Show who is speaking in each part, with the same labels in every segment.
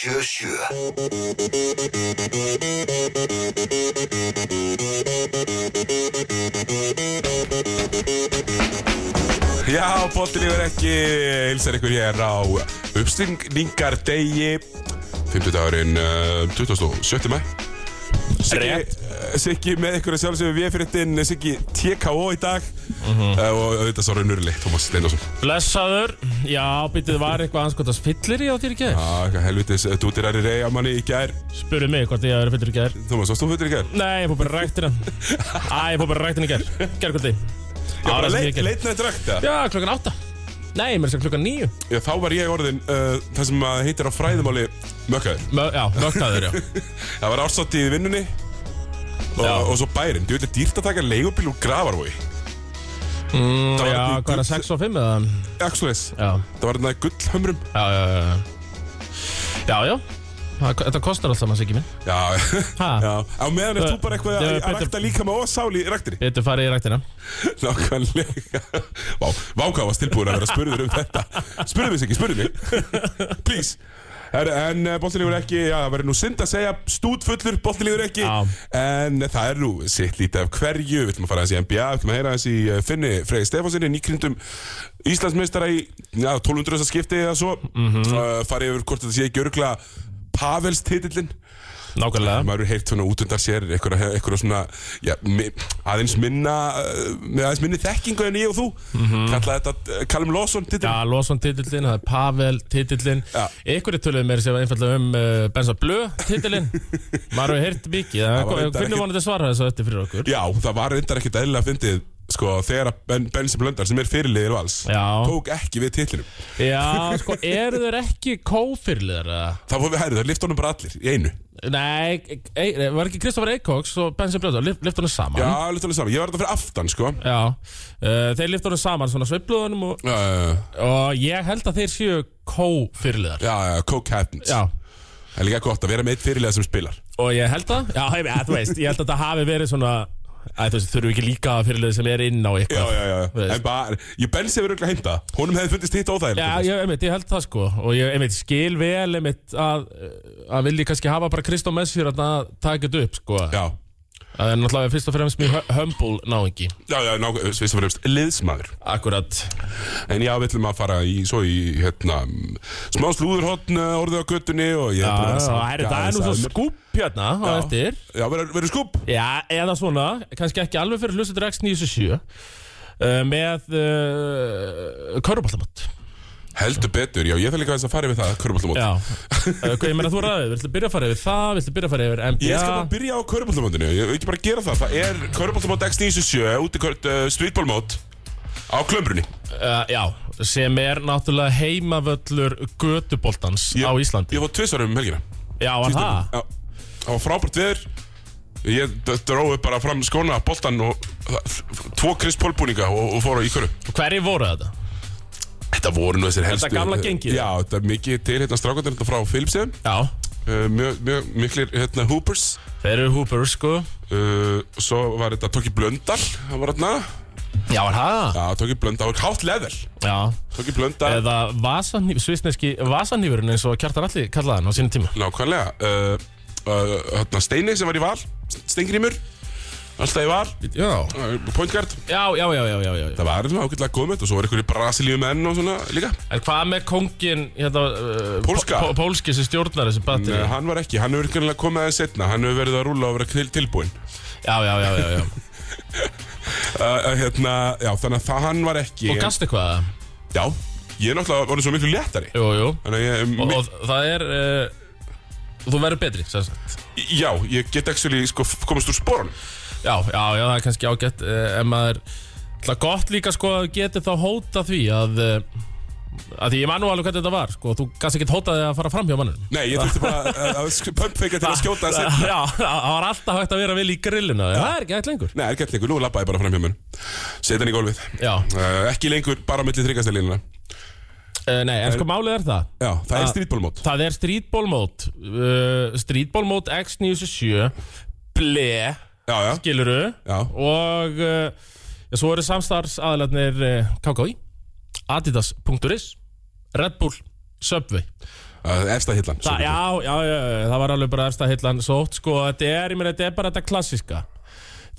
Speaker 1: 977
Speaker 2: Já, bóttin yfir ekki hilsar ykkur hér á uppstingningar degi 50 dagurinn uh, 27. mæ
Speaker 3: Rétt.
Speaker 2: uh, Siggi með ykkur að sjálfsögum við fyrirtinn eh, Siggi TKO í dag
Speaker 3: Mhm.
Speaker 2: uh, og auðvitað Sori Nurli, Tómas Steindorsson
Speaker 3: Blessaður Já, býttu, var eitthvað anskotast fyllir í á þér í gær?
Speaker 2: ah, hvað Helvitis, uh, dútir er í rey að manni í gær
Speaker 3: Spurðu mig hvort ég hafi verið fyllir í gær
Speaker 2: Tómas, varst þú fyrir í gær?
Speaker 3: Nei, ég fór bara ræktina Æ, ég fór bara ræktina í gær Gærkvöldi
Speaker 2: Já, bara leit, leitnaði drakta
Speaker 3: Já, klokkan átta Nei, mér er sem klokkan níu
Speaker 2: Já, þá var ég orðin uh, það sem að heitir á fræðumáli mökkaður
Speaker 3: Mö, Já, mögnaður, já
Speaker 2: Það var ársáttíð í vinnunni og,
Speaker 3: Já.
Speaker 2: og svo bærin, þú veit að dýrt að taka leigubíl úr gravarvói mm,
Speaker 3: Já, hvað er það, 6 og 5 eða?
Speaker 2: Axlis,
Speaker 3: Já,
Speaker 2: það var þetta gullhömrum
Speaker 3: já, já, já já. Já, já Það- Þetta kostar alltaf maður sikið minn
Speaker 2: Já,
Speaker 3: Ha?
Speaker 2: já Á meðan er
Speaker 3: Það-
Speaker 2: þú bara eitthvað að,
Speaker 3: það er
Speaker 2: að
Speaker 3: betur-
Speaker 2: rækta líka með ósál í ræktri
Speaker 3: Þetta farið í ræktina
Speaker 2: Nákvæmlega Vá, vákað varst tilbúin að vera spurður um þetta Spurðu mig ekki, spurðu mig Please En, en boltinlífur ekki, já það verður nú synd að segja stútfullur boltinlífur ekki
Speaker 3: Já.
Speaker 2: En það er nú sitt lítið af hverju Við ætlum að fara aðeins í NBA, við ætlum að heyra aðeins í eh, Finni Freyði Stefánsinni Nýkrindum Íslandsmeistara í já, 1200. skipti eða svo mm Farið yfir hvort þetta sé ekki örgla Pavels titillin
Speaker 3: Nákvæmlega
Speaker 2: maður hefur heyrt svona út undan sér einhverja, einhverja svona já, mi, aðeins minna uh, með aðeins minni þekkingu en ég og þú mm kallaði þetta uh, Callum Lawson titil
Speaker 3: Mhm. Já, Lawson titillin, það er Pavel titillin
Speaker 2: Já.
Speaker 3: Ykkur er töluð meira sér einfallega um uh, Benza Blö titillin Maður hefur heyrt mikið
Speaker 2: Það var reyndar
Speaker 3: Hvernig
Speaker 2: ekkert-
Speaker 3: vonandi svara þessu eftir fyrir okkur
Speaker 2: já, það var reyndar ekkert eðlilega fyndið sko, þegar að ben, Bensi Blöndal sem er fyrirliðir vals
Speaker 3: Já.
Speaker 2: tók ekki við titlinum
Speaker 3: Já, sko, eru þeir ekki kófyrliðar eða?
Speaker 2: þá fór við hærið, það lifta honum bara allir í einu
Speaker 3: Nei, e, e, var ekki Kristoffer Eikóks og Benzi Blöðar, lift honum saman
Speaker 2: já, lift honum saman, ég var þetta fyrir aftan sko
Speaker 3: Já, uh, þeir lift honum saman svona sveifluðunum og,
Speaker 2: uh,
Speaker 3: og ég held að þeir séu kófyrliðar
Speaker 2: já, já, co-captains
Speaker 3: Já,
Speaker 2: það er líka gott að vera með eitt fyrirliða sem spilar
Speaker 3: og ég held að, já, ég, að, þú veist, ég held að það hafi verið svona Æ, þú veist, þurfum við ekki líka fyrirlið sem er inn á
Speaker 2: já,
Speaker 3: eitthvað
Speaker 2: já, já,
Speaker 3: Veist.
Speaker 2: en bara ég Bensi hefur auðvitað heimta, honum hefði fundist hitt óþægilegt
Speaker 3: Já, ég, einmitt, ég held það sko og ég einmitt, skil vel einmitt, að, að vilji kannski hafa bara Kristó með sér þarna að taka þetta upp sko.
Speaker 2: já,
Speaker 3: Það er náttúrulega fyrst og fremst mjög hö- humble náingi
Speaker 2: já, já, nákvæmlega, fyrst og fremst liðsmaður
Speaker 3: Akkurat
Speaker 2: En já, við ætlum að fara í, svo í, hérna, mm, smá slúðurhotn uh, orðið á göttunni og ég
Speaker 3: Já,
Speaker 2: búinn
Speaker 3: já,
Speaker 2: sanka
Speaker 3: það er- það er nú
Speaker 2: aðeins
Speaker 3: svo
Speaker 2: að mér.
Speaker 3: skúpp hérna á
Speaker 2: Já.
Speaker 3: eftir
Speaker 2: Já, verður verður skúp?
Speaker 3: Já, eða svona, kannski ekki alveg fyrir hlustendur X97 uh, með uh, köruboltamót
Speaker 2: Heldur betur, já, ég þarf líka aðeins að fara yfir það, körubáltamót.
Speaker 3: Já, uh, ég meina þú ræðið, viltu byrja að fara yfir það, viltu byrja að fara yfir NBA
Speaker 2: Ég skal bara byrja á körubáltamótinu, ég vil ekki bara gera það, það er körubáltamót X97 úti kör- uh, streetballmót á klömbrunni.
Speaker 3: Uh, já, sem er náttúrulega heimavöllur götuboltans
Speaker 2: Ég-
Speaker 3: á Íslandi
Speaker 2: Ég fór tvisvar um helgina. um,
Speaker 3: Já, var það?
Speaker 2: Já, það var frábært veður. Ég d- dróði bara fram skóna, boltan og það- tvo Chris Paul búninga og, og fór á í körub.
Speaker 3: Hverju voru þetta?
Speaker 2: Þetta voru nú þessir helstu
Speaker 3: gamla gengið?
Speaker 2: Já, þetta er mikið til hérna strákandir hérna frá Philipsheim
Speaker 3: Já,
Speaker 2: uh, Mjög, mjög miklir hérna Hoopers
Speaker 3: þeir eru húpur sko
Speaker 2: uh, Svo var þetta Tóki Blöndal Hann var hérna
Speaker 3: Já, var það?
Speaker 2: Já, Tóki Blöndal, það var hátt level
Speaker 3: Já,
Speaker 2: Tóki Blöndal
Speaker 3: eða vasanýf, svisneski vasanýfurinn eins og Kjartan Alli kallaði hann á sínum tíma
Speaker 2: Nákvæmlega uh, uh, Hérna Steini sem var í val Stengrimur Alltaf í val
Speaker 3: Já,
Speaker 2: uh, Point guard
Speaker 3: já, já, já, já, já, já, já.
Speaker 2: Það var svona ágætlega góð með þetta Og svo var einhverju Brasilíu menn og svona líka
Speaker 3: En hvað með kongin, hérna, uh,
Speaker 2: Pólska?
Speaker 3: pó- Pólski sem stjórnar þessi batteri
Speaker 2: Nei, Eh, hann var ekki Hann hefur einhverjulega komið aðeins setna Hann hefur verið að rúla og vera til, tilbúinn
Speaker 3: Já, já, já, já, já
Speaker 2: uh, uh, Hérna, já, þannig að það hann var ekki
Speaker 3: Og
Speaker 2: en-
Speaker 3: gastu hvað?
Speaker 2: Já, ég er náttúrulega orðin svo miklu léttari
Speaker 3: Jú, jú
Speaker 2: Þannig að ég,
Speaker 3: Og,
Speaker 2: mi-
Speaker 3: og það er, uh, þú verður betri, sem sagt
Speaker 2: já, ég get actually sko, komist úr sporun
Speaker 3: Já, já, já, það er kannski ágætt uh, en maður, það er gott líka sko að geti þá hóta því að uh, að því ég man nú alveg hvernig þetta var sko, þú kannski ekki hótaði að fara fram hjá mannum
Speaker 2: Nei, ég þurfti bara að- að sk- pumpfika til að skjóta að setja
Speaker 3: Já, það var alltaf hægt að vera vil í grillinu já. það er ekki hægt lengur
Speaker 2: Nei, er gett lengur, nú lappaði bara fram hjá mér Setja hann í gólfið
Speaker 3: Já,
Speaker 2: uh, Ekki lengur, bara á milli þryggastælínuna
Speaker 3: uh, nei, en sko málið er það
Speaker 2: Já, það er
Speaker 3: Ah.
Speaker 2: strítbólmót
Speaker 3: það er streetballmót uh, streetballmót X97 ble,
Speaker 2: Já, já,
Speaker 3: giluru
Speaker 2: já,
Speaker 3: og uh, já, svo eru eh, samstarfs aðalarnir uh, KKI Adidas.is Red Bull, Subway
Speaker 2: uh, efsta hillan
Speaker 3: Þa, já, já, já, já, það var alveg bara ersta hillan sótt Sko, þetta er, ég meina, þetta er bara þetta klassiska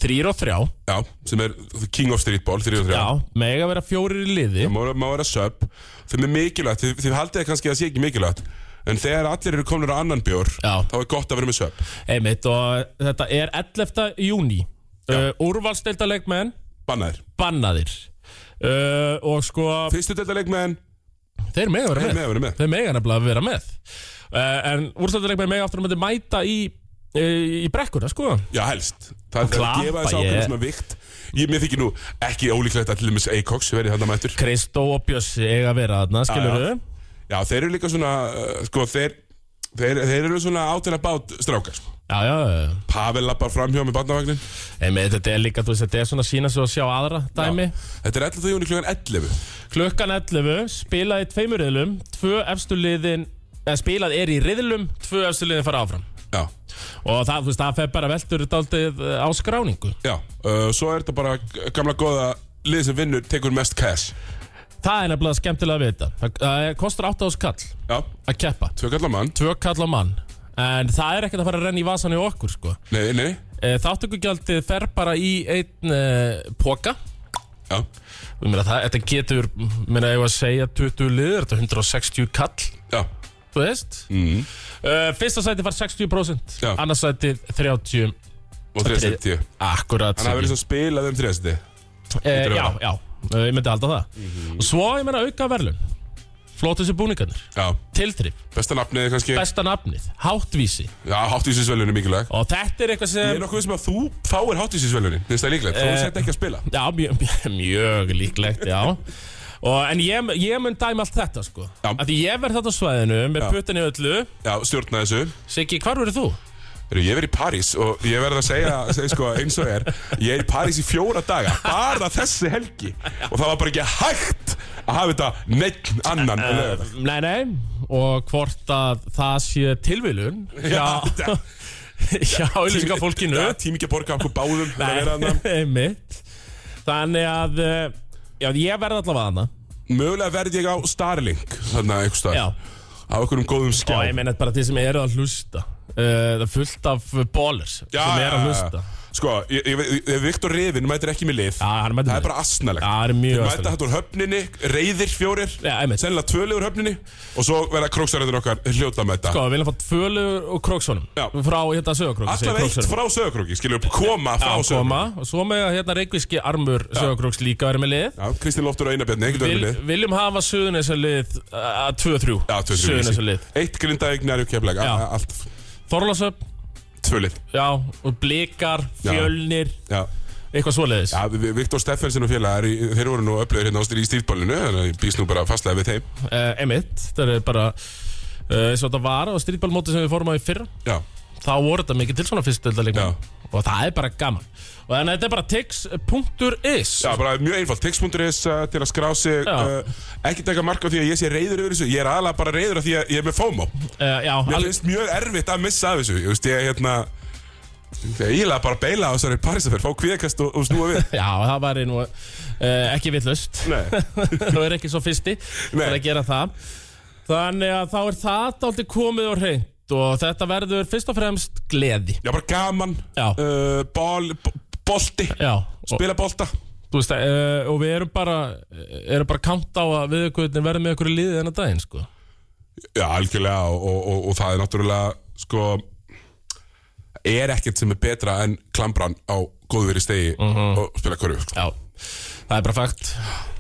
Speaker 3: Þrýr og þrjá
Speaker 2: já, sem er King of Streetball 3 og 3
Speaker 3: Já, mega vera fjórir í liði
Speaker 2: það má, má vera sub þeim er mikilvægt, þið, þið haldið það kannski að það sé ekki mikilvægt en þegar allir eru komnir á annan bjór
Speaker 3: Já.
Speaker 2: þá er gott að vera með sub
Speaker 3: Einmitt, og þetta er 11. júni uh, Úrvalstelda leikmenn
Speaker 2: bannaðir,
Speaker 3: bannaðir uh, Og sko,
Speaker 2: fyrstu delta leikmenn
Speaker 3: þeir mega vera
Speaker 2: með
Speaker 3: með
Speaker 2: að vera með
Speaker 3: Þeir mega nefnilega vera með uh, En úrvalstelda leikmenn mega aftur að myndi mæta í, uh, í brekkuna, sko
Speaker 2: já, helst, það það er
Speaker 3: klappa,
Speaker 2: að gefa þess
Speaker 3: ég-
Speaker 2: ákveðin svona vikt ég, mér þykir nú ekki ólíklegt að til dæmis Acox verði þarna mættur
Speaker 3: Kristó og Bjössi eiga að vera þarna, skilur
Speaker 2: já. já, þeir eru líka svona, uh, sko, þeir Þeir, þeir eru svona átina bát strákar sko.
Speaker 3: Já, já, já
Speaker 2: Pavel lappar framhjá með barnavagnin
Speaker 3: Einmitt, þetta er líka, þú veist, þetta er svona sína svo að sjá aðra dæmi
Speaker 2: Þetta er 11. júni klukkan 11
Speaker 3: Klukkan 11 spilaði tveimur riðlum Tvö efstu liðin eða spilað er í riðlum Tvö efstu liðin fara áfram
Speaker 2: Já,
Speaker 3: Og það, þú veist, það fer bara veltur daldið á skráningu
Speaker 2: já uh, Svo er þetta bara g- gamla góða lið sem vinnur tekur mest cash
Speaker 3: Það er nefnilega skemmtilega að vita Það, það kostar 8 ás kall
Speaker 2: Já,
Speaker 3: að keppa
Speaker 2: tvö kallar mann
Speaker 3: Tvö kall á mann En það er ekkert að fara að renna í vasan í okkur, sko
Speaker 2: Nei, nei,
Speaker 3: Eh, Þáttökugjaldið fer bara í einn e, póka
Speaker 2: já,
Speaker 3: Ég meina, það, Þetta getur, meina, ég var að segja 20 liður, þetta er 160 kall
Speaker 2: já
Speaker 3: Þú veist?
Speaker 2: mm.
Speaker 3: Uh, fyrsta sæti var 60%
Speaker 2: Já.
Speaker 3: Annars sæti 30
Speaker 2: Og 370
Speaker 3: Akkurat
Speaker 2: Hann hafi verið svo spilað um 370
Speaker 3: eh,
Speaker 2: hlýtur að
Speaker 3: Já,
Speaker 2: vera.
Speaker 3: já, uh, ég myndi halda það
Speaker 2: Mhm.
Speaker 3: Og svo, ég meina, auka verðlun Flóta sér búningarnir
Speaker 2: Já,
Speaker 3: Tiltrif,
Speaker 2: besta nafnið kannski
Speaker 3: besta nafnið, háttvísi
Speaker 2: Já, háttvísinsvelunin er mikilvæg
Speaker 3: Og þetta er eitthvað
Speaker 2: Ég
Speaker 3: sem
Speaker 2: er nokkuð sem að þú fáir háttvísinsvelunin Finnst það líklegt, þú
Speaker 3: Eh.
Speaker 2: sett ekki að spila
Speaker 3: Já, mjög, mjög líklegt, já Og, en ég, ég mun dæma allt þetta sko
Speaker 2: Já.
Speaker 3: Af Því ég verð þetta á svæðinu Með
Speaker 2: Já.
Speaker 3: puttan í öllu
Speaker 2: Já, stjórna þessu
Speaker 3: Siggi, hvar verður þú?
Speaker 2: Heyrðu, Ég verið í París og ég verði að segja, segja sko, eins og er Ég er í París í fjóra daga Bara þessi helgi Og það var bara ekki hægt að hafa þetta neitt annan
Speaker 3: Eh.
Speaker 2: en laugardag.
Speaker 3: Nei, nei Og hvort að það sé tilvilun Já,
Speaker 2: þetta-
Speaker 3: já, auðvitað fólkinu
Speaker 2: Já, tími ekki að borga okkur báðum hérna. en að vera þarna.
Speaker 3: Einmitt Þannig að eh, Já, ég verð allavega hana
Speaker 2: Mögulega verð ég á Starlink Þannig að einhver stað
Speaker 3: Já.
Speaker 2: Á einhverjum góðum
Speaker 3: Og
Speaker 2: skjá
Speaker 3: ég meina bara þeir sem eru að hlusta uh, Það er fullt af bólers
Speaker 2: Já,
Speaker 3: Sem eru að
Speaker 2: já, já.
Speaker 3: hlusta
Speaker 2: Sko, ég, ég, ég, Viktor Revin mætir ekki með lið
Speaker 3: Já, hann mætir
Speaker 2: Það er
Speaker 3: með.
Speaker 2: bara asnalegt
Speaker 3: Já, það er mjög
Speaker 2: Mæta
Speaker 3: aðstæðan
Speaker 2: hættur höfninni, reyðir fjórir
Speaker 3: Já, einmitt.
Speaker 2: Sennilega tvöli úr höfninni Og svo verða króksaröndur okkar hljóta með þetta
Speaker 3: Sko, við viljum fá tvölur og króksónum
Speaker 2: Já.
Speaker 3: Frá hérna sögakróks
Speaker 2: Alltaf eitt frá sögurkróki, skiljum Koma frá
Speaker 3: koma
Speaker 2: sögurkróki
Speaker 3: Og svo með hérna reykviski armur sögakróks líka verið með lið
Speaker 2: Já, Kristín Lóftur og Einar Bjarni, ekkert verið
Speaker 3: Vil,
Speaker 2: með lið
Speaker 3: Viljum hafa eh, söðunessa lið að 2-3
Speaker 2: Já, tvö þrjú
Speaker 3: Söðunessa
Speaker 2: lið.
Speaker 3: lið
Speaker 2: Eitt grindaðið nærjú keflæk
Speaker 3: Já.
Speaker 2: Allt,
Speaker 3: Þorlásöp,
Speaker 2: tvölið
Speaker 3: já, og blikar,
Speaker 2: Já.
Speaker 3: fjölnir
Speaker 2: Já
Speaker 3: Eitthvað svoleiðis
Speaker 2: Ja, Viktor Steffensen og félagar, í- þeir voru nú öflöður hérna á stýri í stýrtballinu, þannig að ég býst nú bara fastlega við þeim.
Speaker 3: uh, Emitt, það er bara uh, eins og þetta var á strítballmóti sem við fórum á í fyrra
Speaker 2: Já,
Speaker 3: þá voru þetta mikið til svona fyrstöldarleikmenn og það er bara gaman og þannig að þetta er bara tix.is
Speaker 2: já bara mjög einfalt, tix.is uh, til að skrá sig,
Speaker 3: Já.
Speaker 2: uh, ekki taka mark á því að ég sé reyður yfir þessu, ég er aðalega bara reyður af því að ég er með FOMO.
Speaker 3: uh, já,
Speaker 2: Mér
Speaker 3: alveg
Speaker 2: finnst mjög erfitt að missa af þessu, ég veist, ég er hérna, ég er eiginlega bara að beila á þessari parisaferð, fá kvíðkast og, og snúa við.
Speaker 3: Já, það væri nú uh, ekki villust
Speaker 2: Nei,
Speaker 3: Þú er ekki svo fyrsti Það er að gera það Þannig að þá er það aldrei komið og reynd Og þetta verður fyrst og fremst gleði
Speaker 2: já, bara gaman,
Speaker 3: Já.
Speaker 2: uh, bol, bo- bolti,
Speaker 3: Já, og,
Speaker 2: spila bolta.
Speaker 3: þú veist, uh, og við erum bara eh, Erum bara kamt á að við ykkur verðum með ykkur í liðið þennan daginn sko.
Speaker 2: Já, algjörlega og, og, og, og það er náttúrulega sko er ekkert sem er betra en klambran á góðveri stegi
Speaker 3: Mhm.
Speaker 2: og spila körfu. Sko.
Speaker 3: Já, það er bara fakt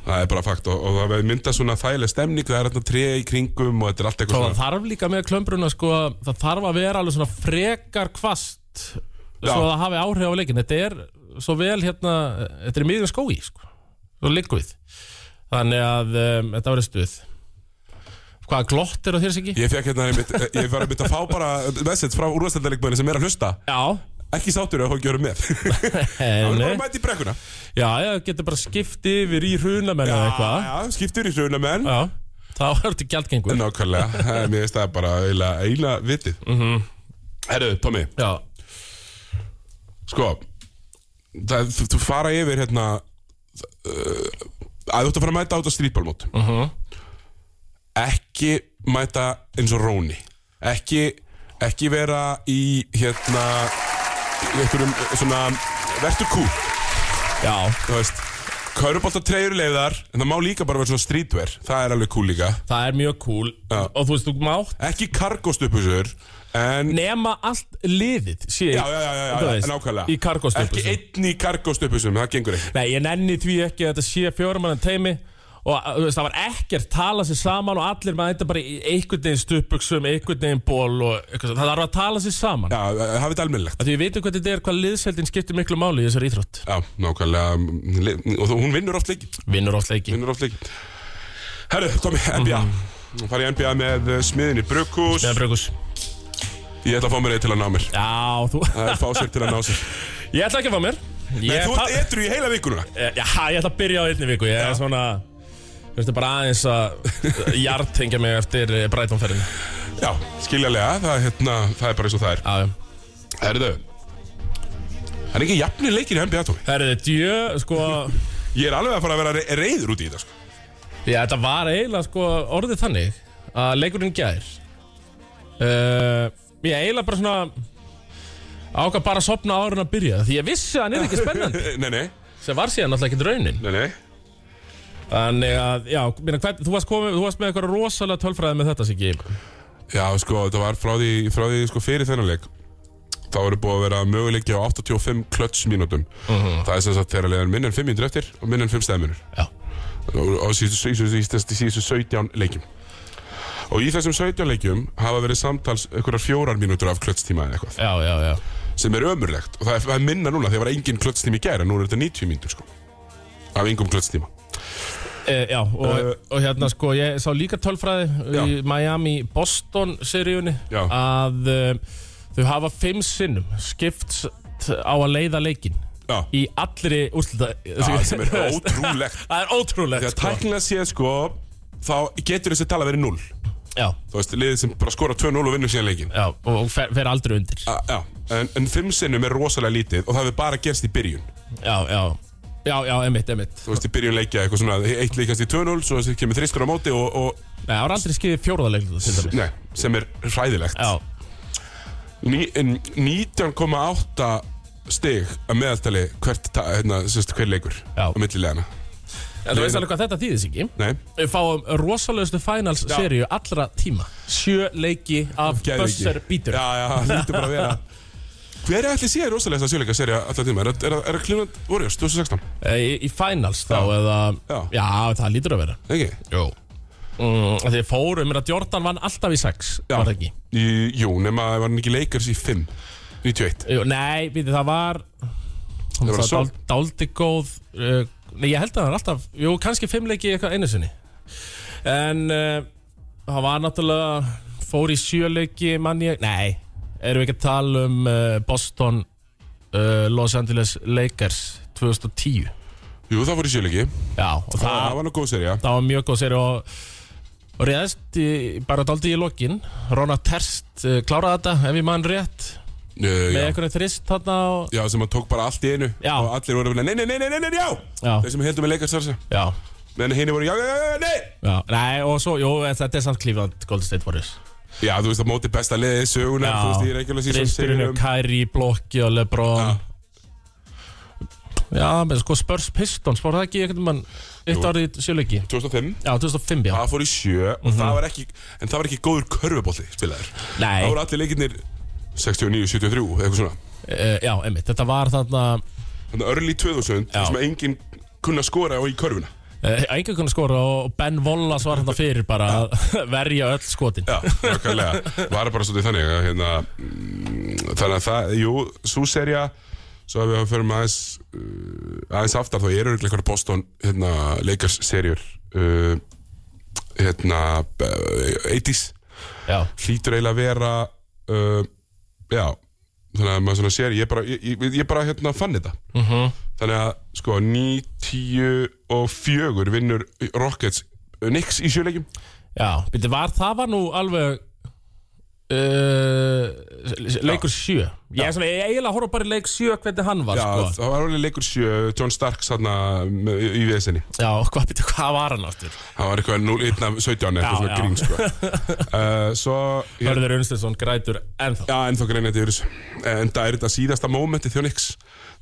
Speaker 2: Það er bara fakt og, og það verður mynda svona þægileg stemning, það er alltaf tré í kringum og þetta er allt eitthvað
Speaker 3: Og
Speaker 2: svona.
Speaker 3: það þarf líka með klömbruna sko, að það þarf að vera alveg svona frekar kvast svo
Speaker 2: Já.
Speaker 3: að það hafi áhrif á leikin þetta er svo vel hérna þetta er í miðjum skói sko, svo liggur við þannig að um, þetta verður stuð hvaða glott er á þér Siggi?
Speaker 2: Ég fekk hérna, einmitt- ég var að mynda að fá bara message frá úrvastældarleikbæðinu sem er að hlusta,
Speaker 3: Já,
Speaker 2: ekki sáttur ef hún gjörur með. Það er bara
Speaker 3: henni
Speaker 2: að mæta í brekkuna.
Speaker 3: Já, já, getur bara skipt yfir í hrunamenn eða eitthvað
Speaker 2: já, skiptur í hruna menn.
Speaker 3: Já, þá er þetta gjaldgengur
Speaker 2: Nákvæmlega, það er- mér finnst það bara eiginlega eiginlega vitið. Mm
Speaker 3: Mhm.
Speaker 2: -hmm. Herru, Tommi.
Speaker 3: Já,
Speaker 2: Sko það, þú, þú fara yfir
Speaker 3: Mhm.
Speaker 2: hérna uh, að þú ert að fara að mæta át á strítbálmót uh ekki mæta eins og Róni ekki, ekki vera í hérna í einhverjum svona vertu kú
Speaker 3: Já,
Speaker 2: þú veist Körubolt að treyjur leiðar en það má líka bara vera svona streetwear það er alveg kú líka
Speaker 3: það er mjög cool
Speaker 2: Já.
Speaker 3: Og þú veist, þú mátt
Speaker 2: ekki kargóstupusur en
Speaker 3: nema allt liðið sé,
Speaker 2: Já, já, já, já, já, já,
Speaker 3: þú
Speaker 2: nákvæmlega
Speaker 3: Í karkostöpusum
Speaker 2: Ekki einn í kargóstupusum, það gengur ekki
Speaker 3: Nei, ég nenni því ekki að þetta sé fjóramann teimi og að, þú veist, það var ekkert tala sér saman og allir maður þetta bara í einhvern veginn stupuksum, einhvern veginn ból og eitthvað svo. það þarf að tala sér saman
Speaker 2: Já, hafið þetta almennilegt
Speaker 3: að því við veitum hvað þetta er, hvað liðseldin skiptir miklu máli í þessari íþrótt.
Speaker 2: Já, nákvæmlega mm, li- Og þú- hún vinnur oft leiki
Speaker 3: Vinnur oft leiki.
Speaker 2: Vinnur oft leiki Herru, Tommy, NBA
Speaker 3: Mhm.
Speaker 2: Nú fari ég NBA með eh, smiðinni Brukus
Speaker 3: Eða Brugus.
Speaker 2: Ég ætla að fá mér eitt til að ná mér
Speaker 3: Já, þú...
Speaker 2: Það er fá sér til að ná sér
Speaker 3: Ég ætla ekki að fá mér.
Speaker 2: Nei,
Speaker 3: Ég
Speaker 2: þú
Speaker 3: pa-
Speaker 2: ert etru í heila vikununa
Speaker 3: Eh, Já, ég ætla að byrja á einni viku. Ég er svona... Þú veist, bara aðeins að jartengja mig eftir eh, brætonferðinu.
Speaker 2: Já, skiljalega, það, er, hérna, það er bara eins og það er
Speaker 3: Já, já.
Speaker 2: Herru, það er ekki jafnir leikir í NBA, Tommy
Speaker 3: Herðu, djö, sko...
Speaker 2: Ég er alveg að fara að vera re- reiður út í þetta sko.
Speaker 3: Já, þetta var eiginlega sko orðið þannig að leikurinn í gær uh, Ég eiginlega bara svona ákvað bara að sopna árun að byrja því ég vissi að hann er ekki spennandi
Speaker 2: Nei, nei,
Speaker 3: sem var síðan náttúrulega ekki raunin
Speaker 2: nei, nei
Speaker 3: Þannig að, já, minna, hvern, þú, varst komin, þú varst með eitthvað rosalega tölfræði með þetta, Siggi
Speaker 2: Já, sko, þetta var frá því, frá því sko, fyrir þennan leik Þá eru búið að vera möguleiki á 85 klöts mínútum Það er sem sagt þegar leiðan minn en 5 mínútur eftir og minn en 5 stæðminur
Speaker 3: Já,
Speaker 2: og síðustu síðustu- síðustu- síðustu 17 leikjum Og í þessum 17 leikjum hafa verið samtals einhverjar fjórar mínútur af klötstíma eða eitthvað
Speaker 3: já, já, já
Speaker 2: sem er ömurlegt og það er, það er minna núna þegar var engin klötstíma í gær en nú er þetta 90 mínútur sko af engum klötstíma
Speaker 3: e, Já, og,
Speaker 2: Eh.
Speaker 3: og hérna sko, ég sá líka tölfræði í
Speaker 2: Já.
Speaker 3: Miami-Boston-seríunni
Speaker 2: Já.
Speaker 3: að uh, þau hafa fimm sinnum skipt á að leiða leikinn
Speaker 2: Já,
Speaker 3: í allri úrslita
Speaker 2: Já, sem er ótrúlegt
Speaker 3: Það er ótrúlegt
Speaker 2: Þegar
Speaker 3: sko.
Speaker 2: tæknilega séð sko þá getur þessi tala verið 0
Speaker 3: Já,
Speaker 2: þú veist, liðið sem bara skora 2-0 og vinnur síðan leikin
Speaker 3: já, og fer, fer aldrei undir
Speaker 2: A, já, en, en fimm sinnum er rosalega lítið og það hefur bara gerst í byrjun
Speaker 3: Já, já, já, já, emitt, emitt
Speaker 2: þú veist, í byrjun leikja eitthvað svona e, eitt leikast í 2-0, svo þessi kemur þristur á móti og, og
Speaker 3: Nei, það var aldrei skiðið fjórðarleikluðu til dæmis
Speaker 2: nei, sem er hræðilegt
Speaker 3: Já,
Speaker 2: Ní, en 19,8 stig að meðaltali hvert, ta- hérna, sérst, hver leikur
Speaker 3: Já.
Speaker 2: á millilegana,
Speaker 3: en þú veist alveg hvað þetta þýðis ekki
Speaker 2: nei,
Speaker 3: Við fáum rosalegustu finals seríu allra tíma Sjö leiki af
Speaker 2: Geðveiki.
Speaker 3: buzzer bítur
Speaker 2: já, já, það lítur bara að vera hver er allir séð rosalega þess að sjöleika serja alltaf tíma, er það- er það- er það Cleveland Warriors 2016,
Speaker 3: Eh, í, í finals þá eða
Speaker 2: Já.
Speaker 3: það lítur að vera
Speaker 2: ekki?
Speaker 3: Jó mm, Þegar fórum, mér að Jordan vann alltaf í sex
Speaker 2: Já.
Speaker 3: Var það ekki?
Speaker 2: Í, jú, nema var hann ekki leikars í 5 91
Speaker 3: Jú, nei, við það var Það
Speaker 2: var
Speaker 3: var
Speaker 2: svo-
Speaker 3: dál, dáldi góð uh, Nei, ég held að það var alltaf Jú, kannski fimmleiki eitthvað einu sinni En uh, Það var náttúrulega Fór í sjöleiki manni Nei, erum við ekki að tala um uh, Boston uh, Los Angeles Lakers 2010 Já,
Speaker 2: Jú, það fór í sjöleiki
Speaker 3: og það,
Speaker 2: Það
Speaker 3: var...
Speaker 2: var nú góð serja
Speaker 3: það var mjög góð sér og og réðst í, bara dáldi í lokin Rona Terst uh, kláraði þetta ef ég mann rétt
Speaker 2: uh,
Speaker 3: með
Speaker 2: já.
Speaker 3: einhvern þrist þarna og
Speaker 2: já, sem hann tók bara allt í einu
Speaker 3: Já.
Speaker 2: Og allir voru að vinna, nei, nei, nei, nei, nei, nei, já
Speaker 3: Já.
Speaker 2: Þeir sem heldum að leika sarsa
Speaker 3: Já,
Speaker 2: En henni voru, já, já, já, já, nei
Speaker 3: já, nei og svo, jú, þetta er samt Cleveland Golden State Warriors
Speaker 2: Já, þú veist að móti besta liðið í sögunar Þú veist, ég er ekki alveg síðan
Speaker 3: Risturinn og Kyrie, Blokki og Lebron Já, menn sko Spurs Pistons, voru það ekki einhvern mann eitt
Speaker 2: Jú.
Speaker 3: árið sjöleiki
Speaker 2: 2005
Speaker 3: Já, 2005, já
Speaker 2: Það fór í sjö Og
Speaker 3: Mhm.
Speaker 2: það var ekki En það var ekki góður körfubólli spilaður Það
Speaker 3: Nei,
Speaker 2: voru allir leikirnir 69, 73, eitthvað svona
Speaker 3: uh, já, emmitt, þetta var þarna uh,
Speaker 2: Þannig örli 2000
Speaker 3: Já.
Speaker 2: Það sem að enginn kunna skora á í körfuna
Speaker 3: einhvern konar Eh, skora og og Ben Wallace var þarna fyrir bara að verja öll skotin
Speaker 2: Já, nákvæmlega Var bara svolítið þannig að, hérna, mm, Þannig að það, jú, svo serja Svo að við förum aðeins uh, aðeins aftar þá eru örugglega eitthvað Boston hérna, leikars serjur uh, hérna eh, 80s
Speaker 3: Já,
Speaker 2: hlýtur eiginlega að vera uh, já þannig að maður svona sér ég bara, ég, ég, ég bara hérna fann þetta
Speaker 3: Mhm.
Speaker 2: -huh. þannig að sko 94 vinnur Rockets eh, Knicks í sjöleikjum
Speaker 3: já, byrju, var það var nú alveg uh, leikur sjö Ég er svona, ég er eiginlega að horfa bara í leik sjö hvernig hann var,
Speaker 2: Já,
Speaker 3: sko
Speaker 2: það var alveg leikur sjö, John Starks hérna með- í í vesinni.
Speaker 3: Já, hvað, betur, hvað var hann aftur?
Speaker 2: Það var eitthvað 0-1-17
Speaker 3: Já,
Speaker 2: eitthvað svona
Speaker 3: já.
Speaker 2: grín, sko. uh, svo, ég,
Speaker 3: Hörður Unstensson grætur ennþá
Speaker 2: já, ennþá greinir þetta yfir þessu. En það er þetta síðasta mómenti þjó Nix.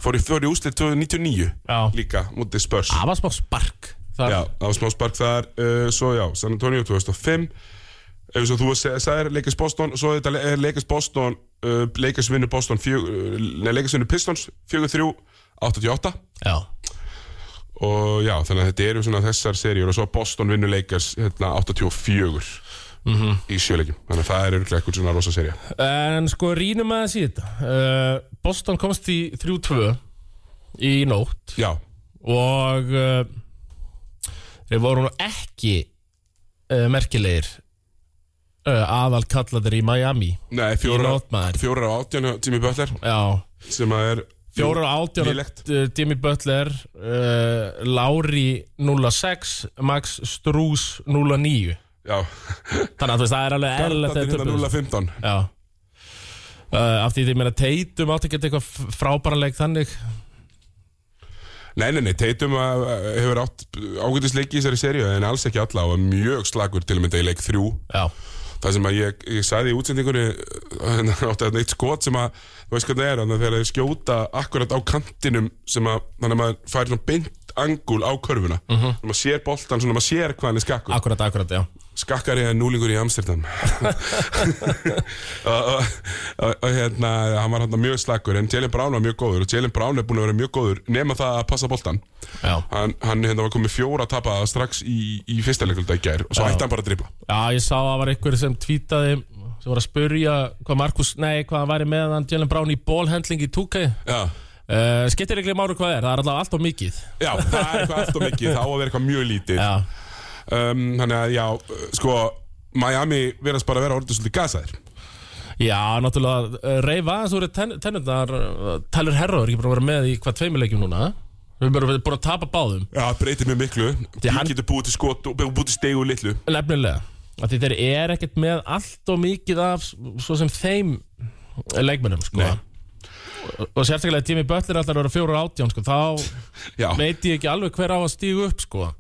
Speaker 2: Fór í fjóri úslið 2099
Speaker 3: Já.
Speaker 2: líka, mútið spörs.
Speaker 3: Það var smá spark þar
Speaker 2: Já, það var smá spark þar. Uh, svo já, San Antonio 2005. Ef svo þú sa- sagðir leikast Boston, svo þetta le- er leikast Boston, uh, leikast vinnu Boston, fjö- uh, nei, leikast vinnu Pistons, 4-3, 88.
Speaker 3: Já,
Speaker 2: og já, þannig að þetta eru svona þessar serjur og svo Boston vinnur leikars hérna, 84
Speaker 3: Mhm.
Speaker 2: í sjöleikjum þannig að það er örgulega eitthvað svona rosa serja
Speaker 3: En sko, rínum aðeins í þetta uh, Boston komst í 3-2 í nótt
Speaker 2: já,
Speaker 3: og uh, þeir voru nú ekki uh, merkilegir uh, aðal kalladir í Miami
Speaker 2: nei,
Speaker 3: í
Speaker 2: fjóra,
Speaker 3: nótt maður
Speaker 2: fjóra á átján Jimmy Butler
Speaker 3: Já,
Speaker 2: sem að er
Speaker 3: fjórar á átján
Speaker 2: Nýlegt.
Speaker 3: uh, Jimmy Butler uh, Lári 06 Max Strús 09
Speaker 2: já,
Speaker 3: Þannig að þú veist, það er alveg eðlilegt
Speaker 2: Garðarnir
Speaker 3: að
Speaker 2: hérna
Speaker 3: töpuðu.
Speaker 2: 0-15
Speaker 3: Já uh, Af því því meina Tatum átti ekki eitthvað f- frábæran leik þannig
Speaker 2: nei, nei, nei, Tatum að- að hefur átt ágætisleiki í þessari serju en alls ekki alla og er mjög slagur til að mynda í leik 3
Speaker 3: Já,
Speaker 2: Það sem að ég, ég sagði í útsendingunni hérna, átti að neitt skot sem að þú veist hvernig það er, þannig að þegar þeir skjóta akkurat á kantinum sem að þannig að maður fær svona beint angul á körfuna þannig að maður sér boltan, svona maður sér hvað hann er skakkur
Speaker 3: akkurat, akkurat, já
Speaker 2: skakkar ég núlingur í Amsterdam og, og, og, og hérna, hann var hérna mjög slakkur en Jalen Brown var mjög góður og Jalen Brown er búin að vera mjög góður nema það að passa boltan
Speaker 3: Já,
Speaker 2: hann, hann hérna var komið fjóra tapaða strax í, í fyrsta leikulta í gær og svo hætti hann bara að dribla
Speaker 3: já ég sá að það var einhver sem tvítaði sem var að spurja hvað Markus, nei, hvað hann væri með hann Jalen Brown í bólhendling í 2K
Speaker 2: Já.
Speaker 3: uh, Skiptir ekki máru hvað er, það er alltaf alltaf mikið
Speaker 2: Já, það er eitthvað allt og mikið, þá á að vera eitthvað mjög lítið
Speaker 3: Já,
Speaker 2: um, Þannig að já, sko Miami verðast bara að vera orðið svolítið gasaðir
Speaker 3: já náttúrulega uh, Reyf aðeins úr ten, tennundar Tyler Herro er ekki búin að vera með í hvað tveimur leikjum núna Við erum bara búin að tapa báðum
Speaker 2: Já, breytir mjög miklu Því
Speaker 3: hann-
Speaker 2: getur búið til skot og búið til stegu litlu
Speaker 3: Nefnilega Af Því þeir eru ekkert með allt og mikið af Svo sem þeim leikmennum sko.
Speaker 2: Nei.
Speaker 3: Og- Og sérstaklega Jimmy Butler er alltaf að vera fjóra átján sko. Þá
Speaker 2: Já,
Speaker 3: veit ég ekki alveg hver á að stígu upp sko.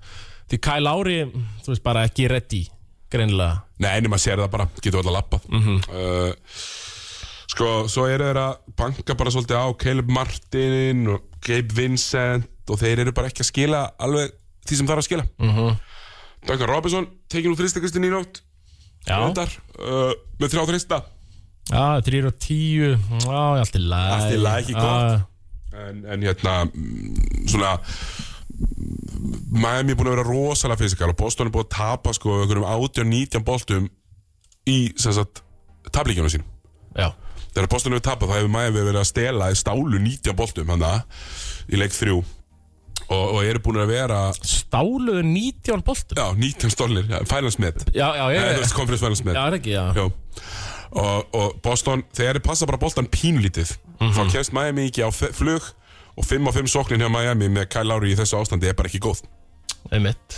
Speaker 3: Því Kyle Lowry Þú veist bara ekki ready Greinilega
Speaker 2: nei, nema sér það bara, getur alltaf lappað uh, Sko, svo eru þeir að banka bara svolítið á Caleb Martin og Gabe Vincent og þeir eru bara ekki að skila alveg því sem þarf að skila mm Duncan Robinson, tekin úr þristakristin í nótt
Speaker 3: Já,
Speaker 2: Reyndar, uh, með þrjá þrista
Speaker 3: já þrýr og tíu Já, allt í lagi
Speaker 2: Allt í lagi, ekki gott.
Speaker 3: Já,
Speaker 2: en, en hérna mm, svona mm, Miami er búin að vera rosalega fysikal og Boston er búin að tapa sko einhverjum 18-19 boltum í sem sagt tablíkjunum sínum
Speaker 3: Já,
Speaker 2: þegar Boston hefur tapað þá hefur Miami verið að stela í stálu 19 boltum hann í leik 3 og, og eru búin að vera
Speaker 3: stáluðu 19 boltum
Speaker 2: já, 19 stólnir, finals met
Speaker 3: Já, já, ég Já,
Speaker 2: conference finals met
Speaker 3: það er ekki, já
Speaker 2: Jó. og, og Boston, þegar þeir passa bara boltan pínlítið þá kemst Miami ekki á fe- flug og 5 á 5 sóknin hjá Miami með Kyle Lowry í þessu ástandi er bara ekki góð
Speaker 3: Einmitt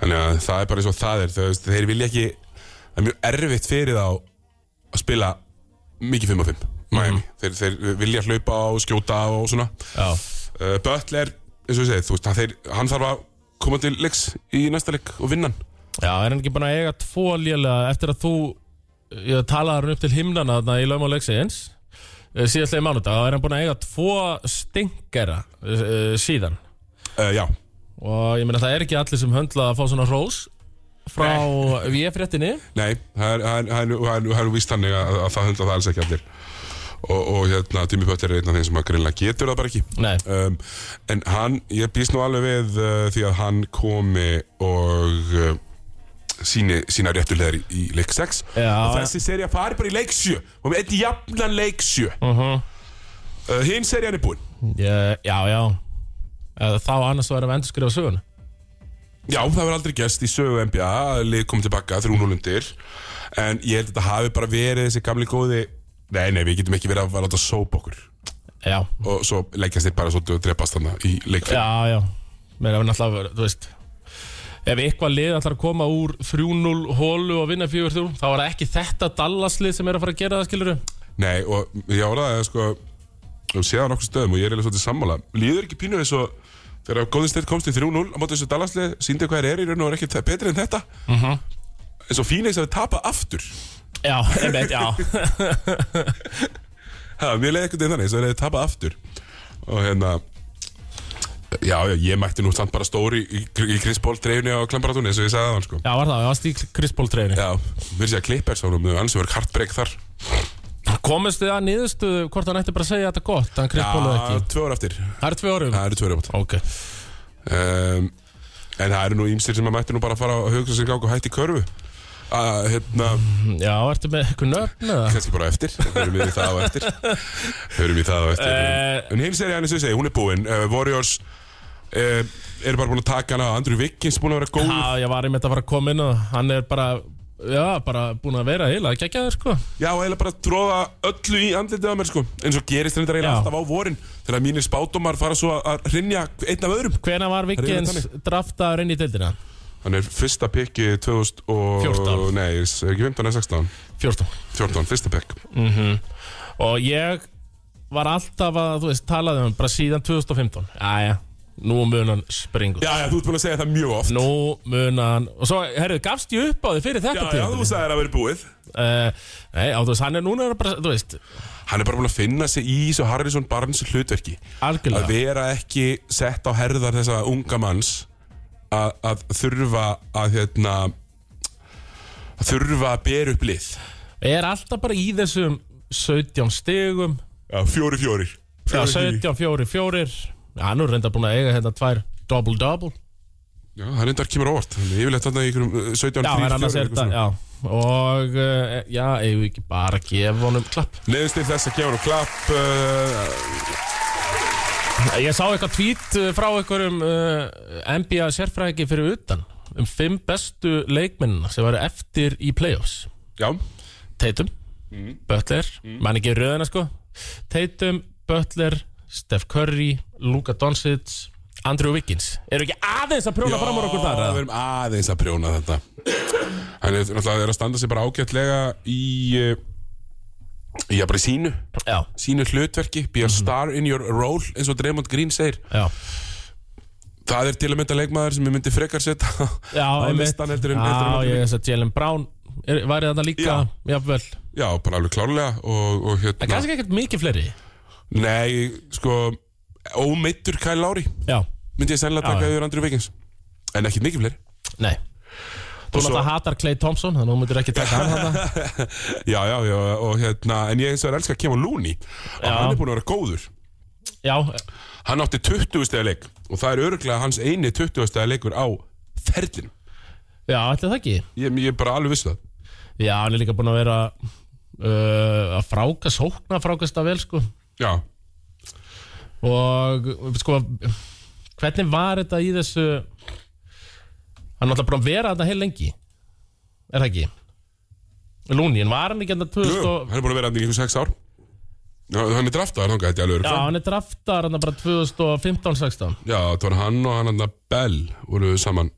Speaker 2: þannig að það er bara eins og það er þeir, þeir vilja ekki, það er mjög erfitt fyrir þá að spila mikið 5 á 5 Miami, þeir, þeir vilja hlaupa og skjóta og svona
Speaker 3: Já,
Speaker 2: uh, Butler, eins og ég segi, þú veist hann, þeir, hann þarf að koma til leiks í næsta leik og vinna hann
Speaker 3: Já, er hann ekki búin að eiga tvo lélega eftir að þú ég talaði hann upp til himnana þarna í laum á leiksins síðastlega í mánudag, þá er hann búin að eiga tvo stingera uh, síðan Eh,
Speaker 2: uh, Já,
Speaker 3: og ég meina það er ekki allir sem höndla að fá svona rós frá VF-réttinni
Speaker 2: Nei, það er- það er- það er nú- það er nú- það er nú víst þannig að, að það höndla það alls ekki allir og, og hérna, Jimmy Butler er einn af þeim sem að greinlega getur það bara ekki
Speaker 3: Nei,
Speaker 2: um, en hann, ég býst nú alveg við uh, því að hann komi og uh, síni, sína réttulegar í, í leik 6 og
Speaker 3: já,
Speaker 2: þessi serja fari bara í leik 7 og með eitt jafnan leik 7
Speaker 3: uh
Speaker 2: uh, hinn serjan er búin
Speaker 3: já, já, já. Eh, Þá annars var að endurskrifa söguna
Speaker 2: Já, það verður aldrei gæst í sögu NBA að lið komið tilbaka 3-0 undir en ég held að þetta hafi bara verið þessi gamli góði Nei, nei, við getum ekki verið að, að láta sópa okkur
Speaker 3: Já,
Speaker 2: og svo leggjast þeir bara svolítið og drepast þarna í leikfinn.
Speaker 3: já, já Mér er náttúrulega, þú veist Ef eitthvað lið ætlar að koma úr 3-0 hólu og vinna 4-3 þá er það ekki þetta Dallas lið sem er að fara að gera það, skilur
Speaker 2: Nei, og ég áraði að sko og séða nokkur stöðum og ég er eða svolítið sammála líður ekki pínu eins og þegar Golden State komst í 3-0 á móti þessu Dallasli síndi hvað er er í raun og er ekki þe- betri en þetta eins og Phoenix hafi tapað aftur
Speaker 3: Já, einmitt, já
Speaker 2: ha, mér leiði eitthvað þannig eins og þeir hafi tapað aftur og hérna já, já, ég mætti nú samt bara stóri í, í Chris Paul treyfni á Klambaratúni eins og ég sagði þann sko
Speaker 3: Já, var það, ég varst í Chris Paul treyðinu
Speaker 2: já, mér sé að Clippers ánum annars verður kartbreyk þar
Speaker 3: Komist þið að niðurstuðu hvort hann ætti bara að segja þetta gott Hann Chris Paul og
Speaker 2: já,
Speaker 3: ekki
Speaker 2: tvö ára eftir
Speaker 3: Það er tvö árum
Speaker 2: það eru tvö ára eftir
Speaker 3: Ok
Speaker 2: um, En það eru nú ímstir sem að mættu nú bara að fara að hugsa sér gang og hætti körfu að hérna,
Speaker 3: Já, ertu með eitthvað nöfn eða?
Speaker 2: kannski bara á eftir hörum við í það á eftir hörum við í það á eftir
Speaker 3: Eh.
Speaker 2: en hins er ég annars að segja, hún er búin uh, Warriors uh, eru bara búin að taka hana Andrew Wiggins búin að vera góð
Speaker 3: Já, ég var einmitt að fara að koma inn og hann er bara Já, bara búin að vera heila, geggja þér sko
Speaker 2: já, og eiginlega bara tróða öllu í andlitið á mér sko. eins og gerist þetta eiginlega
Speaker 3: Já.
Speaker 2: alltaf á vorin þegar mínir spátumar fara svo að hrinja einn af öðrum
Speaker 3: Hvena var Vikins
Speaker 2: þannig.
Speaker 3: draftaður inn í deildina?
Speaker 2: hann er fyrsta pikki 2000 og
Speaker 3: 14.
Speaker 2: nei, er ekki 15 eða 16
Speaker 3: 14
Speaker 2: 14, fyrsta pikk
Speaker 3: Og ég var alltaf að, þú veist, talaði um bara síðan 2015 Jæja, nú mun hann springur
Speaker 2: já, já, þú ert búin að segja það mjög oft
Speaker 3: Nú mun hann Og svo, herru, gafst ég upp á þig fyrir
Speaker 2: Já,
Speaker 3: þetta
Speaker 2: já, þú sagðir að vera búið
Speaker 3: uh, Nei, á, þú veist, hann er núna er bara, þú veist,
Speaker 2: Hann er bara búin að finna sig í þessu Harrison Barnes hlutverki Að
Speaker 3: algjörlega
Speaker 2: vera ekki sett á herðar þessa unga manns Að, að þurfa að hérna að þurfa að bera upp lið
Speaker 3: Er alltaf bara í þessum 17 stigum
Speaker 2: Já, fjóri fjórir
Speaker 3: Já, 17, 4, 4 Hann er reynda búin að eiga hérna tvær Double-double
Speaker 2: Já, hann reyndar kemur á óvart Þannig yfirleitt þarna í einhverjum uh, 17,
Speaker 3: Já, en
Speaker 2: 3, 4
Speaker 3: annars er þetta, já Og, uh, já, eigum við ekki bara að gefa honum klapp
Speaker 2: Leðist til þess að gefa hann klapp uh,
Speaker 3: Ég sá eitthvað tweet uh, frá einhverjum uh, NBA sérfræðingi fyrir utan Um fimm bestu leikmennina sem varu eftir í playoffs
Speaker 2: Já,
Speaker 3: Tatum,
Speaker 2: Mm.
Speaker 3: Butler, mann ekki röðina sko Tatum, Butler, Steph Curry, Luka Doncic, Andrew Wiggins Eru ekki aðeins að prjóna fram úr okkur þar?
Speaker 2: við
Speaker 3: eða?
Speaker 2: erum aðeins að prjóna þetta Hann er náttúrulega er að standa sig bara ágætlega í uh, Já, bara í sínu
Speaker 3: Já,
Speaker 2: sínu hlutverki,
Speaker 3: Mhm.
Speaker 2: be a star in your role eins og Draymond Green segir
Speaker 3: já
Speaker 2: það er til að mynda leikmaður sem ég myndi frekar setja
Speaker 3: Já,
Speaker 2: á
Speaker 3: einmitt.
Speaker 2: listan heldur en heldur
Speaker 3: Já,
Speaker 2: en-
Speaker 3: ég veist að Jalen Brown er, væri þarna líka,
Speaker 2: Já.
Speaker 3: jafnvel
Speaker 2: já, bara alveg klárlega og, og
Speaker 3: En
Speaker 2: hérna,
Speaker 3: kannski ekkert mikið fleiri
Speaker 2: nei, sko ómeittur Kyle Lowry
Speaker 3: Já,
Speaker 2: myndi ég sennilega
Speaker 3: Já,
Speaker 2: taka
Speaker 3: já.
Speaker 2: yfir Andrew Wiggins en ekkit mikið fleiri
Speaker 3: nei Þú
Speaker 2: svo-
Speaker 3: náttúrulega hatar Clay Thompson, þannig að hún myndir ekki taka hann þarna
Speaker 2: já, já, já, og hérna en ég eins og er elska að kemur Looney og
Speaker 3: Já.
Speaker 2: hann er búin að vera góður
Speaker 3: Já,
Speaker 2: hann átti 20 stega leik og það er örglega hans eini 20 stega leikur á ferlinum
Speaker 3: já, ætli það ekki
Speaker 2: ég, ég er bara alveg viss um það
Speaker 3: Já, hann er líka búin að vera uh, að fráka sókna, frákast að vel sko
Speaker 2: já,
Speaker 3: Og sko, hvernig var þetta í þessu Hann er náttúrulega búin að vera þetta heil lengi Er það ekki? Lúnin, var hann ekki hérna
Speaker 2: Jú,
Speaker 3: 2000 og
Speaker 2: hann er búin að vera hann í einhver sex ár Já, Hann er draftaðar þangað, þetta er alveg
Speaker 3: Já,
Speaker 2: örugglega.
Speaker 3: hann er draftar hann bara 2015-16
Speaker 2: Já, það var hann og hann hann að Bell voru saman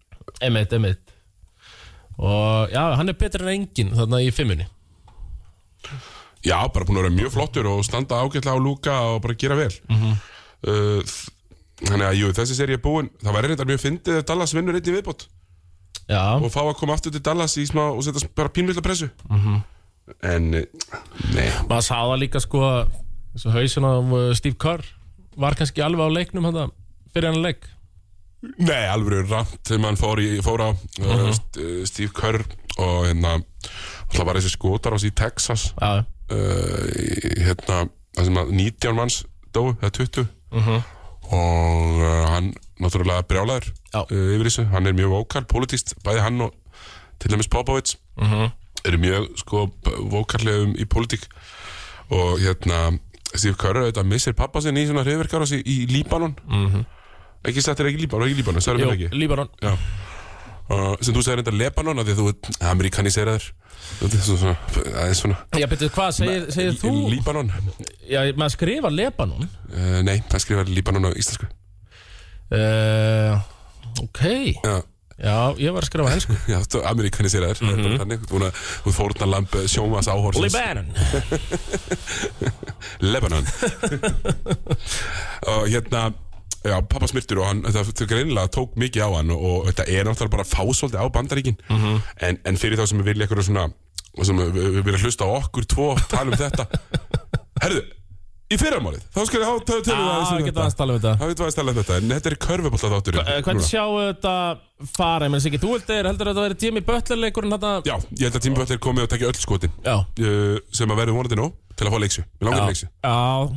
Speaker 3: Einmitt, einmitt Og já, hann er betur en engin þarna í fimmunni
Speaker 2: Já, bara búin að vera mjög flottur og standa ágætlega á lúka og bara gera vel mm Þannig að jú, þessi seri er búin Það væri reyndar mjög fyndið ef Dallas vinnur einn í viðbót
Speaker 3: Já,
Speaker 2: og fá að koma aftur til Dallas í smá og setja bara pínvill pressu -hmm. En, eh, nei
Speaker 3: maður sá það líka sko eins og hausin af uh, Steve Kerr var kannski alveg á leiknum hann fyrir hann leik
Speaker 2: Nei, alveg ramt þegar mann fór, í, fór á uh, St- Steve Kerr og hérna Það var þessi skotar ás í Texas
Speaker 3: Já,
Speaker 2: uh, í- hérna, það sem að 19 manns dóu, eða 20
Speaker 3: Mhm.
Speaker 2: og uh, hann náttúrulega brjálæður
Speaker 3: Já.
Speaker 2: uh, yfir þessu, hann er mjög vókal, politist bæði hann og til dæmis Popovits
Speaker 3: Mhm.
Speaker 2: eru mjög sko vókallegum í politík og hérna Steve Kerr auðvitað missir pappa sinni í svona hriðverkaras í, í Líbanon ekki satt er ekki Líbanon, ekki Líbanon, sagði
Speaker 3: Mhm. jú,
Speaker 2: mér ekki
Speaker 3: Líbanon
Speaker 2: Já Uh, sem þú sagði reynda Lebanon að því að þú ert amerikaniseraður það er svona, það er svona
Speaker 3: Já, betur, hvað segir, segir þú?
Speaker 2: Líbanon
Speaker 3: Já, maður skrifa Lebanon
Speaker 2: Uh, nei, það skrifar Líbanon á íslensku
Speaker 3: uh, Eh, Ok
Speaker 2: Já,
Speaker 3: Já, ég var að skrifa hensku
Speaker 2: Já, amerikaniseraður mm -hmm. Þannig, þú ert eh, búin að þú fórna lamp sjómas áhorsins
Speaker 3: Libanon
Speaker 2: Lebanon og hérna Já, pappa smyrtur og hann, það, það greinilega tók mikið á hann og, og þetta er náttúrulega bara fásóldi á bandaríkin en, en fyrir þá sem við vilja eitthvað svona sem við við vilja hlusta á okkur tvo tala um þetta Herðu, í fyrramálið þá skal ég há tölum
Speaker 3: Já, við getum aðeins talað um þetta.
Speaker 2: Það getum aðeins tala um þetta, en þetta er körfubólta þáttur
Speaker 3: Eh, Hvernig sjáu þetta fara? Ég menn ekki, þú heldur, heldur að þetta verið Jimmy Butler leikurinn þarna
Speaker 2: Já, ég held að tímaböld er komið og tekja öll skotin
Speaker 3: Já,
Speaker 2: uh, sem að verður vonandi nóg til að fá leiksu, við langar leiksu
Speaker 3: já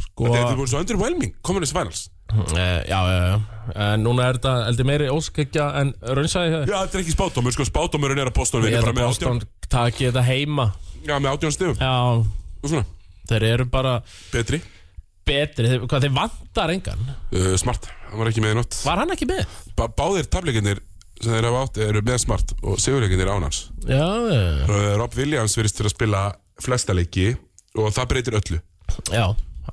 Speaker 3: Sko
Speaker 2: Þetta er búin svo underwhelming, komin þessi finals
Speaker 3: Eh, Já, já, já En núna er þetta heldur meiri óskekja en raunsæði hjá þér.
Speaker 2: Já, þetta er ekki spátumur, sko, spátumurinn er að Boston
Speaker 3: Ég
Speaker 2: vinna
Speaker 3: held
Speaker 2: bara
Speaker 3: að
Speaker 2: með
Speaker 3: Boston
Speaker 2: átján,
Speaker 3: taki þetta heima
Speaker 2: já, með átján stegum
Speaker 3: Já,
Speaker 2: og svona,
Speaker 3: þeir eru bara
Speaker 2: betri,
Speaker 3: betri þeir, Hvað þeir vantar engan
Speaker 2: uh, smart hann var ekki með í nótt,
Speaker 3: Var hann ekki með?
Speaker 2: ba báðir tafleikinir sem þeir hafa átt eru með smart og sigurleikinir án hans
Speaker 3: Já, já,
Speaker 2: uh, Rob Williams verðist fyrir að spila flesta leiki og það breytir öllu
Speaker 3: já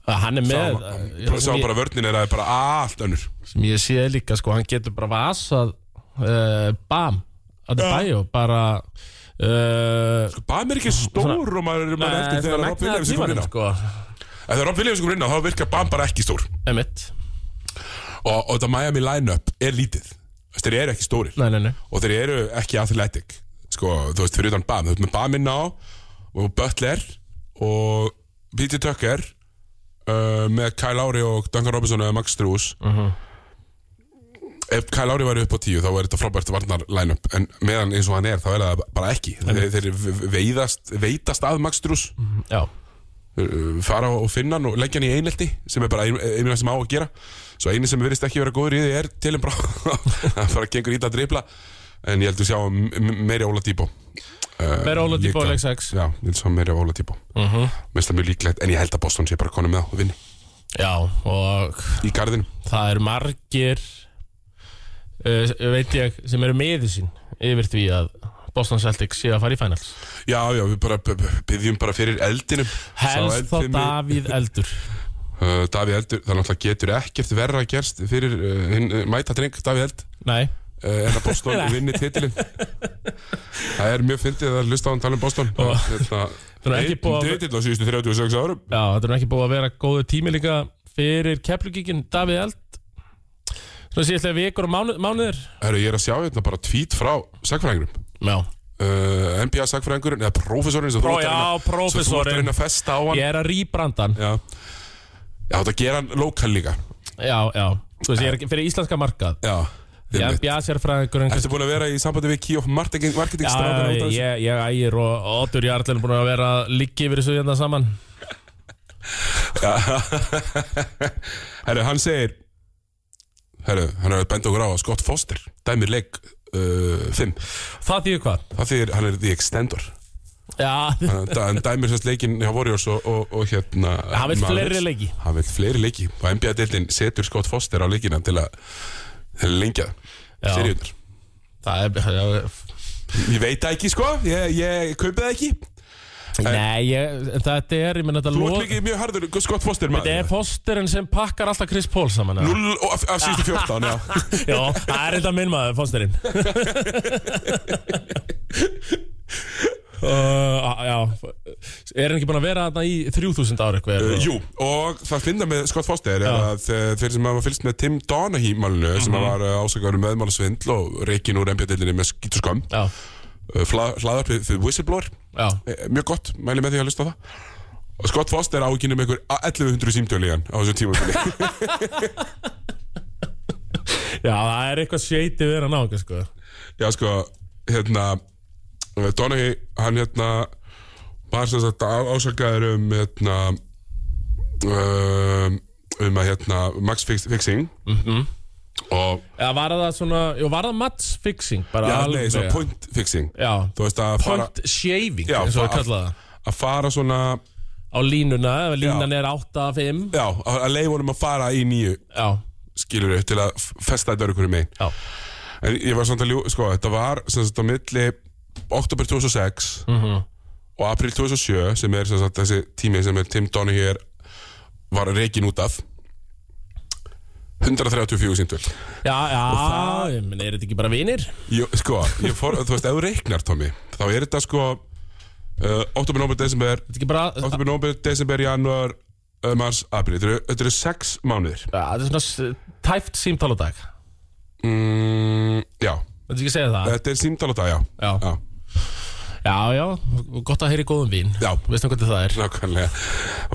Speaker 3: Hann er með
Speaker 2: Sá-
Speaker 3: eh,
Speaker 2: sá
Speaker 3: sem, ég,
Speaker 2: bara vörnin er að það er bara allt önnur
Speaker 3: sem ég sé líka sko, hann getur bara vasað uh, Bam, að það bæjó Bara uh,
Speaker 2: Bam er ekki stór og maður, maður er Sko,
Speaker 3: eh,
Speaker 2: eftir þegar Rob Williams er komin inn á
Speaker 3: sko.
Speaker 2: En þegar Rob Williams er komin inn á þá virkar Bam bara ekki stór
Speaker 3: Emitt,
Speaker 2: og, og þetta Miami line-up er lítið Þú veist, þeir eru ekki stórir
Speaker 3: nei, nei, nei
Speaker 2: og þeir eru ekki athletic sko, þú veist, fyrir utan BAM þú veist, með BAM inn á og Butler og Peter Tucker uh, með Kyle Lowry og Duncan Robinson eða Max Struz ef Kyle Lowry væri upp á tíu þá er þetta frábært varnar line-up en meðan eins og hann er þá er það bara ekki þeir, þeir veiðast, veitast að Max Struz
Speaker 3: Já,
Speaker 2: uh, fara og finna hann og leggja hann í einelti sem er bara ein- einu sem á að gera svo einu sem verðist ekki vera góður í því er Tilum Brá það bara gengur ít að dribla en ég held að sjá m- m- meiri Óla Dýbó
Speaker 3: meira Óla Dýbó
Speaker 2: líka.
Speaker 3: leik Mm. 6
Speaker 2: Já, ég held að sjá meiri Óla Dýbó uh
Speaker 3: Mhm.
Speaker 2: Mest það mjög líklegt, en ég held að Boston sé bara konum með það og vinni
Speaker 3: Já, og
Speaker 2: í garðinu
Speaker 3: það eru margir uh, veit ég sem eru meði sín yfir því að Boston Celtics sé að fara í finals
Speaker 2: Já, já, við bara b- b- byggjum bara fyrir eldinum Sá
Speaker 3: helst þá
Speaker 2: eldfimi-
Speaker 3: Davíð Eldur
Speaker 2: Uh, Davíð Eldur, það náttúrulega getur ekkert verra að gerst fyrir uh, hinn, uh, mæta dreng Davíð Eld
Speaker 3: nei,
Speaker 2: uh, en að Boston vinni titilin það er mjög fyndið að hlusta á hann tala um Boston
Speaker 3: Það er ekki búið að-
Speaker 2: titil á síðustu 36 árum
Speaker 3: já, þetta er nú ekki búið að vera góðu tími líka fyrir keflugíkin Davíð Eld svona síðastlega vikur og mánu, mánuðir
Speaker 2: Heru, ég er að sjá hérna bara tvít frá sagfræðingurum
Speaker 3: já,
Speaker 2: uh, NBA sagfræðingurinn eða prófessorinn sem
Speaker 3: Pró,
Speaker 2: ert að reyna-
Speaker 3: já,
Speaker 2: sem þú ert að
Speaker 3: prófessorinn
Speaker 2: reyna að festa á hann
Speaker 3: ég er að rýbranda hann
Speaker 2: já. já, þetta gera hann lokal líka
Speaker 3: já, já, þú veist, ég er ekki fyrir íslenska markað
Speaker 2: já, einmitt.
Speaker 3: NBA sérfræðingurinn
Speaker 2: Ertu búin að vera í sambandi við Key of Marketing, marketing
Speaker 3: Já,
Speaker 2: strákana út af
Speaker 3: ég,
Speaker 2: þessu?
Speaker 3: ég, ég ægir og Otur Jarlin er búin að vera líki yfir þessu hérna saman
Speaker 2: Herru, hann segir Herru, hann er að benda okkur á að Scott Foster dæmir leik 5
Speaker 3: Það þýðu hvað?
Speaker 2: Það þýðir, hann er The Extendor
Speaker 3: Já,
Speaker 2: Þannig að hann dæmir sérst leikinn hjá Warriors og, og, og hérna
Speaker 3: hann veit
Speaker 2: Mavericks.
Speaker 3: fleiri leiki
Speaker 2: Hann veit fleiri leiki og NBA-deltin setur Scott Foster á leikina til að til að lengja
Speaker 3: Já.
Speaker 2: seriðunar
Speaker 3: Það er, já,
Speaker 2: Ég veit það ekki sko, ég, ég kaupið það ekki
Speaker 3: nei, ég, þetta er, ég menn þetta
Speaker 2: Þú
Speaker 3: lo-
Speaker 2: ert líka mjög harður Scott Foster
Speaker 3: Þetta er
Speaker 2: maður
Speaker 3: fósterinn sem pakkar alltaf Chris Paul saman eða?
Speaker 2: 0 og af, af síðustu 14 já.
Speaker 3: Já, það er þetta minn maður, fósterinn uh, Já, er hann ekki búin að vera þarna í 3000 ári eitthvað?
Speaker 2: Uh, Jú, og það finna með Scott Foster er að eh, þeir sem hafa fylgst með Tim Donahue málinu sem var eh, ásakarum meðmálasvindl og reikin úr NBA-deltinni með skýtu skam
Speaker 3: Já,
Speaker 2: Eh, hlaðarpið fyrir Whistleblower
Speaker 3: já,
Speaker 2: Eh, mjög gott, mæli með því að hlusta á það og Scott Foster á ekki nema ykkur 1100 símtjónlegan á þessu tímafili
Speaker 3: já, það er eitthvað sjeiti við hann á, sko
Speaker 2: já sko, hérna eh, Donahue, hann hérna var sem sagt á- ásakaður um hérna um, um að hérna Max fix, Fixing -hmm. og
Speaker 3: Já, var það svona, jú, var það matchfixing bara
Speaker 2: já,
Speaker 3: alveg
Speaker 2: nei, svona point fixing
Speaker 3: Já,
Speaker 2: þú veist að fara,
Speaker 3: point shaving,
Speaker 2: Já,
Speaker 3: eins og við
Speaker 2: bara-
Speaker 3: kallaði það
Speaker 2: að fara svona
Speaker 3: Á línuna, ef línan er 8-5
Speaker 2: já, að að leifa honum að fara í nýju
Speaker 3: Já,
Speaker 2: skilur upp til að f- festa þetta örugur í megin
Speaker 3: já,
Speaker 2: En ég var samt að ljú, sko, þetta var sem sagt á milli oktober 2006
Speaker 3: Mhm.
Speaker 2: og april 2007 sem er sem sagt þessi tími sem er Tim Donahue er- var reikin út af 134 síntöl
Speaker 3: Já, já, ég meina, er þetta ekki bara vinir?
Speaker 2: Jó, sko, ég fór, þú veist, ef þú reiknar, Tommy Þá er þetta sko uh, Óttubur, nómur, desember
Speaker 3: Þetta er ekki bara, já,
Speaker 2: Óttubur, nómur, desember, januar uh, Mars, april Þetta eru- þetta eru sex mánuðir
Speaker 3: þetta er svona s- tæft símtál á dag
Speaker 2: mm, Já,
Speaker 3: Þetta ekki segja það?
Speaker 2: þetta er símtál á dag, já
Speaker 3: Já,
Speaker 2: Já,
Speaker 3: já, já gott að heyri góðum vín
Speaker 2: Já.
Speaker 3: Veistu hvernig það er?
Speaker 2: nákvæmlega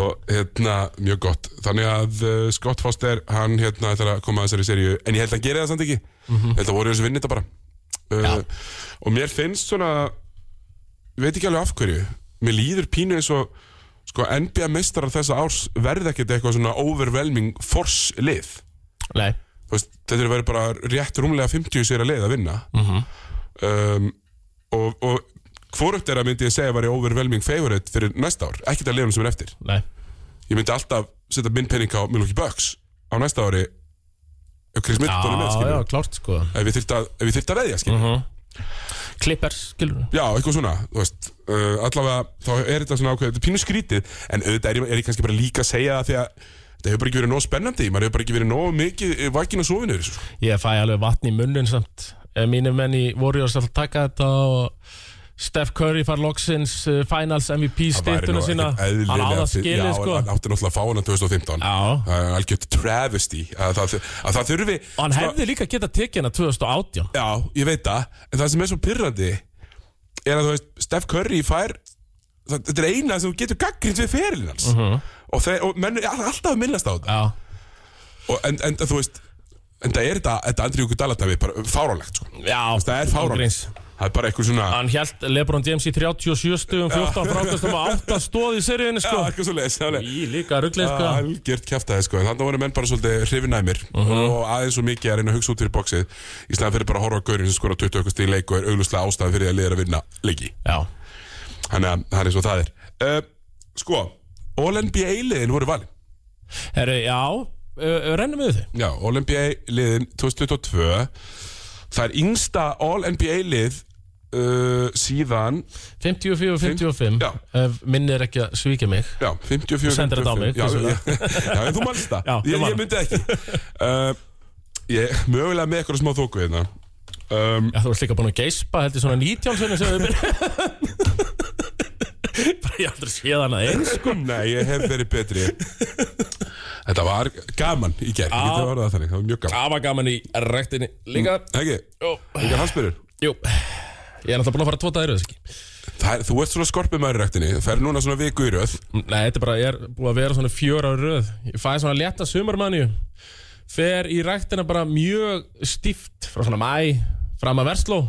Speaker 2: Og hérna, mjög gott Þannig að uh, Scott Foster, hann hérna ætlar að koma að þessari seríu En ég held að hann geri það samt ekki Ég held að voru þessu vinni þetta bara uh, Og mér finnst svona Ég veit ekki alveg af hverju Mér líður pínu eins og sko, NBA meistarar þessa árs verða ekkert eitthvað svona overwhelming force lið
Speaker 3: Nei,
Speaker 2: Þú veist, Þetta er verið bara rétt rúmlega 50 sér að lið að vinna
Speaker 3: Mhm.
Speaker 2: um, og, og hvorugt er að myndi ég segja að væri overwhelming favorite fyrir næsta ár, ekkert að liðunum sem er eftir
Speaker 3: nei
Speaker 2: ég myndi alltaf setja minn penning á Milwaukee Bucks á næsta ári ef Chris Middleton er með
Speaker 3: Já, já,
Speaker 2: skilur
Speaker 3: klárt sko Mhm.
Speaker 2: ef ég þyrfti að, ef ég þyrfti að veðja skilur
Speaker 3: Klippers, skilur
Speaker 2: já, eitthvað svona, þú veist uh, allavega, þá er þetta svona ákveð þetta er pínu skrítið, en auðvitað er, ég- er ég kannski bara líka að segja það því að þetta hefur bara ekki verið nóg spennandi maður hefur bara ekki verið nóg mikið vakin og sofinu þessu sko.
Speaker 3: Ég fæ alveg vatn í munnin samt Eh, Mínir menn í Warriors alltaf taka þetta og Steph Curry far loksins eh, Finals MVP styrtuna sína Hann á það skilið
Speaker 2: já,
Speaker 3: sko
Speaker 2: hann átti náttúrulega að fá hana 2015
Speaker 3: Já.
Speaker 2: Það er algjört travesty að það, að það þurfi
Speaker 3: Og hann
Speaker 2: sko-
Speaker 3: hefði líka getað tekið hana 2018
Speaker 2: Já, ég veit það, en það sem er svo pyrrandi er að þú veist, Steph Curry fær það- þetta er eina sem þú getur gaggrins við ferilinn hans og, þeir, og menn er alltaf að minnast á þetta
Speaker 3: Mhm. Já,
Speaker 2: og, en, en þú veist, en það er þetta þetta Andri Júku Dalatæfi, bara fáránlegt sko.
Speaker 3: já
Speaker 2: það er fáránlegt,
Speaker 3: Gríns.
Speaker 2: það er bara eitthvað svona
Speaker 3: Hann held Lebron James í 37 stugum 14 frákastum og 8 stóð í seriðinu
Speaker 2: Já,
Speaker 3: sko
Speaker 2: eitthvað svo leis,
Speaker 3: Í líka ruggleis sko
Speaker 2: Ah, algjört kjaftaði sko, en þannig voru menn bara svolítið hrifinæmir og aðeins og mikið að reyna að hugsa út fyrir boxið í staðan fyrir bara að horfa á gaurin sem skora 20 okkur stíl leik og er auglustlega ástæði fyrir því að liða að vinna leiki
Speaker 3: Já,
Speaker 2: Þannig að það er eins og það er uh, Sko, All-NBA liðin voru valin
Speaker 3: herru, já uh, Rennum við þau
Speaker 2: Já, All-NBA liðin 2022 Það er yngsta All-NBA lið uh, síðan
Speaker 3: 54 55
Speaker 2: Já.
Speaker 3: Minn er ekki að svíkja mig
Speaker 2: Já, 54
Speaker 3: sendir þetta á
Speaker 2: 55.
Speaker 3: mig,
Speaker 2: Já,
Speaker 3: hversu
Speaker 2: já, já, en þú manst það
Speaker 3: Já, ég
Speaker 2: ég,
Speaker 3: man
Speaker 2: ég myndi það ekki uh, Ég mögulega með eitthvað smá þóku hérna um,
Speaker 3: Já, þú varst líka búin að geispa heldur svona 19 sinni sem við byrjum Bara ég aldrei séð hana eins
Speaker 2: sko, Nei, ég hef verið betri Þetta var gaman í gerð Ég geti orðað það þannig, það var mjög gaman Mm,
Speaker 3: Það var gaman í rektinni líka
Speaker 2: Ekki,
Speaker 3: Jú,
Speaker 2: ekki hanspyrur
Speaker 3: jú Ég er náttúrulega búin að fara að tóta þér þess ekki
Speaker 2: Það er, þú ert svona skorpið maður í ræktinni, fer núna svona viku í röð
Speaker 3: Nei, þetta er bara, ég er búin að vera svona fjör á röð Ég fæði svona létta sumarmanju Fer í ræktina bara mjög stíft Frá svona mæ, fram að versló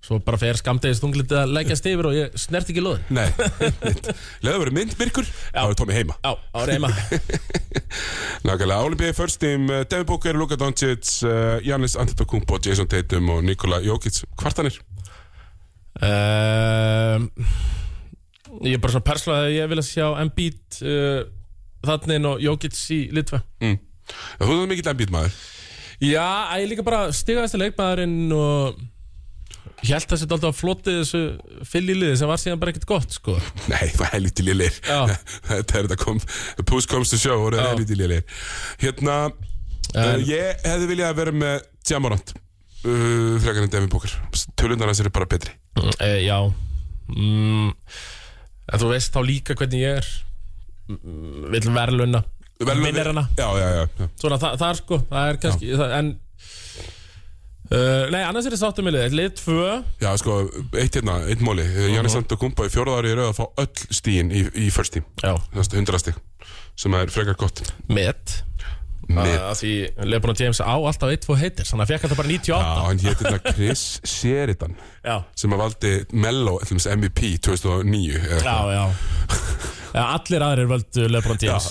Speaker 3: Svo bara fer skamtegis tunglitið að leggjast yfir Og ég snert ekki lóðin
Speaker 2: Nei, leður verið myndbyrkur, þá er Tommy heima
Speaker 3: Já, á reyma
Speaker 2: Nákvæmlega, Olympiði first team, eh, Devin Booker, Luka Doncic, eh, Giannis Antetokounmpo, Jason Tatum og Nikola Jokic Kvartanir?
Speaker 3: um, Ég er bara svona persónulega að ég vil að sjá Embiid uh, þannig og Jokic í Litva
Speaker 2: Mm. Já, Þú erum mikill embít maður
Speaker 3: Já, að ég líka bara stigaðist að leikmaðurinn og ég held að þetta alltaf að floti þessu fylliliði sem var síðan bara ekkert gott sko.
Speaker 2: Nei, það er helviti lélir
Speaker 3: Já.
Speaker 2: Þetta er þetta kom Puss comes to show, voru það
Speaker 3: Já.
Speaker 2: helviti lélir Hérna, en... ég hefði viljað að vera með Jamorant uh, Frekar en Devin Booker Tölundar hans eru bara betri
Speaker 3: e, Já mm, En þú veist þá líka hvernig ég er Mm, vill verðluna vinnir hana
Speaker 2: Já, já, já, já.
Speaker 3: Svona þa það er sko, það er kannski það, En uh, Nei, annars er þetta sáttum með lið Lið 2
Speaker 2: Já, sko, eitt hérna, eitt móli Jannis Antetokounmpo í fjóraða ári í rauð að fá öll stíin í, í first team,
Speaker 3: Já,
Speaker 2: þannig að 100 stík sem er frekar gott
Speaker 3: met
Speaker 2: Með,
Speaker 3: Að Því Lebron James á alltaf 1-2 heitir Þannig að fekk þetta bara
Speaker 2: já,
Speaker 3: 98
Speaker 2: hann hétt hérna Chris Sheridan
Speaker 3: Já,
Speaker 2: sem að valdi Mello, til dæmis MVP 2009 eða
Speaker 3: já,
Speaker 2: eitthvað.
Speaker 3: já, já Allir aðrir völdu Lebron James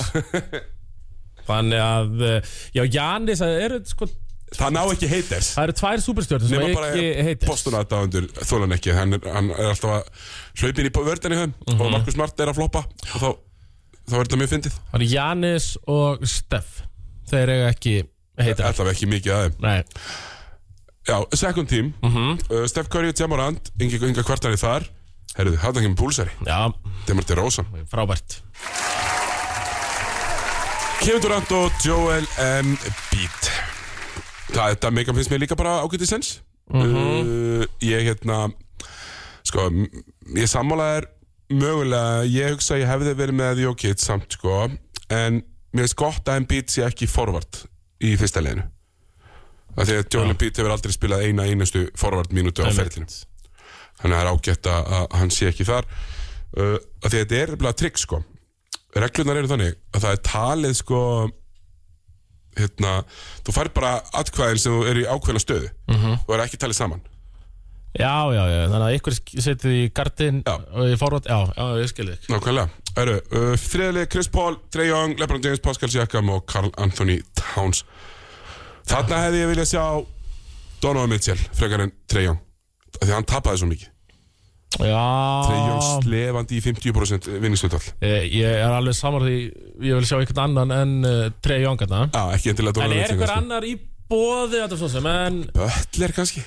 Speaker 3: Þannig að eh, Já, Janis, það eru sko
Speaker 2: Það ná ekki heiters
Speaker 3: Það eru tvær superstjörnir sem
Speaker 2: Nefna
Speaker 3: ekki
Speaker 2: bara
Speaker 3: heitir
Speaker 2: postun aðdáðundur þólan ekki hann er, hann er alltaf að hlaupin í vörðinni höfum
Speaker 3: Mhm.
Speaker 2: og Markus Mart er að floppa og þá, þá er þetta mjög fyndið
Speaker 3: Það eru Janis og Steff Þeir eiga ekki heita
Speaker 2: Alltaf ekki mikið aðeim
Speaker 3: Nei,
Speaker 2: Já, second team
Speaker 3: Mhm.
Speaker 2: uh, Steph Curry, Jamorant, Ingi, Inga Kvartari þar Herðu, hafði ekki með púlsari
Speaker 3: já,
Speaker 2: Demar DeRozan
Speaker 3: frábært
Speaker 2: Kevin Durant og Joel Embiid Það, þetta mega finnst mér líka bara ágætið sens uh, Ég hérna Sko, m- ég sammála er Mögulega, ég hugsa að ég hefði verið með Jokic samt, sko En mér finnst gott að Embiid sé ekki forvart Í fyrsta leginu Af því að Joel Embiid hefur aldrei spilað eina einustu forvart mínútu á ferlinu Þannig að það er ágætt að, að hann sé ekki þar uh, af Því að þetta er bara trygg, sko Reglunar eru þannig að það er talið, sko Hérna, þú fær bara atkvæðin sem þú eru í ákveðna stöðu
Speaker 3: Mhm.
Speaker 2: og er ekki talið saman
Speaker 3: Já, já, já, þannig að ykkur setið í gardin
Speaker 2: Já.
Speaker 3: og í forvætt, já, já, ég skil þig
Speaker 2: Nákvæmlega. Eru, uh, þriðlið Chris Paul, Trey Young, LeBron James, Pascal Siakam og Karl Anthony Towns. Þarna hefði ég viljað sjá Donovan Mitchell frekar en Trey Young. Af Því að hann tapaði svo mikið. Trey Young
Speaker 3: Já,
Speaker 2: slefandi í 50% vinningsutall.
Speaker 3: ég, ég er alveg samar því ég vil sjá einhvern annan en uh, Trey Young þarna.
Speaker 2: Já, ekki endilega
Speaker 3: En
Speaker 2: Donovan
Speaker 3: er
Speaker 2: Mitchell.
Speaker 3: einhver annar í bóði þetta svo sem, en
Speaker 2: Böttler kannski.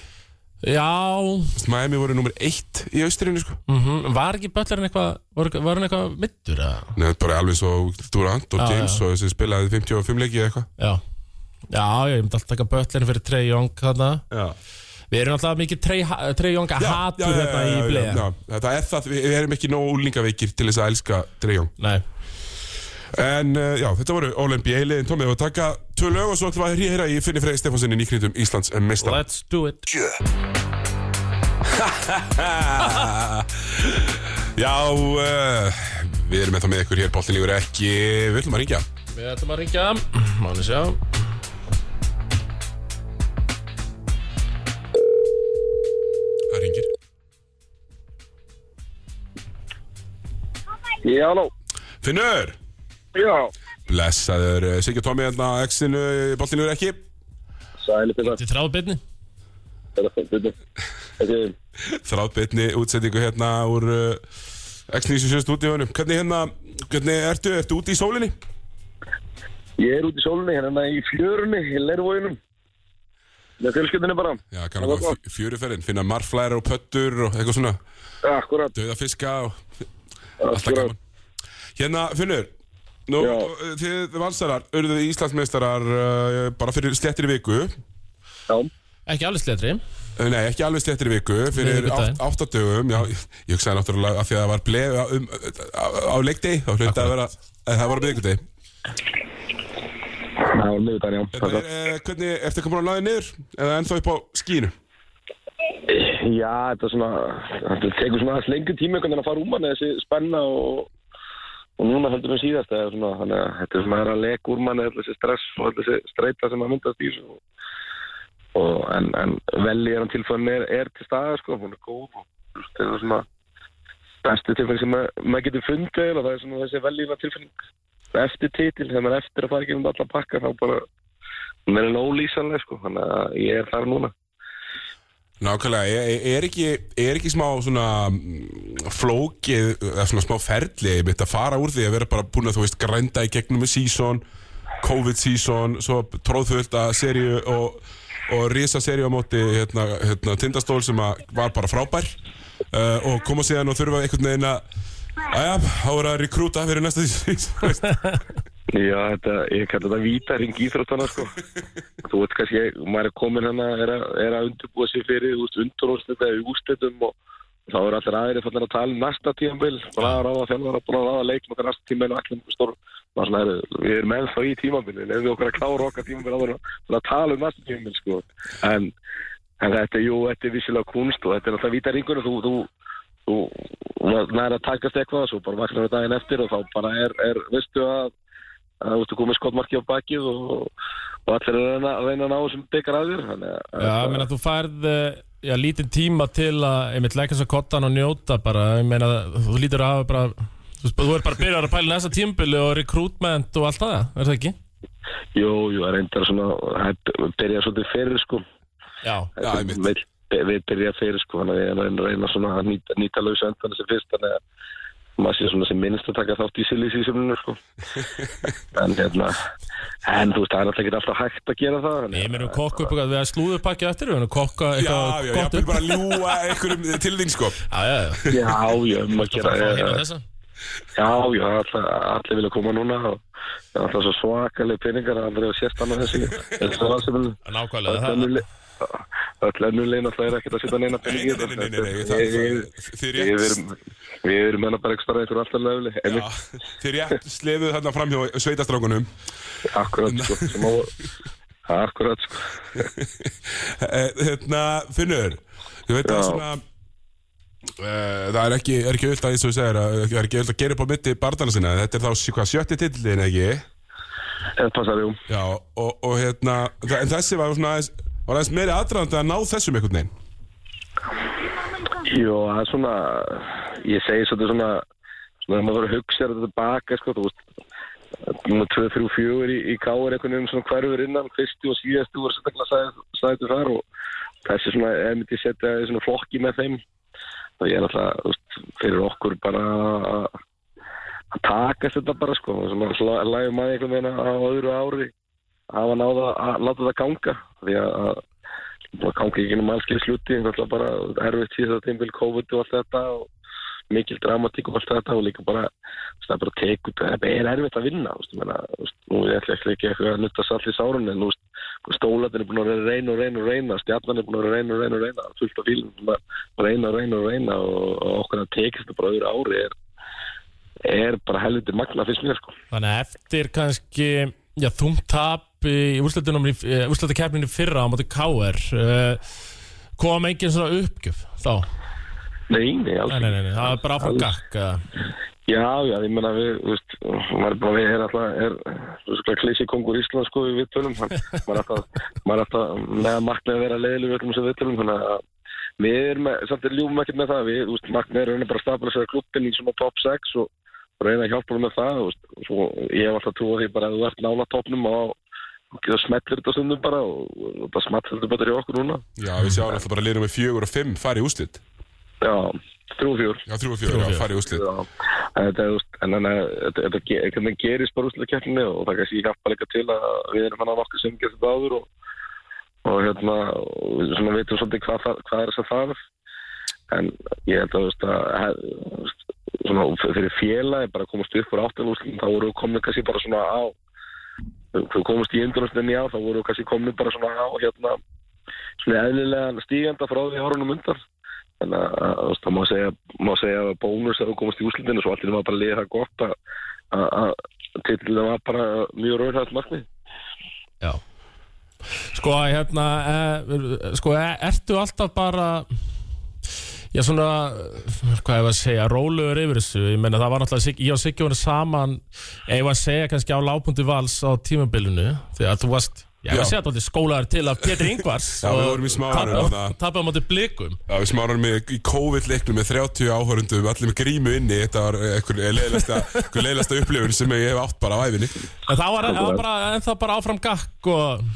Speaker 3: já,
Speaker 2: Þú veist, Miami voru nummer eitt í austrinu, sko.
Speaker 3: mhm, var ekki böllarinn eitthvað, var, var hann eitthvað middur eða?
Speaker 2: Nei, bara alveg svo Durant og
Speaker 3: Já,
Speaker 2: James
Speaker 3: já.
Speaker 2: og þessi spilaði 55 leiki eða eitthvað.
Speaker 3: Já, já, já, ég myndi alltaf taka böllarinn fyrir Trey Young þarna.
Speaker 2: Já.
Speaker 3: Við erum alltaf mikið Trey, eh, Trey Young að hatur þetta í bleið.
Speaker 2: já, já, það er það, við við erum ekki nóg úlingaveikir til þess að elska Dreyjón
Speaker 3: Nei,
Speaker 2: En uh, já, þetta voru All-NBA liðin Tómið og taka tvö lög og svo ætlum við að hýra í Finni Freyði Stefánsinni nýkriðum Íslands eh, mestar
Speaker 3: let's do it.
Speaker 2: Já, uh, við erum ennþá með ykkur hér Bóltin lífur ekki, við ætlum að ringja
Speaker 3: Við ætlum að ringja, mánu sjá.
Speaker 2: Það ringir
Speaker 1: Já, halló.
Speaker 2: Finnur,
Speaker 1: Já.
Speaker 2: blessaður uh, Siggi og Tómið hérna á X-inu Bóltin lífur ekki
Speaker 1: Sæli fyrir
Speaker 3: Þetta er þráðbyrni.
Speaker 1: það. Þetta er
Speaker 2: Þráðbytni útsendingu hérna úr uh, X-97 stúdíunum Hvernig hérna, hvernig ertu, ertu úti í sólinni?
Speaker 1: Ég er út í sólunni, hérna í fjörunni, í lervóinum. Með fjölskyldinni bara.
Speaker 2: Já, kannan
Speaker 1: Það var
Speaker 2: að fjöruferðin, finna marflæra og pöttur og eitthvað svona
Speaker 1: Akkurat.
Speaker 2: Dauða fiska og alltaf
Speaker 1: Akkurat.
Speaker 2: gaman Hérna, Finnur Nú,
Speaker 1: Já.
Speaker 2: uh, þið valsarar, urðuð Íslandsmeistarar uh, bara fyrir slettir í viku Uh,
Speaker 1: Já.
Speaker 3: Ekki alveg sletri.
Speaker 2: Nei, ekki alveg slettir í viku Fyrir
Speaker 3: Miðvikudaginn.
Speaker 2: átt- átta dögum Já, ég, ég hugsaði náttúrulega að því að það var bleið á, um, á, á leikdegi Þá hluti að vera, en það var á miðvikudegi
Speaker 1: Það var miðvitað, já.
Speaker 2: Hérna,
Speaker 1: Takk.
Speaker 2: er, eh, Hvernig, ertu komin að laði niður? Eða ennþá upp á skínu?
Speaker 1: Já, þetta er svona, þetta tekur svona aðeins lengur tíma einhvern veginn að fara um manni þessi spenna og og núna heldur við síðast eða svona, þannig að þetta er svona er að leka úr manni alltaf þessi stress og alltaf þessi streyta sem að myndast í þessu og, og en, en velji er hann tilfæðin er, er til staða sko, hún er góð og þú veist, þetta er svona bestu tilfæðin sem ma- maður getur fundið og það er svona þessi veljiðna tilfæðin eftir titil, þegar maður er eftir að fara ekki um allar pakka þá bara, hún er ólýsanlega sko, þannig að ég er þar núna
Speaker 2: Nákvæmlega, er, er, ekki, er ekki smá svona mm, flókið, eða svona smá ferli einmitt að fara úr því að vera bara búin að þú veist grænda í gegnum season, COVID season, svo tróðfulta seríu og, og risa seríu á móti hérna, hérna, tindastól sem að var bara frábær uh, og koma síðan og þurfa einhvern veginn að Æja, þá er að rekrúta fyrir næsta season
Speaker 1: Já, þetta, ég kallar þetta vítaring íþróttana, sko. þú veist kannski, maður er komin hana, er, að, er að undirbúa sér fyrir, þú veist, unduróstið eða ústetum og þá er allir aðrir fannar að tala um næsta tíambil, búin að ráða fjallvara, búin að ráða leikm okkar næsta tíma en allir mjög stór, maður svona er, við erum ennþá í tímambilin, ef við okkar að klára okkar tímambil áður en að- að tala um næsta tímambil, sko. En, en þetta, jú, þetta er vissilega kunst og þetta er alltaf vítaringunum, þú, þú, þú, þú næri að takast eitthvað og svo bara vaknar við daginn eftir og þá bara er, er veistu að að þú ertu komið skottmarki á bakið og, og allir er að reyna, að reyna að ná þessum byggar að þér þannig að
Speaker 3: Já, ég meina þú færð eh, já, lítinn tíma til að einmitt leggja svo kottan og njóta bara, ég meina þú lítur að hafa bara Þú veist, þú er bara að byrja að pæla næsta tímbili og recruitment og allt það, er það ekki?
Speaker 1: jú, jú, það reyndar svona það byrja svolítið fyrir sko
Speaker 3: Já.
Speaker 2: Já, einmitt.
Speaker 1: við, við byrja fyrir sko þannig að ég reyna, reyna svona að nýta, nýta lausa endan þessi fyrst þannig að maður sé svona sem minnst að taka þátt í silið sísumlinu sko en hérna en þú veist, það er alltaf ekki alltaf hægt að gera það þannig
Speaker 3: Ég
Speaker 1: að-
Speaker 3: meina við kokku upp eitthvað, við að slúðurpakja eftir, við erum að kokka
Speaker 2: Já,
Speaker 3: eitthvað
Speaker 2: já, já, ég
Speaker 3: gott
Speaker 2: vil
Speaker 3: upp.
Speaker 2: bara ljúa einhverjum til þín sko
Speaker 3: Já, já, já.
Speaker 1: já, já, um að
Speaker 3: Það er að
Speaker 1: gera
Speaker 3: fá
Speaker 1: já,
Speaker 3: hérna
Speaker 1: já.
Speaker 3: þessa.
Speaker 1: Já, já, allir, allir vilja koma núna og það er alltaf svo svakaleg peningar að aldrei hafa sést annað þessi þessi ráðsefnum
Speaker 3: Nákvæmlega,
Speaker 1: öll
Speaker 3: það,
Speaker 1: önnur lið- öll önnur leina það er ekkert að setja neina
Speaker 2: Nei,
Speaker 1: peningi
Speaker 2: nei, nei, nei, nei, nei, það- það- þið
Speaker 1: Við
Speaker 2: rétt-
Speaker 1: erum- við erum enna bara ekki starað einhver alltaf löfli en
Speaker 2: Já, þið rétt slefuðu þarna fram hjá sveitastrákunum.
Speaker 1: akkurat sko sem á akkurat sko
Speaker 2: Eh, Hérna, Finnur, þú veit að
Speaker 1: Já.
Speaker 2: svona... Uh, það er ekki, er ekki auðvitað eins og þú segir að það er ekki auðvitað að gera upp á mitti barndana sinna þetta er þá sjö- hvað, sjötti tillin ekki
Speaker 1: en passar jú
Speaker 2: já og, og hérna þa- en þessi var svona aðeins var aðeins meiri aðdraðandi að ná þessum einhvern veginn
Speaker 1: Jó, það er svona, ég segi svolítið svona, svona þegar maður verður að hugsa sér þetta tilbaka, sko, þú veist, núna 2, 3, 4 í, í káir einhvern veginn svona hverfur innan, fyrstu og síðastu voru sérstaklega sæ- sætu þar og þessi svona, ef myndi ég setja í svona flokki með þeim, þá ég er alltaf, þú veist, fyrir okkur bara að að takast þetta bara, sko, og svona hla- lægum að einhvern veginn á öðru ári að hafa náða að láta þetta ganga, því að að það gangi ekki um allskeið sluti en alltaf bara erfitt síðan þetta einbjöld COVID og allt þetta og mikil dramatík og allt þetta og líka bara þú veist, það er bara tekut, það er erfitt að vinna þú veist, ég meina, þú veist, nú er ég ætla ekki eitthvað að nutta sall í sárun en þú veist, stólatin er búin að vera að reyna og reyna og reyna stjarnan er búin að vera að reyna og reyna og reyna fullt af fílum sem að reyna og reyna og reyna og, og okkur að tekist þetta bara öðru ári er, er bara helviti magna fyrst mér sko
Speaker 3: þannig að eftir kannski já, þungtap í úrslættakefninu fyrra á móti KR uh, kom engin svona uppgjöf þá,
Speaker 1: Nei, nei, alls
Speaker 3: nei,
Speaker 1: ekki.
Speaker 3: nei, nei, nei, það var bara áfram gakk eða.
Speaker 1: Já, já, ég menna við, þú veist, maður er bara við er alltaf, er, þú veist, klísi kongur Ísland, sko, við vittulum, maður er alltaf, maður er alltaf, með að markmið að vera leiðileg við öllum sem vittulum, þannig að við erum, með- samt er ljúfum ekkert með það, við, þú veist, markmið er raunin bara að stabilisera klubbin í svona top 6 og, og reyna að hjálpa honum með það, þú veist, og svo ég hef alltaf trúið því bara að þú ert nála topnum og, og það smetlir þetta stundum bara og, og það smetlir þetta betur í okkur núna.
Speaker 2: já við sjáum alltaf bara liðnum með fjögur og fimm fari í úslit
Speaker 1: Já, þrjú og fjör.
Speaker 2: já þrjú og fjögur
Speaker 3: Þrjú og
Speaker 2: já, fari í úslit
Speaker 1: Já, en þetta, þú veist, en, en, en, þetta, þetta, ge- þetta gerist bara úslega keppninni og það kannski hjálpa líka til að við erum hann að nokkuð sem getur þetta áður og, og hérna, og svona vitum svolítið hvað, það- hvað er þess að þarf en ég held að, þú veist, að he- þú veist, svona fyrir félagi bara að komast upp úr áttalúslinn, þá voru komin kannski bara svona á þú komast í indurlúslinn í á, þá voru kannski komin bara svona á, hérna svona eðlilegan stíganda frá því árunum undan þannig að, að, að það má segja, má segja að bónus að þú komast í úslitinu svo allir var bara að liða það gott að, að, að titlina var bara mjög raunhægt markmið
Speaker 3: Já Sko, hérna, e, sko, e, ertu alltaf bara Já, svona, eh, hvað ég var að segja, róluður yfir þessu Ég meina, það var náttúrulega, Siggi- ég og Siggi voru saman Ég var að segja kannski á lágpunktu vals á tímabilinu Því að þú varst, ég var
Speaker 2: Já.
Speaker 3: að segja þetta skólaður til að Pétur Ingvars
Speaker 2: Já, við vorum í smáinu þarna.
Speaker 3: Tappaði á móti blikum
Speaker 2: Já, við smárum með í COVID-leiknum með 30 áhörundum, allir með grímu inni þetta var eh, einhver leiðlasta, einhver leiðlasta upplifun sem ég hef átt bara á æfinni
Speaker 3: En það var, það var bara, en það bara áfram gakk og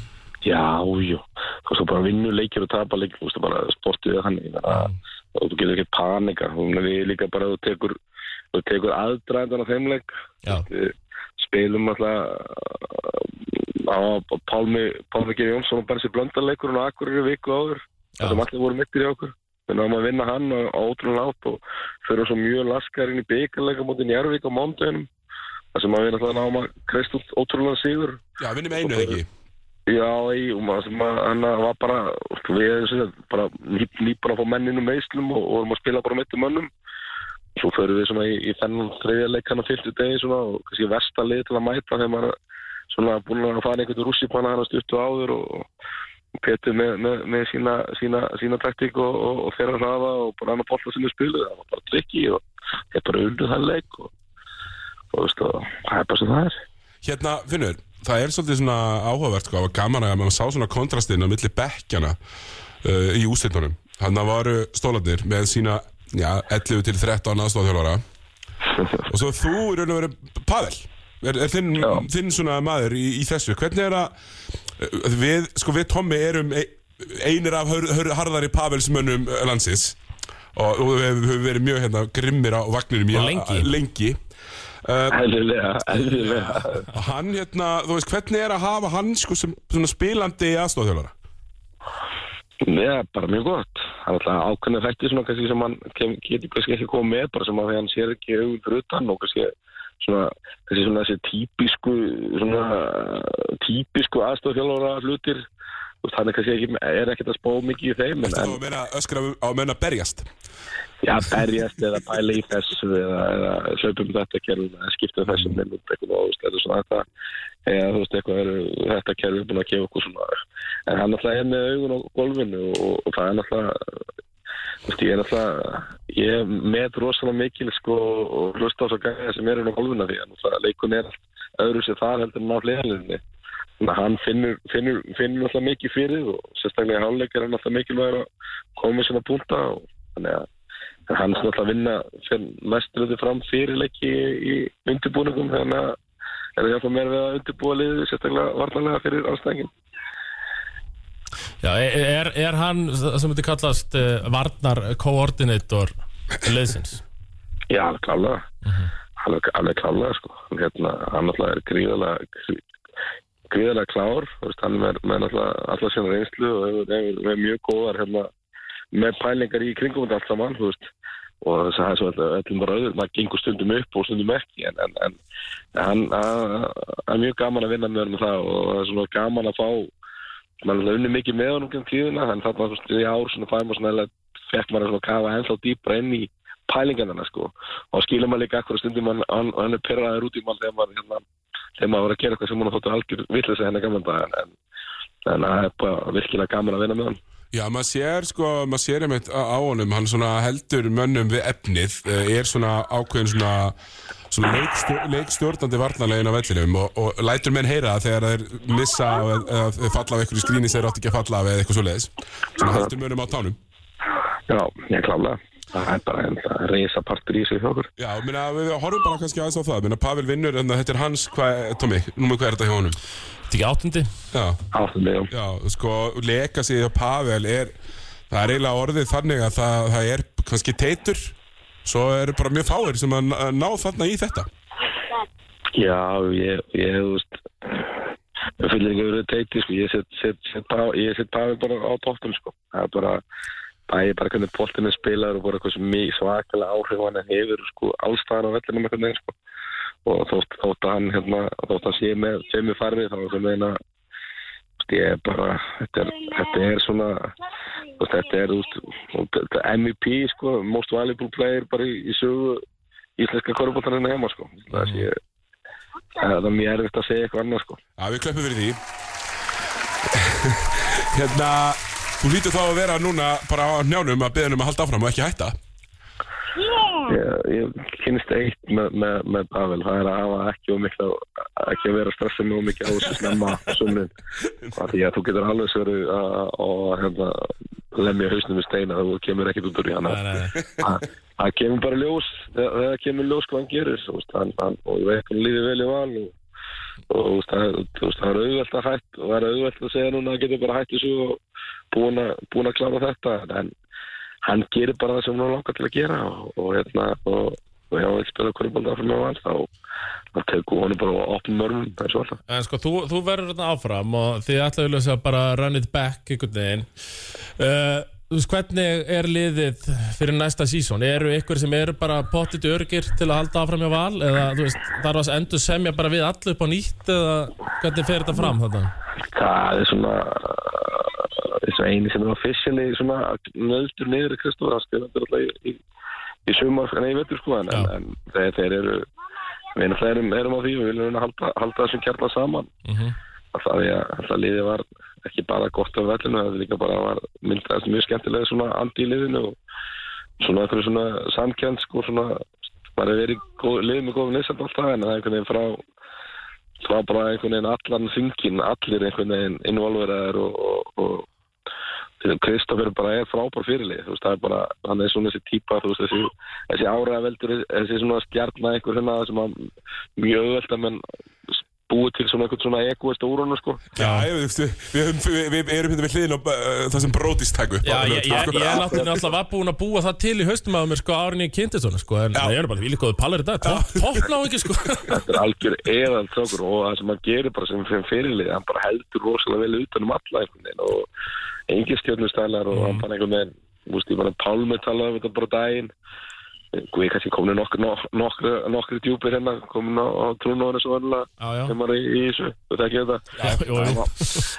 Speaker 1: Já, jú, þú veist þú bara vinnu leikir og tapa leikir, þú veist þú bara sportið þannig, ég meina, og þú getur ekki panika, þú veist við líka bara þú tekur, þú tekur aðdraðan á þeim leik,
Speaker 3: Já.
Speaker 1: Við spilum alltaf á Pálmi, Pálmi Geir Jónsson og Bensi Blöndarleikur og Akureyri viku áður,
Speaker 3: Já.
Speaker 1: það sem allir voru mittir í okkur. Við náðum að vinna hann á á ótrúlega látt og fyrir svo mjög laskar inn í byggarleika mútið Njárvík á mándaginum, það sem að við náttúrulega náðum að kreist út ótrúlega sigur.
Speaker 2: Já, vinnum einu eða ekki
Speaker 1: Já, ég, og maður sem að hann var bara, við erum sem sagt bara nýp, nýpun að fá menninu meðslum og og vorum að spila bara mitt um mönnum. Svo förum við svona í, í þennan þriðja leik hann á fyrstu degi svona og kannski versta lið til að mæta þegar maður er svona búin að fara einhvern rússipanna hann að stuttu áður og, og Petur með, með, með sína, sína, sína taktík og, og, og þeirra hraða og bara hann að bolla sinni spilu, það var bara trikki og ég bara unduð hann leik og, og, þú veist, og það er bara sem það er.
Speaker 2: Hérna, Finnur, það er svolítið svona áhugavert sko, það var gaman að maður sá svona kontrastinn á milli bekkjana uh, í úsleitunum hann varu stólarnir með sína já, 11 til 13 aðstofþjálfara og svo þú í raun og veru Pavel er, er þinn,
Speaker 1: Já.
Speaker 2: þinn svona maður í, í þessu hvernig er að eh, við, sko við Tommi erum ei- einir af hör, hör, harðari Pavelsmönnum eh, landsins og, og við höfum verið mjög hérna grimmir á vagninum í-
Speaker 3: Og lengi.
Speaker 2: lengi.
Speaker 1: Æðilega, æðilega.
Speaker 2: Og hann hérna, þú veist, hvernig er að hafa hann sko sem svona spilandi aðstofþjálfara
Speaker 1: Já, bara mjög gott. Það er alltaf ákveðna þætti svona kannski sem hann kem, getur kannski ekki komið með, bara sem að hann sér ekki augun fyrir utan og kannski svona, kannski svona þessi típisku, svona típisku aðstofjálfara hlutir. Þú veist, hann er kannski ekki, er ekkert að spá mikið í þeim, en,
Speaker 2: Þetta
Speaker 1: en
Speaker 2: var að meina öskra á menna berjast
Speaker 1: já, berjast eða pæla í þessu eða, eða hlaupum þetta kerfum eða skipta um þessum nefnum eitthvað og þú veist, þetta er svona þetta eða þú veist, eitthvað er þetta kerfum búin að gefa okkur svona en hann alltaf er með augun á golfinu og, og það er alltaf þú veist, ég er alltaf ég met rosalega mikil sko og hlusta á svo gæða sem er inn á golfinu því að náttúrulega leikun er allt öðru sér þar heldur en á hliðalinni Þannig að hann finnur, finnur, finnur alltaf mikið fyrir og sérstaklega í hálfleik er hann alltaf mikilvægur að koma með sína púnta og þannig að En hann er alltaf að vinna fyrir mesturöðu fram fyrirleiki í undirbúningum þannig að er það hjálpa mér við að undirbúa liðið sérstaklega vartanlega fyrir ástæðingin.
Speaker 3: Já, er, er hann það sem þetta kallast uh, varnar koordinator leysins?
Speaker 1: Já, alveg klálega. alveg, alveg klálega, sko. En Hérna, hann alltaf er gríðalega, gríðalega klár. þú Veist, hann er með alltaf, alltaf sína reynslu og hefur, hefur, hefur mjög góðar hérna, með pælingar í kringum þetta allt saman, þú veist. Og þess að það er svo alltaf öllum bara öður. Maður gengur stundum upp og stundum ekki. En, en, en hann hann- hann er mjög gaman að vinna með hann með það og það er svona gaman að fá maður er alltaf unni mikið með honum um tíðina en þarna þú veist, í ár svona fæði maður svona eða fekk maður svona að kafa ennþá dýpra inn í pælingarna sko og skilum maður líka akkur stundum hann, hann, hann er perraður út í mann þegar maður hérna, þegar maður var að gera eitthvað sem hún þóttu algjör villið sig henni gaman dag en, en, en það er bara virkilega gaman að vinna með hann
Speaker 2: Já, maður sér sko, maður sér einmitt á á honum Hann svona heldur mönnum við efnið eh, Er svona ákveðin svona, svona leikstjó, leikstjórnandi varnarlegin á vellinum og, og lætur menn heyra það þegar þeir missa og- eða eða falla af einhverju skrýni sem þeir átt ekki að falla af eða eitthvað svoleiðis Svona heldur mönnum á tánum
Speaker 1: Já, ég klála það er bara en það reysa partur í sig hjá okkur
Speaker 2: Já, minna, við horfum bara kannski aðeins á það Minna, Pavel vinnur, en þetta er hans, hvað, Tommy, númer hvað er þetta hjá honum?
Speaker 3: Þetta ekki áttundi?
Speaker 2: Já,
Speaker 1: áttum við
Speaker 2: já, sko, legacy og Pavel er, það er eiginlega orðið þannig að það, það er kannski teitur Svo eru bara mjög fáir sem að ná- ná þarna í þetta
Speaker 1: Já, ég, ég þú veist ég fyllir ekki verið teiti sko. ég set, set, set, pá, ég set Pavi bara á bóttum sko. það er bara bæði bara hvernig bóttinu spilar og bara hversu mikið svakalega áhrif hann hefur sko, allstæðan á vellinum einhvern veginn sko. og þótt, þótt að hann hérna, þótt að sé með, sé með farfið þá sem meina ég er bara, þetta er, þetta er svona þú veist, þetta er út, þetta er MVP sko, most valuable player bara í, í sögu íslenska korfbóttarinn heima sko. það sé Það er mjög erfitt að segja eitthvað annað sko.
Speaker 2: Já, við klöppum fyrir því Hérna, þú lítur þá að vera núna bara á njánum að beðunum að halda áfram og ekki hætta
Speaker 1: Ég, ég kynist eitt með, með, með Pavel, það er að hafa ekki og mikla, ekki að vera stressað mjög mikið á þessu snemma á sumrin. Af Því að þú getur alveg sverið að að, hérna, lemja hausnum í steina þú kemur ekkert út úr í hana.
Speaker 3: Nei, nei, nei.
Speaker 1: Það það kemur bara ljós, þegar þegar kemur ljós hvað hann gerir, þú veist, hann, hann, og ég veit hann lífið vel í val og og þú veist, það þú veist, það er auðvelt að hætt og það er auðvelt að segja núna að getur bara hætt þessu og búin að, búin að klára þetta en hann gerir bara það sem hann langar til að gera og, og hérna og, og ég á ekki spila korfbólda fyrir mig vann þá þá tekur honum bara á opnum mörmum það er svo alltaf
Speaker 3: En sko, þú, þú verður þarna áfram og þið ætlaðu ljósa bara að run it back einhvern veginn. Uh, þú veist, hvernig er liðið fyrir næsta sísón? Eru ykkur sem eru bara pottit örgir til að halda áfram hjá val? Eða, þú veist, þarf að endur semja bara við allu upp á nýtt eða hvernig fer þetta fram þarna?
Speaker 1: það er svona þessu eini sem er officially svona nöðstur niður í Kristof það skilur þetta alltaf í, í, í sumar en ég veitur sko en, en,
Speaker 3: Já.
Speaker 1: en þeir, þeir eru við erum, erum, erum á því við viljum reyna að halda, halda þessum kjarnar saman
Speaker 3: Uh
Speaker 1: alltaf því að alltaf liðið var ekki bara gott af vellinu, það líka bara var myndaðist mjög skemmtilega svona andi í liðinu og svona einhverju svona samkjönd sko svona, maður er verið í góð, lið með góðum nýsand alltaf en það er einhvern veginn frá frá bara einhvern veginn allan þingin, allir einhvern veginn involveraðar og, og, og Kristoff er bara er frábær fyrirlið, þú veist, það er bara, hann er svona þessi típa, þú veist, þessi, þessi áraveldur, þessi svona stjarnar einhver hérna sem að mjög öðvöld að menn búið til svona eitthvað svona egoist úr honum sko
Speaker 2: Já, ég veist, við, við, við, við erum hérna við hliðin á uh, það sem brótist takku upp
Speaker 3: Já,
Speaker 2: á
Speaker 3: ég, ég, ég,
Speaker 2: sko.
Speaker 3: ég náttúrulega alltaf var búinn að búa það til í haustum að mér sko árin ég kynntist svona sko en ég er bara því líkaðu pallar í dag topp topp ná ekki sko
Speaker 1: þetta er algjör eðan trókur og það sem hann gerir bara sem fyrir fyrirlið hann bara heldur rosalega vel utan um alla einhvern veginn og engin stjórnustælar og hann bara einhvern veginn þú veist ég var að pálmi tala um þetta bara á daginn Guði, kannski kominu nokkri, nokkri, nokkri djúpir hérna, kominu á trúnóðinu svo
Speaker 3: Já, já.
Speaker 1: vanlega sem var hérna í, í þessu, þetta ekki þetta
Speaker 3: Já, jú, jú.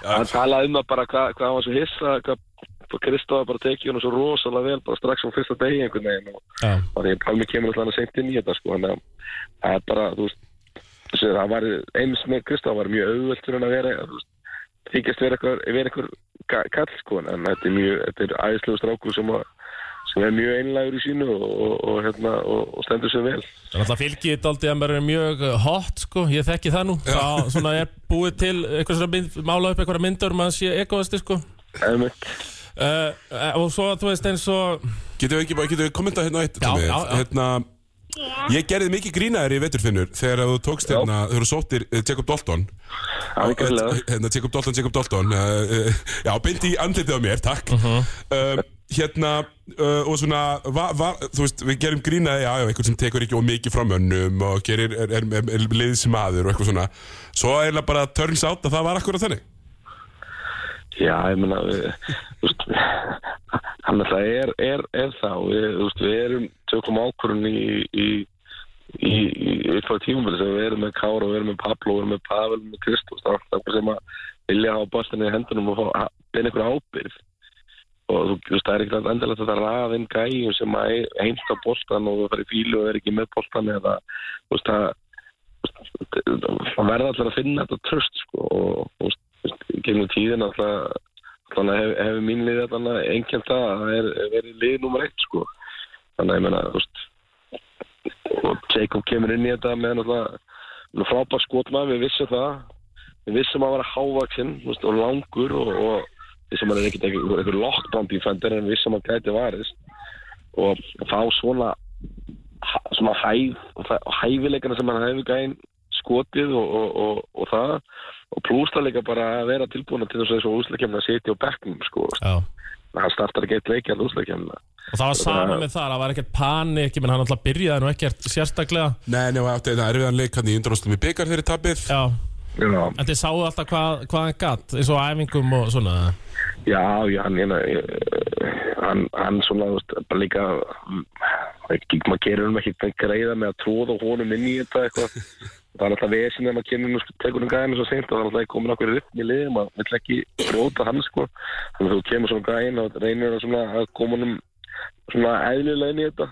Speaker 1: hann talaði um það bara hvað hva hann var svo hissa hvað Kristofa bara tekið hann svo rosalega vel bara strax á fyrsta degi einhvern veginn og
Speaker 3: Já,
Speaker 1: þannig að Palmi kemur alltaf seint inn í þetta sko, þannig að það er bara, þú veist þessi, það var eins með Kristof, það var mjög auðvöld fyrir hann að vera, þú veist þykjast vera eitthvað, vera eitthvað ka- kall sko, en þetta er mjög, þetta er æðislegu strákur sem, að, sem er mjög einlægur í sínu og, og, og, hérna, og, og stendur sér vel
Speaker 3: þannig að það fylgir þetta aldrei að mér er mjög uh, hot sko, ég þekki það nú þá svona er búið til eitthvað svona mynd, mála upp eitthvað myndur um að sé egoisti sko
Speaker 1: Einmitt.
Speaker 3: uh, uh, og svo þú veist eins og
Speaker 2: Getum við ekki bara, getum við kommentað hérna á eitt
Speaker 3: Já,
Speaker 2: Tommi?
Speaker 3: já, já.
Speaker 2: Hérna, ég gerði mikið grínaðir í veturfinnur þegar þú tókst hérna, þegar þú sóttir uh, Jacob Dalton
Speaker 1: Algjörlega.
Speaker 2: Eh, Hérna, Jacob Dalton, Jacob Dalton uh, uh, Já, beint í andlitið á mér, takk uh Hérna, uh, og svona va, va, þú veist, við gerum grínaði já, já, einhvern sem tekur ekki of mikið frá mönnum og gerir, er, er, er, er liðsmaður og eitthvað svona Svo er það bara turns out að það var akkurat þannig
Speaker 1: Já, ég meina, við, þú veist, hann alltaf er, er, er þá, við, þú veist, við erum, tökum ákvörðun í, í, í, í eitthvað tímumfélag sem við erum með Kára, við erum með Pablo, við erum með Pavel, við erum með Kristus, það er alltaf sem að vilja hafa boltinni í hendunum og fá, að finna einhver ábyrð. Og þú þú veist, það er ekkert endilegt að það raðin gæjum sem að heimsta boltan og það fer í fílu og er ekki með boltan eða, þú veist, það, það verða allir að finna þetta tröst sko, og þú veist, þú veist, gegnum tíðin þannig að hefur hef mín lið þannig að einhvern það að það er er verið lið nummer eitt sko. þannig að ég meina þú veist, og Jacob kemur inn í þetta með náttúrulega frábær skotmað, við vissum það við vissum að vera hávaksinn þú veist, og langur og, og vissum að það er ekkert einhver, einhver lottbandi í fendur en vissum að gæti varist og þá svona svona hæf, hæfileikana sem hann hefur gæn skotið og, og, og, og það og plústa líka bara að vera tilbúin til þess að þessu úslakefna sitja á bekknum sko,
Speaker 3: já.
Speaker 1: hann startar ekki eitt hérna leikjað úslakefna
Speaker 3: og það var sama með það, það var ekkert panik ég menn hann alltaf byrjaði nú ekkert sérstaklega
Speaker 2: Nei, nema átti þetta erfiðan leik hann í undanústum í byggar þeirri tapið
Speaker 3: já,
Speaker 1: Já,
Speaker 3: en þið sáu alltaf hvað, hvað hann gatt eins og á æfingum og svona
Speaker 1: já, já hann, hérna, eh, hann, hann svona þú veist, bara líka mm, ekki, maður gerir hann ekki greiða með að tróða honum inn í þetta eitthvað það er alltaf vesin þegar maður kemur og tekur um gæðinu svo seint og það er alltaf komin okkur upp í liðum maður vill ekki brjóta hann sko þannig að þú kemur svona gæðin og reynir að, svona, að koma hann svona eðlilega inn í þetta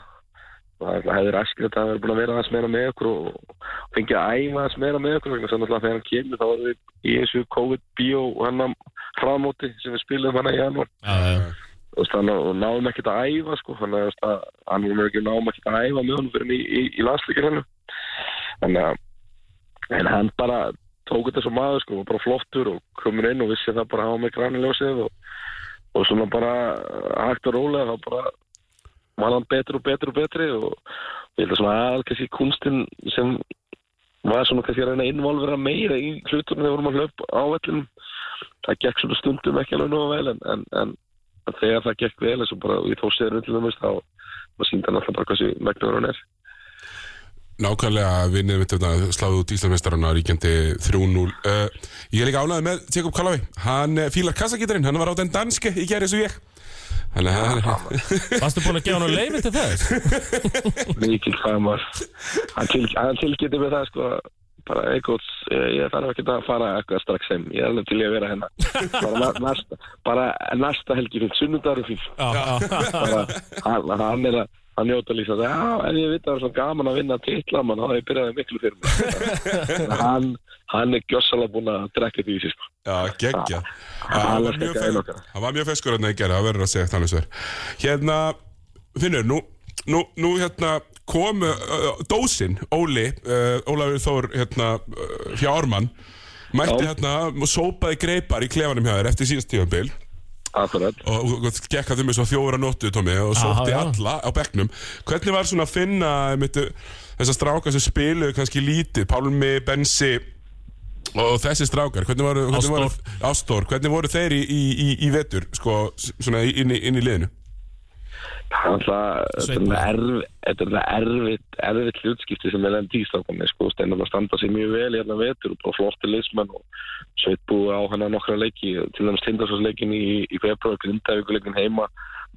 Speaker 1: og það það hefði raskir að það hefur búin að vera aðeins meira með okkur og og fengið að æma aðeins meira með okkur þannig að náttúrulega þegar hann kemur þá erum við í þessu COVID-bíó hann að hraðmóti sem við spilum hann í janúar
Speaker 3: já, já.
Speaker 1: Þú veist, þannig að og náðum ekkert að æfa sko, þannig að þú veist, að hann var mjög ekki náðum ekkert að æfa með hann fyrir í, í, í landslíkir hennu þannig að en hann bara tók þetta sem maður sko, var bara flottur og komur inn og vissi það bara að hafa með granniljósið og, og svona bara uh, hægt og rólega þá bara var hann betri og betri og betri og ég held að svona aðal kannski kunstinn sem var svona kannski að reyna að involvera meira í hlutunum þegar vorum að hlaupa á vellinum það gekk svona stundum ekki alveg nógu vel en, en, en en þegar það gekk vel eins og bara í þósiðinu til dæmis þá maður síndi hann alltaf bara hversu megnaður hann er
Speaker 2: Nákvæmlega vinnið mitt þetta sláðu út Íslandsmeistarana ríkjandi 3-0 uh, Ég er líka ánaði með Jakob Kalavi Hann eh, fílar kassakítarinn, hann var á den danske í gerði svo ég Þannig að hann
Speaker 3: varstu búin að gefa hann leiði til þess
Speaker 1: mikil fagmar hann, til, hann tilgeti með það sko bara eitthvað, ég, ég þarf ekki að fara eitthvað strax heim, ég er alveg til í að vera hérna bara, na- næsta, bara næsta helgi fyrir sunnudagur fyrir
Speaker 3: já, já,
Speaker 1: bara, hann, hann er að hann njóta líka að já, ef ég veit að það er svona gaman að vinna titla mann, þá hef ég byrjaði miklu fyrir mig hann, hann er gjössalega búin að drekka því í sig sko.
Speaker 2: Já, geggja Ah, Hann var
Speaker 1: hann var
Speaker 2: mjög
Speaker 1: skeggjaður
Speaker 2: fe-
Speaker 1: okkar.
Speaker 2: hann var mjög feskur hérna í gerði, það verður að segja þannig sver Hérna, Finnur, nú, nú, nú hérna kom uh, uh, dósin, Óli uh, Ólafur Þór, hérna uh, hjá Ármann Mætti
Speaker 1: Já.
Speaker 2: hérna og sópaði greipar í klefanum hjá þér eftir síðast tíðanbíl
Speaker 1: akkurat
Speaker 2: og, og, og gekk að þau með svo fjóra nóttu Tommi, og sótti
Speaker 3: já.
Speaker 2: alla á bekknum hvernig var svona að finna einmitt, þessar strákar sem spiluðu kannski lítið Pálmi, Bensi Og þessi strákar, hvernig voru, hvernig
Speaker 3: Ásdór.
Speaker 2: voru Ástór, hvernig voru þeir í, í, í, í vetur sko, s- svona í- inn í, inn í liðinu?
Speaker 1: Það er alltaf, þetta er
Speaker 3: Sveinn.
Speaker 1: náttúrulega erf- þetta er náttúrulega erfitt, erfitt hlutskipti sem er lendi í strákunni, sko, steinar að standa sér mjög vel hérna vetur og bara flotti leysmenn og sveit búið á hana nokkra leiki, til dæmis Lindarsvarsleikin í, í Kvebra og Grindavíkuleikin heima,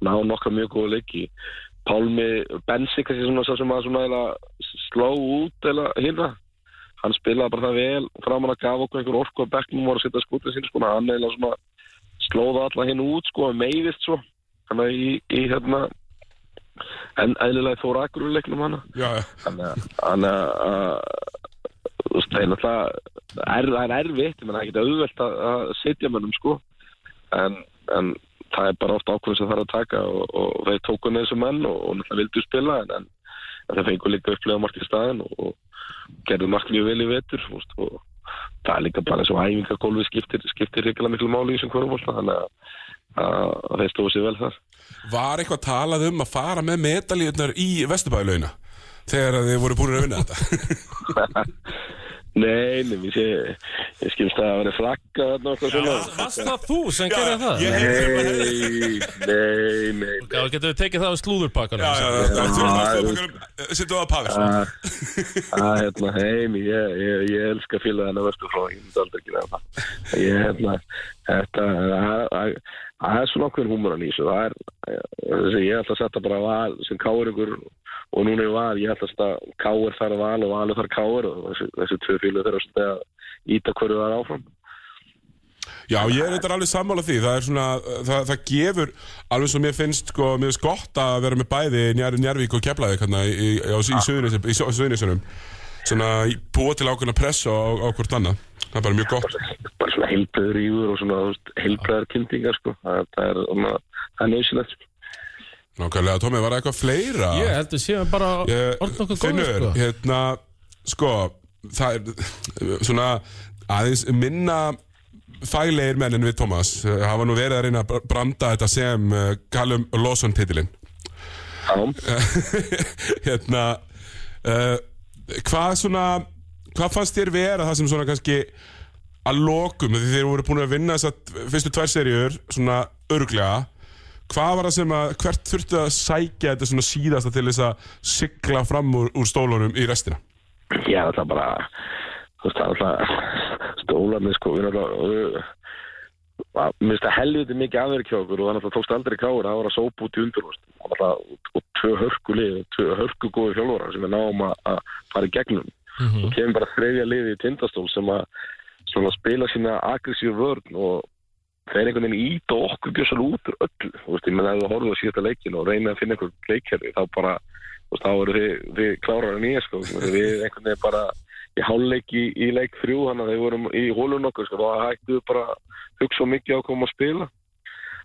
Speaker 1: ná nokkra mjög góða leiki. Pálmi Bensi, kannski svona sá sem að svona eða sló út eða hinna, hann spilaði bara það vel, framan að gaf okkur einhver orku að bekknum og var að setja skutið sín, sko, hann eða svona slóða alla hinn út, sko, meiðist svo. Þannig að í, í hérna, en eðlilega fór akkuruleiknum hana
Speaker 2: Já, já.
Speaker 1: þannig að- þannig að að- þú veist, það er náttúrulega er, það er erfitt, menn það er ekkert auðvelt að, að sitja mönnum sko en, en það er bara oft ákveð sem þarf að taka og, og þeir tóku neð þessu menn og, og náttúrulega vildu spila en, en, en það fengur líka upplega margt í staðin og, og gerðu margt mjög vel í vetur þú veist, og það er líka bara eins og æfingagólfi skiptir, skiptir hrikalega miklu máli í þessum hverfum þannig að, að, að þeir stóðu sér vel þar
Speaker 2: Var eitthvað talað um að fara með medalíunar í Vesturbæðlauna þegar að þið voru búin að vinna þetta?
Speaker 1: Nei, nefnum, ég, sé- ég skilst að það var flagga þarna og eitthvað svona.
Speaker 3: Varst það þú sem gerði það?
Speaker 2: Ég heyrði um að-
Speaker 1: Nei, nei, nei.
Speaker 3: Já, getum við tekið það af slúðurpakkanum
Speaker 2: Já, já, já, já, þú varst Sittu um- á pafir
Speaker 1: Að, að, Ah, hérna, heim, ég, ég, ég elska félagana verður frá, ég myndi aldrei gera það. Ég, hérna, þetta, að- að- það er svona okkur húmuran í þessu, það er, þessi, ég ætla að setja bara val sem káringur og núna ég val, ég ætla að setja káir þar val og valur þar káir og þessi, þessi tvö félag þeirra að íta hverju það er áfram.
Speaker 2: Já, ég er eitthvað alveg sammála því Það er svona, það, það gefur Alveg svo mér finnst, sko, mér finnst gott að vera með bæði Njar, Njarvík og Keflavík hérna, í, í, á- í, Suðurnes- í Suðunisunum Svona í- búa til ákveðna press á, á hvort annað Það er bara mjög gott
Speaker 1: bara svona heilbröður ígur og svona þú veist, heilbröðar kynntingar sko. það, það er, svona, það er nöðsilegt
Speaker 2: Nákvæmlega, Tómi, var það eitthvað fleira?
Speaker 3: Ég held við séum bara
Speaker 2: Ég-
Speaker 3: orðin okkur góður
Speaker 2: Finnur,
Speaker 3: sko
Speaker 2: hérna, sko Það er svona aðeins minna faglegir menn en við Tómas Eh, hafa nú verið að reyna að branda þetta sem eh, Callum Lawson titilinn
Speaker 1: Já,
Speaker 2: hérna uh, hvað svona hvað fannst þér vera það sem svona kannski að lokum því þeir voru búin að vinna þess að fyrstu tvær seríur svona örglega hvað var það sem að hvert þurftu að sækja þetta svona síðasta til þess að sigla fram úr, úr stólunum í restina
Speaker 1: já það er bara þú veist, það er alltaf stólarni sko, við náttúrulega að minnst að helviti mikið afverð hjá okkur og það náttúrulega tókst aldrei káur það var að sópa út í undur og, og tvö hörku lið, tvö hörku góði fjálfara sem við náum að, að fara í gegnum
Speaker 3: Mhm.
Speaker 1: og kemur bara þriðja liði í tindastól sem að svona, spila sína aggressíu vörn og þeir einhvern veginn íta okkur bjössal út úr öllu, þú veist, ég menn að þú horfðu á síðasta leikin og reynið að finna einhvern leikherri þá bara, þú veist, þá eru þið, þið klárar en ég, sko, Þú veist, við einhvern veginn bara í hálfleik í, í leik þrjú hann að þeir vorum í hólun okkur, sko, þá hættu við bara að hugsa of mikið á hvað um að spila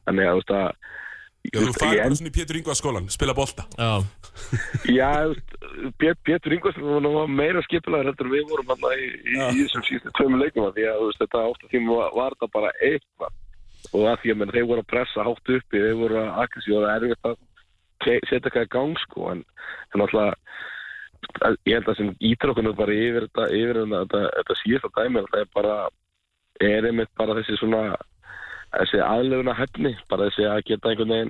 Speaker 1: þannig að, þú veist, að
Speaker 2: Já, þú farið bara svona í Pétur Ingvar skólan, spila bolta
Speaker 3: Já,
Speaker 1: Já, þú veist, Pét- Pétur Ingvarsson var meira skipulaður heldur en við vorum hann í, í, í þessum síðustu tveimu leikum af því að þú veist, þetta átt að tíma var, var þetta bara eitthvað og að því að menn, þeir voru að pressa hátt uppi þeir voru að akkessi og það er erfitt að te- setja eitthvað í gang sko en, en alltaf ég held að sem ítur okkur nú bara yfir þetta, yfir þetta, þetta, þetta síðasta dæmi það er bara, er einmitt bara þessi svona þessi aðlöfuna hefni, bara þessi að geta einhvern veginn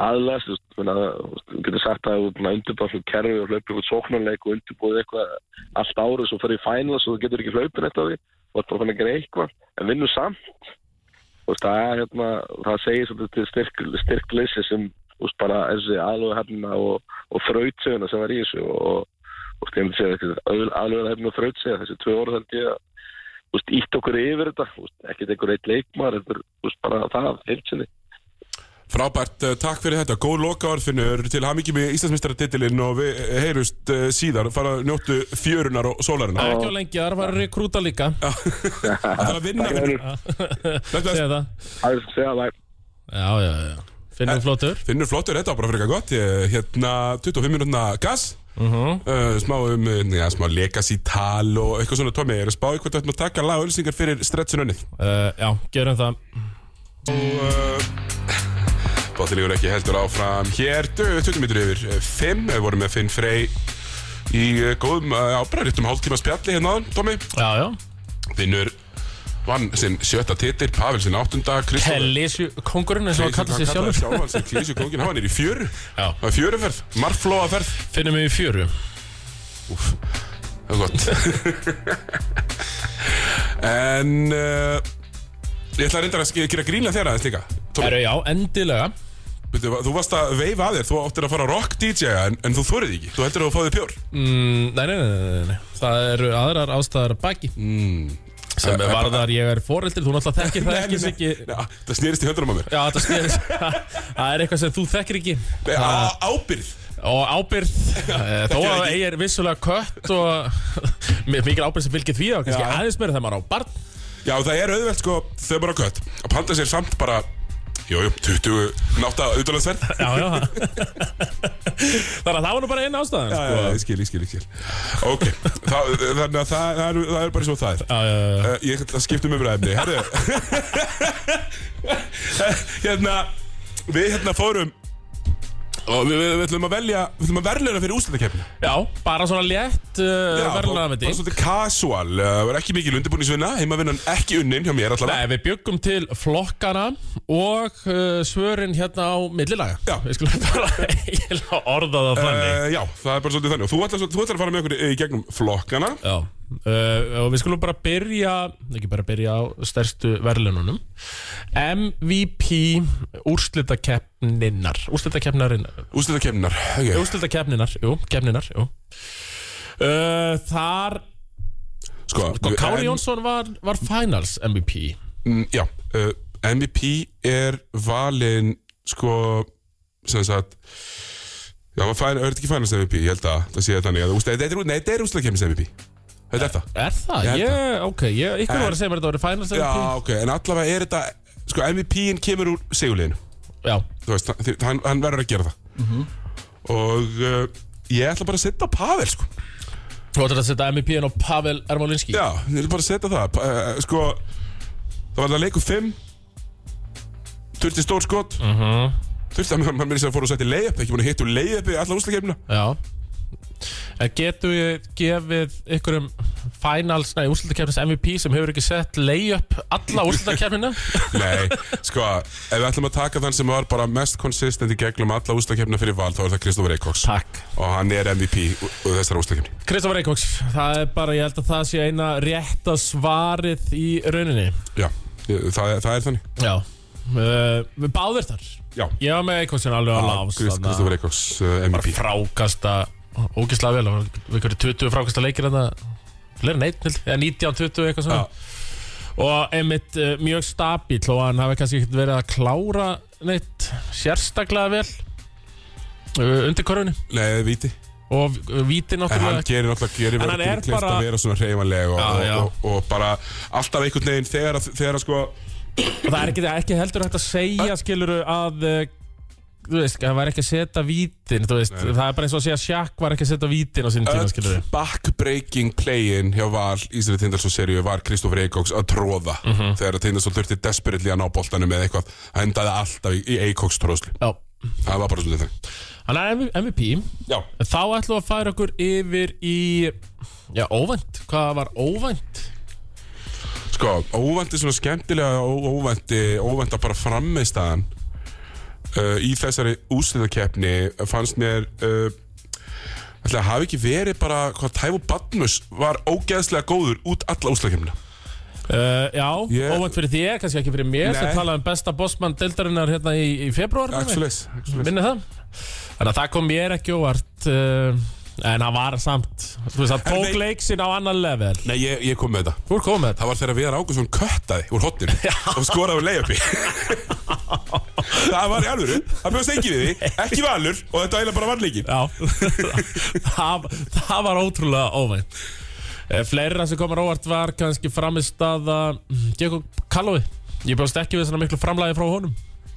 Speaker 1: aðlæst, þú veist, ég meina, þú veist, þú getur sagt að þú er búin að undirbúið svona kerfi og hlaupið út sóknarleik og undirbúið eitthvað allt árið svo ferði í finals og þú getur ekki hlaupin eftir því og það er bara að gera eitthvað en vinnur samt þú veist, það, er, hérna, það segir svolítið til styrk, styrk leysi sem þú veist, bara þessi aðlöðu hefnina og, og þrautseguna sem var í þessu og, og þú veist, ég myndi segja aðlöðu hefnina og þrautseguna, þessi tvö orð held ég að þú veist, ítt okkur yfir þetta þú veist, ekkert einhver eitt leikmar þetta er þú veist, bara það, heilsinni
Speaker 2: Frábært, eh, takk fyrir þetta, góð lokaorfinnur til hamingi með Íslandsmeistaratitilinn og við eh, heyrust eh, síðar, fara að njóttu fjörunar og sólarinnar
Speaker 3: ekki á lengi, þar var rekrúta líka
Speaker 2: Það er að vinna, Finnur. Bless, bless.
Speaker 3: Segðu það
Speaker 1: Það er segja það
Speaker 3: Já, já, já
Speaker 2: Eh.
Speaker 3: Finnum flottur
Speaker 2: Finnur flottur, þetta var bara fyrir eitthvað gott Ég- Hérna 25 minútina gas uh
Speaker 3: Mhm.
Speaker 2: Smá um, uh, já, smá legacy tal og eitthvað svona Tómi, er að spá í hvað þú ættum að taka lag og ölsingar fyrir stretsununnið
Speaker 3: uh, Já, gerum það
Speaker 2: Og uh, Bátilíkur ekki heldur áfram Hér, dö- 20 minnur yfir eh, 5, við vorum með Finn eh, Frey Í uh, góðum uh, ábræðutum hálftíma spjalli hérna áðan, Tómi
Speaker 3: Já, já
Speaker 2: vinnur vann sinn sjötta titil, Pavel sinn áttunda Kristoffer
Speaker 3: Pellisju kongurinn eins og hann kallar sig sjálfur
Speaker 2: sjálfan sem klísu kongin, hann er í fjöru
Speaker 3: Já.
Speaker 2: það er fjöruferð, marflóaferð
Speaker 3: Finnum við í fjöru
Speaker 2: það er gott en uh, ég ætla að reynda að ske- gera gríla þér aðeins líka Tómi,
Speaker 3: Herru, já, endilega
Speaker 2: veitu, þú varst að veifa að þér, þú áttir að fara að rock DJ en, en þú þorið ekki, þú heldur að þú fáið pjór
Speaker 3: mm, nei, nei, nei, nei, nei, nei Það eru aðrar ástæðar að baki mm. Sem
Speaker 2: Eh, eh,
Speaker 3: varðar ég er foreldri Þú náttúrulega þekkir það ekki Siggi.
Speaker 2: Nei, það snýrist í höndunum á mér
Speaker 3: Já, þetta skerist Það er eitthvað sem þú þekkir ekki
Speaker 2: Nei, Eh, á- ábyrgð
Speaker 3: Og ábyrð eh, Þó
Speaker 2: þekkir
Speaker 3: að
Speaker 2: ekki.
Speaker 3: ég er vissulega kött Og mi- mikil ábyrð sem fylgir því Og kannski
Speaker 2: Já.
Speaker 3: aðeins meira þegar maður á barn
Speaker 2: Já, það er auðvelt sko, þau eru bara gött að panta sér samt bara Jú, jú, 20 nátta auðvitaðsverð
Speaker 3: Já, já Þannig að það var nú bara einn ástæðan
Speaker 2: Já, já, ég skil, ég skil, ég skil Ok, þá, þannig að það, það, er, það er bara svo það er
Speaker 3: já, já, já.
Speaker 2: uh, Ég ætla að skipta um umræðinni Herðu Hérna, við hérna fórum Og við, við, við ætlum að velja Við ætlum að verðluna fyrir úslandakefni
Speaker 3: já, bara svona létt uh, verðlunarvendi
Speaker 2: Bara svolítið casual Eh, Það var ekki mikil undirbúningsvinna Heimavinnan ekki unnin hjá mér allavega
Speaker 3: Nei, við byggum til flokkana og uh, svörin hérna á millilaga
Speaker 2: Já.
Speaker 3: Við skulum bara eiginlega orða það þannig
Speaker 2: Uh, já, það er bara svolítið þannig Og þú ætlar, svo- þú ætlar að fara með okkur í- í gegnum flokkana
Speaker 3: Já uh, Og við skulum bara byrja, ekki bara byrja á stærstu verðlununum MVP úrslitakeppninnar Úrslitakeppnarinnar
Speaker 2: Úslitakefninar okay.
Speaker 3: Úrslitakeppninnar, jú, keppninnar, jú Uh, þar
Speaker 2: Sko,
Speaker 3: sko, Kári
Speaker 2: en-
Speaker 3: Jónsson var, var finals MVP
Speaker 2: mm, Já, uh, MVP er valinn Sko sem sagt Já, maður fæn, er þetta ekki fænast MVP, ég held að það sé þannig að úst, þetta er, Nei, þetta er úslitakefnis MVP Þetta er það
Speaker 3: Er það?
Speaker 2: Ég held
Speaker 3: Ég, ok, ég, ykkur var að segja mér að þetta var finals
Speaker 2: Já,
Speaker 3: MVP
Speaker 2: ok, en allavega er þetta Sko, MVP-in kemur úr seguleginu
Speaker 3: Já,
Speaker 2: Þú veist, hann- þi- hann, hann verður að gera það Og uh, ég ætla bara að setja á Pavel, sko
Speaker 3: þú ætlar að setja MVP-in á Pavel Ermolinski
Speaker 2: Já, ég vil bara setja það Pa- eh, Sko, það var það leikur 5 Þurfti stór skot uh -huh. Þurfti að mann mér sér að fóra og setja leiðup Ekki búin að hittu leiðup í alla úslakefnina
Speaker 3: Já En getur við gefið ykkurum finals, nei, úrslutakefnis MVP sem hefur ekki sett layup alla úrslutakefnina?
Speaker 2: Nei, sko, ef við ætlum að taka þann sem var bara mest konsistent í gegnum alla úslakefnina fyrir val Þá er það Kristofur Eikóks
Speaker 3: Takk.
Speaker 2: Og hann er MVP ú- ú- þessara úslakefni
Speaker 3: Kristoffer Eikóks, það er bara, ég held að það sé eina rétta svarið í rauninni.
Speaker 2: Já, ég- það, er- það er þannig
Speaker 3: Já. Uh, við báðir þar.
Speaker 2: Já,
Speaker 3: Ég var með Eikóksin alveg á lás.
Speaker 2: Krist, Kristofur Eikóks uh, MVP
Speaker 3: Frákasta, ógislega vel, það var ykkur 20 frákasta leikir en það, fleiri neitt, eða 19, 20 eitthvað svona.
Speaker 2: Já.
Speaker 3: Og einmitt uh, mjög stabíl og hann hafi kannski ekkert verið að klára neitt sérstaklega vel uh, undir korfunni
Speaker 2: Nei, viti
Speaker 3: og uh, víti
Speaker 2: En
Speaker 3: náttúrulega
Speaker 2: hann gerir náttúrulega gerir
Speaker 3: En hann
Speaker 2: verður
Speaker 3: er
Speaker 2: kleift
Speaker 3: bara-
Speaker 2: að vera svona reyfanleg og,
Speaker 3: Já, já.
Speaker 2: og, og, og bara alltaf einhvern veginn þegar, að- þegar að sko
Speaker 3: og það er ekki, ekki heldur hægt að segja skiluru að uh, þú veist, hann var ekki að setja vítin þú veist, það er bara eins og að segja að Shaq var ekki að setja vítin á sinni tíma skiluru
Speaker 2: öll backbreaking playin hjá Val Ísri Tindarsson seríu var Kristófur Eikóks að tróða
Speaker 3: Mhm.
Speaker 2: þegar að Tindarsson þurfti desperately að ná boltanum eða eitthvað, hann endaði alltaf í, í Eikóks tróðslu,
Speaker 3: Já,
Speaker 2: það var bara svona þannig
Speaker 3: hann er M- MVP
Speaker 2: Já,
Speaker 3: þá ætlum við að færa okkur yfir í já, óvænt, hvað var óvænt?
Speaker 2: sko, óvænti svona skemmtilega og óvænti, óvænt að bara frammeðstaðan uh, í þessari úsliðakeppni fannst mér uh, ætli að hafi ekki verið bara hvað Tævo Badmus var ógeðslega góður út alla úsliðakeppnina
Speaker 3: Uh, já,
Speaker 2: Ég-
Speaker 3: óvænt fyrir þér, kannski ekki fyrir mér sem
Speaker 2: Nei.
Speaker 3: talaði um besta bossmann deildarinnar hérna í, í februar
Speaker 2: Axelis, Axelis.
Speaker 3: minni það Þannig að það kom mér ekki óvart uh, en hann var samt þú veist, hann tók
Speaker 2: vei-
Speaker 3: leik sinn á annan level
Speaker 2: Nei, ég, ég kom með þetta
Speaker 3: Þú er komið
Speaker 2: Það var þegar Viðar Ágússon köttaði úr hotninu og skoraði úr leiðupi. það var í alvöru, það bjóðst ekki við því, ekki valur og þetta var eiginlega bara vannleikin.
Speaker 3: Já, það, það var ótrúlega óvænt Eh, Fleira sem komur óvart var kannski framist að Diego Callowi Ég bjóðst ekki við svona miklu framlæði frá honum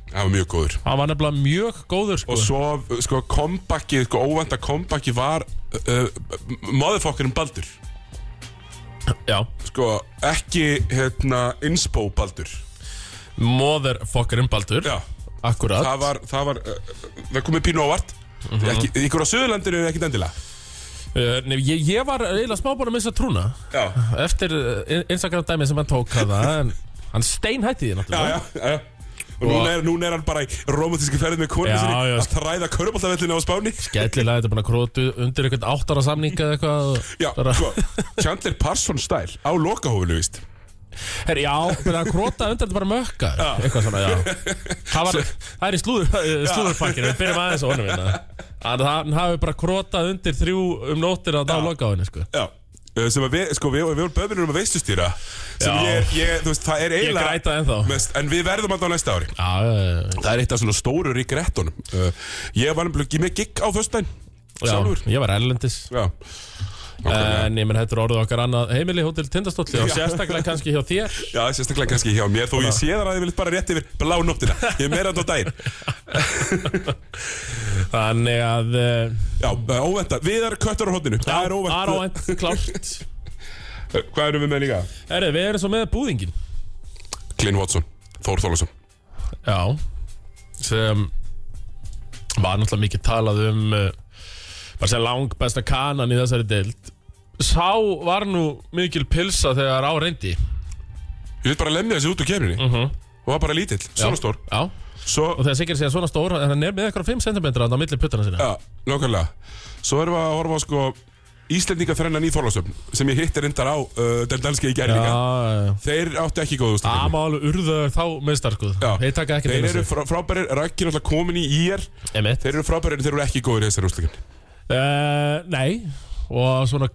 Speaker 2: Það var mjög góður.
Speaker 3: Hann var nefnilega mjög góður sko.
Speaker 2: Og svo, sko, kompakið, sko, óvænta kompakið var uh, motherfuckerinn Baldur.
Speaker 3: Já,
Speaker 2: Sko, ekki, hérna, inspo Baldur.
Speaker 3: motherfuckerinn Baldur
Speaker 2: Já,
Speaker 3: Akkurat
Speaker 2: eh,
Speaker 3: Mhm.
Speaker 2: það var, það var, uh, það komið pínu ávart. Mm -hmm. Ykkur á Suðurlandinu er ekkit endilega.
Speaker 3: Uh, Nei, ég, ég var eiginlega smá búin að missa trúna
Speaker 2: Já,
Speaker 3: Eftir uh, Instagram dæmi sem hann tók hana, en Hann steinhætti því
Speaker 2: já,
Speaker 3: náttúrulega
Speaker 2: já, já, já. Og núna er, núna er hann bara í romantíski ferð með konu
Speaker 3: Já,
Speaker 2: sinni
Speaker 3: já. sko.
Speaker 2: að þræða körubáltavellinu á Spáni
Speaker 3: Gætlilega, þetta er búin að krótu undir einhvern áttara samninga eða eitthvað
Speaker 2: Já,
Speaker 3: Bara-
Speaker 2: sko, Chandler Parsons stæl á lokahófinu, víst
Speaker 3: Herri, já, búin að króta undir þetta bara mökka Eitthvað svona, já Það, var, það er í slúður, eh, slúðurpakkinu, við byrjum aðeins á honum hérna Hann hann hafi bara krótað undir þrjú um nóttir að dá loka á henni, sko
Speaker 2: Já Eh, sem að við, sko, við, við vorum böfnir um að veistustýra sem
Speaker 3: Já.
Speaker 2: ég, er- ég, þú veist, það er
Speaker 3: Ég
Speaker 2: eiginlega
Speaker 3: græta ennþá Já,
Speaker 2: mest, en við verðum alltaf á næsta ári
Speaker 3: já, já, já.
Speaker 2: það er eitt af svona stóru regrettunum uh, ég var nefnilega ekki með gig á föstudaginn sjálfur
Speaker 3: já Ég var erlendis
Speaker 2: já,
Speaker 3: En ég menn þetta er orðið okkar annað heimili Hótel Tindastóll og
Speaker 2: Já.
Speaker 3: sérstaklega kannski hjá þér
Speaker 2: já sérstaklega kannski hjá mér þó ég sé það að ég vil bara rétt yfir blá nóttina ég er meira enn á daginn
Speaker 3: Þannig að eh,
Speaker 2: já, uh, óvænta, við erum köttur á hodninu það er
Speaker 3: Það er
Speaker 2: óvænt
Speaker 3: óvænt, klárt
Speaker 2: Uh, hvað erum við með líka?
Speaker 3: Herri, við erum svo með búðingin
Speaker 2: Glyn Watson, Þór Þólasson
Speaker 3: Já Sem var náttúrulega mikið talað um eh, Bara sem lang besta kanan í þessari deild Sá var nú mikil pilsa þegar á reyndi
Speaker 2: ég vil bara lemja þessi út úr kemrinni og var bara lítill, svona stór
Speaker 3: Já, og
Speaker 2: svo,
Speaker 3: þegar Sigur segja svona stór En hann er með eitthvað 5 cm á milli puttana sinna
Speaker 2: Já, nákvæmlega Svo erum við að horfa á sko Íslendinga þrennan í Þorlásöfn sem ég hitti reyndar á uh, den danski í gerninga
Speaker 3: já
Speaker 2: Þeir áttu ekki góðu
Speaker 3: Það
Speaker 2: úrslitum.
Speaker 3: má alveg urðu þá meðstar sko
Speaker 2: Já.
Speaker 3: Þeir taka ekki
Speaker 2: Þeir eru frá, frábærir, Raggi er alltaf komin í IR
Speaker 3: Emitt
Speaker 2: Þeir eru frábærir en þeir eru ekki góðir í þessari úrslikin
Speaker 3: Uh, nei, og svona,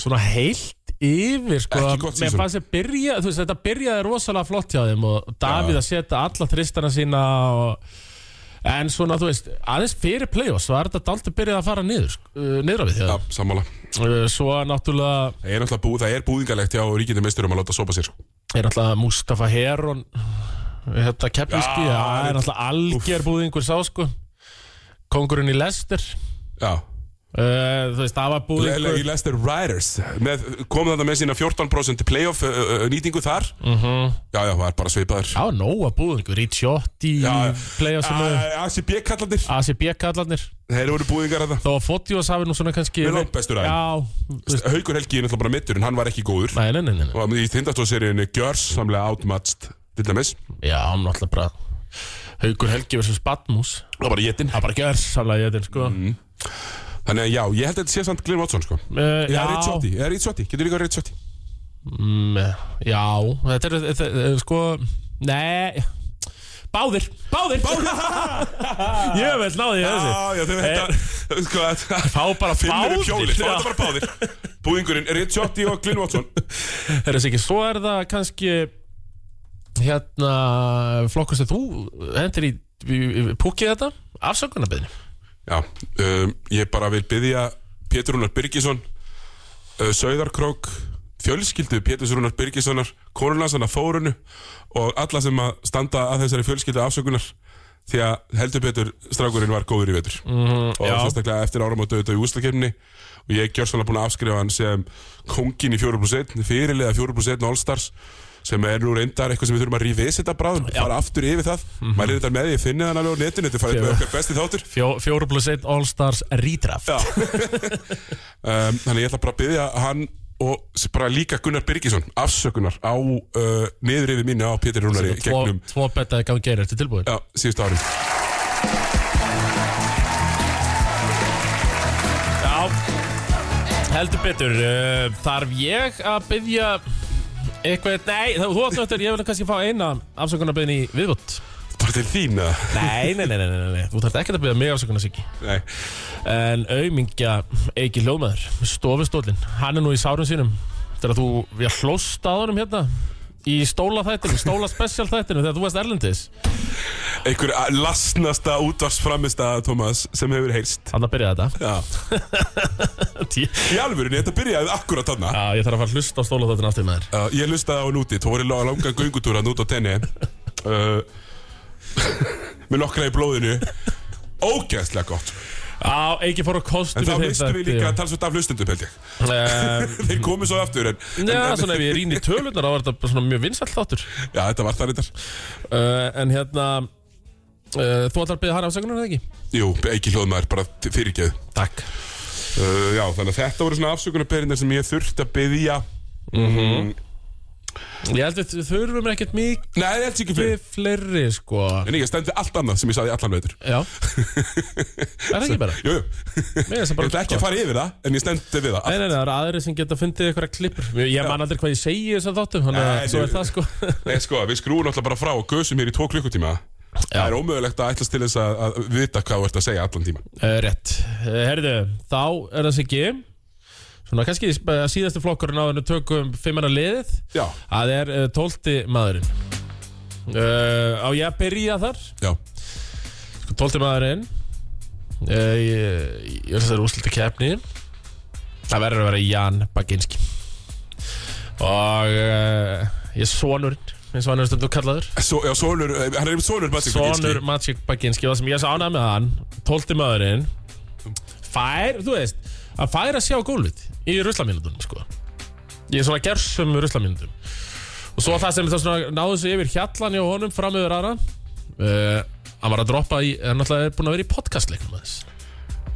Speaker 3: svona heilt yfir sko,
Speaker 2: Ekki gott
Speaker 3: Mér
Speaker 2: season.
Speaker 3: fannst ég byrja, þú veist, þetta byrjaði rosalega flott hjá þeim og Davíð að setja alla þristana sína og, en svona, þú veist, aðeins fyrir play-offs var þetta dalti byrjað að fara niður sko, uh, niður á við hjá
Speaker 2: Já,
Speaker 3: þeim
Speaker 2: sammála
Speaker 3: uh, Svo náttúrulega
Speaker 2: Það er náttúrulega búið, það er búðingalegt hjá ríkjandi meisturum að láta sopa sér sko
Speaker 3: er náttúrulega Mustafa Heron þetta keppniski,
Speaker 2: Já,
Speaker 3: já, það er náttúrulega algjör búðingur sá, sko Kongurinn í Lester
Speaker 2: Já,
Speaker 3: uh, þú veist, það var
Speaker 2: Leila
Speaker 3: búðingur
Speaker 2: í Leicester Riders með, kom þetta með sína 14% playoff uh, uh, nýtingu þar Já, já, það er bara svipaður
Speaker 3: Mhm. Já, nóga búðingur, Ricciotti,
Speaker 2: Já, Ah. já.
Speaker 3: Playoffsum,
Speaker 2: ACB kallandir,
Speaker 3: ACB kallarnir
Speaker 2: þeir voru búðingar þetta
Speaker 3: Þó að Fotios hafi nú svona kannski
Speaker 2: Við langbestur aðeins.
Speaker 3: Já, þú veist,
Speaker 2: Haukur Helgi er náttúrulega bara mittur en hann var ekki góður
Speaker 3: nei, nei, nei, nei, nei.
Speaker 2: og í tindastóðseríunni gjörsamlega outmatched til dæmis,
Speaker 3: Já, hann náttúrulega bara Haugur Helgi versus Batmus
Speaker 2: það var jetin
Speaker 3: Það bara gjör samlega ég til, sko
Speaker 2: Mhm.
Speaker 3: mm,
Speaker 2: þannig að já, ég held að þetta sé samt Glyn Watson sko.
Speaker 3: uh,
Speaker 2: eða
Speaker 3: Já,
Speaker 2: Ricciotti, eða Ricciotti, getur líka Ricciotti
Speaker 3: mm, já, þetta er, þetta er, er sko Nei Báðir, báðir, báðir. Ég vil náði ég þessi
Speaker 2: já, já, þau
Speaker 3: Eh,
Speaker 2: þetta sko, þetta-
Speaker 3: Fá bara
Speaker 2: finnur upp hjólið, þá er
Speaker 3: Já.
Speaker 2: þetta bara báðir búðingurinn, Ricciotti og Glyn Watson
Speaker 3: Herra Siggi, svo er það kannski hérna flokkur sem þú hendur í, í, í púkið þetta afsökunarbeðinu
Speaker 2: já, um, ég bara vil byggja Pétur Rúnar Birgisson uh, Söðarkrók fjölskyldu Péturs Rúnar Birgissonar konunansana Þórunu og alla sem að standa að þessari fjölskyldu afsökunar því að heldur Pétur strákurinn var góður í vetur og
Speaker 3: já.
Speaker 2: sérstaklega eftir áramóta auðvitað í úslakefni og ég er gjörsanlega búin að afskrifa hann sem kongin í 4 plus 1 fyrirlega 4 plus 1 All-Stars sem er nú reyndar eitthvað sem við þurfum að revisita bráðum, fara aftur yfir það maður er þetta með, ég finni þann alveg á netinu þetta er farið með okkar besti þáttur
Speaker 3: Fjó, Fjóru plus 1 All-Stars redraft
Speaker 2: Já um, Þannig ég ætla bara að byggja hann og s- bara líka Gunnar Birgisson afsökunar á uh, niður yfir minni á Pétur Rúnari
Speaker 3: Tvo,
Speaker 2: gegnum
Speaker 3: tvo bettaði gangi er eftir tilbúin
Speaker 2: já, síðustu ári
Speaker 3: Já, heldur betur uh, Þarf ég að byggja eitthvað, nei, þá- þú átt náttúrulega ég vil kannski fá eina afsökunarbeðinu í viðbútt
Speaker 2: Bara til þín eða?
Speaker 3: nei, nei, nei, nei, nei, nei, þú þarf ekki að byggja mig afsökunar Siggi
Speaker 2: Nei,
Speaker 3: En auðmingja Eiki Ljómaður, stofustólinn, hann er nú í sárum sínum Þegar þú, við hlóst að honum hérna Í stóla þættinu, stóla special þættinu þegar þú varst erlendis
Speaker 2: Einhver a- lasnasta útvarsframista Thomas sem hefur heyrst
Speaker 3: Þannig að byrja þetta
Speaker 2: Já, í alvörunni, þetta byrjaði akkurat þarna
Speaker 3: Já, ég þarf að fara að hlusta á stóla þættinu aftur maður
Speaker 2: uh, Ég lustaði á hann úti, þú voru lá- langan göngutúran út á tenni uh, með nokkra í blóðinu Ógeðslega gott
Speaker 3: Já, Eiki fór á kostum
Speaker 2: En þá mistum við líka að tala svolítið af hlustundum held ég
Speaker 3: Nei,
Speaker 2: Þeir komu svo aftur en, en,
Speaker 3: svona ef ég rýni tölurnar þá var þetta bara svona mjög vinsælt þáttur
Speaker 2: Já, þetta var það reyndar
Speaker 3: uh, En hérna, uh, þú ætlar að byrja hann afsökunar eða ekki?
Speaker 2: Jú, ekki hljóðmaður, bara fyrirgeðu
Speaker 3: Takk
Speaker 2: Uh, já, þannig að þetta voru svona afsökunarberinir sem ég þurfti að byggja
Speaker 3: Ég held að við þurfum ekkert mikið
Speaker 2: Nei, ég held sér ekki fyrir
Speaker 3: fleiri sko
Speaker 2: En ég stendi allt annað sem ég sagði allan veitur
Speaker 3: Já Er það ekki bara?
Speaker 2: Jú, jú
Speaker 3: Mér er það
Speaker 2: Ég
Speaker 3: bara
Speaker 2: ætla ekki að fara yfir það En ég stendi við það
Speaker 3: Nei, nei, nei, það eru aðri sem geta fundið eitthvað klippur Ég ég man aldrei hvað ég segi í þessum þáttum Þannig
Speaker 2: Nei,
Speaker 3: að svo
Speaker 2: nei.
Speaker 3: er það sko
Speaker 2: Nei, sko, við skrúum alltaf bara frá og gösum hér í tvo klukkutíma Það er ómögulegt að ætlast til þess að, að vita hvað þú ert að segja allan tíma
Speaker 3: Eh, Rétt Eh, Herðu, þá er það Siggi Svona kannski eh, síðasti flokkurinn á þennu tökum fimmana liðið
Speaker 2: Já,
Speaker 3: Það er uh, tólti maðurinn uh, Á ég að byrja þar
Speaker 2: já,
Speaker 3: sko, Tólti maðurinn uh, Ég, ég þess að það er úrslita keppni Það verður að vera Jan Baginski Og uh, ég er sonurinn eins og hann er stundum kallaður
Speaker 2: so, já sonur, eh, hann er um sonur Patrick
Speaker 3: Sonur
Speaker 2: Baginski.
Speaker 3: Magic Baginski og það sem ég sá ánað með hann Tólti maðurinn Fær, þú veist Að fær að sjá gólfið Í ruslaminundunum sko Ég er svona gersum ruslaminundum Og svo það sem það svona náðu sig yfir hjallan hjá honum Fram yfir aðra uh, Hann var að droppa í Hann náttúrulega er búin að vera í podcastleikum aðeins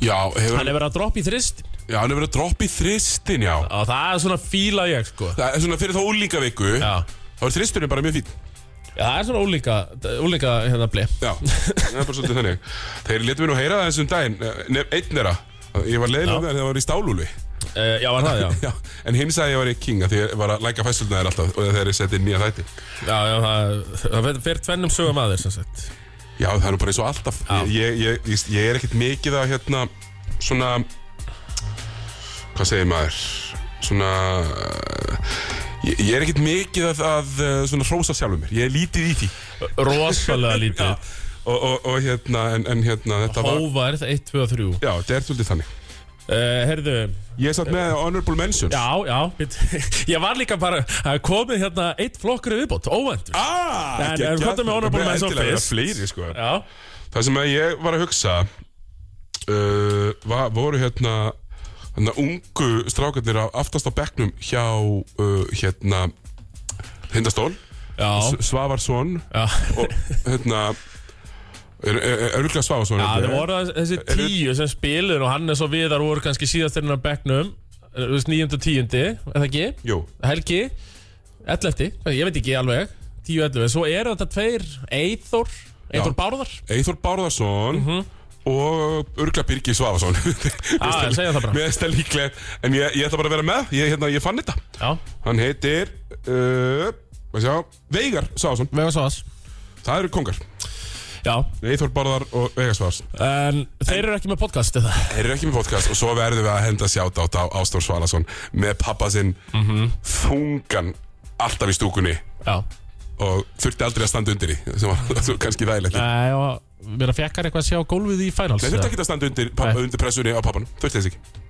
Speaker 2: Já, hefur,
Speaker 3: Hann er verið að droppa í þrist
Speaker 2: já, hann hefur verið að droppa í þristin, já
Speaker 3: Og það er svona fíla ég sko
Speaker 2: Það er svona fyrir þá úlingaviku
Speaker 3: Já
Speaker 2: Þá er þristurinn bara mjög fín
Speaker 3: Já, það er svona ólíka, ólíka hérna blei.
Speaker 2: Já, það er bara svolítið þannig Þeir letum við nú heyra það þessum daginn Nefn einn er að Ég var leiðilega með þegar það var í stálúli
Speaker 3: Uh, já, var það, já.
Speaker 2: Já, en hinn sagði að ég var í king að því ég var að læka fæsturna þér alltaf og þegar ég seti inn nýja þætti
Speaker 3: Já, já, það, það fyrir tvennum sögum aðeins, sem sagt.
Speaker 2: Já, það er nú bara eins og alltaf ég, ég, ég, ég er ekkert mikið að hérna svona hvað segir maður svona eh, ég, ég er ekkert mikið að, að eh, svona hrósa sjálfum mér, ég er lítið í því
Speaker 3: Rosalega lítið.
Speaker 2: og, og, og hérna, en, en hérna þetta var,
Speaker 3: Hóvarð 1, 2 og 3 uh,
Speaker 2: já, þetta er svolítið þannig
Speaker 3: Herðu,
Speaker 2: Ég er satt með honorable mentions
Speaker 3: já, já bit, Ég var líka bara að komið hérna Eitt flokkur í viðbót, óvendur
Speaker 2: Ah,
Speaker 3: En-
Speaker 2: geggjað.
Speaker 3: en hvað er með honorable
Speaker 2: Það er
Speaker 3: mentions
Speaker 2: endilega
Speaker 3: fyrst?
Speaker 2: fleiri, sko.
Speaker 3: Já,
Speaker 2: Það sem að ég var að hugsa uh, var, voru hérna hérna ungu strákarnir á aftast á bekknum hjá uh, hérna Hindastól,
Speaker 3: já,
Speaker 2: Svavarsson
Speaker 3: já.
Speaker 2: og hérna er, er, er örgulega Svavarsson
Speaker 3: já
Speaker 2: held
Speaker 3: Það
Speaker 2: ég.
Speaker 3: voru þessi tíu sem spilur Og Hannes og Viðar voru kannski síðastirinn á bekknum eh, Þú veist, Níund og tíundi Er það ekki?
Speaker 2: Jú,
Speaker 3: Helgi, 11 Ég veit ekki alveg, 10-11 Svo eru þetta tveir, Eithor Eithor Bárðar
Speaker 2: Eithor Bárðarsson
Speaker 3: Mhm.
Speaker 2: og örgulega Birgir Svavarsson
Speaker 3: Já,
Speaker 2: ah,
Speaker 3: ég segja það bara.
Speaker 2: Mér er stel líklegt En ég, ég ætla bara að vera með, ég, hérna, ég fann þetta
Speaker 3: Já,
Speaker 2: Hann heitir uh, hvað sjá, Veigar Svavarsson
Speaker 3: vega svo þess
Speaker 2: Það eru kongar
Speaker 3: Já,
Speaker 2: Eithor Bárðar og Veigar Svavarsson
Speaker 3: en þeir eru ekki með podcast eða?
Speaker 2: Þeir eru ekki með podcast og svo verðum við að henda sjátátt á Ástór Svalason með pappa sinn Mhm. þungan alltaf í stúkunni
Speaker 3: Já
Speaker 2: og þurfti aldrei að standa undir því sem var svo kannski þægilegt Nei,
Speaker 3: Nei, og mér að fekkar eitthvað að sjá gólfið í finals
Speaker 2: þurfti
Speaker 3: eða?
Speaker 2: ekki að standa undir, pappa,
Speaker 3: Nei.
Speaker 2: undir pressunni á pappanum Þurfti þess ekki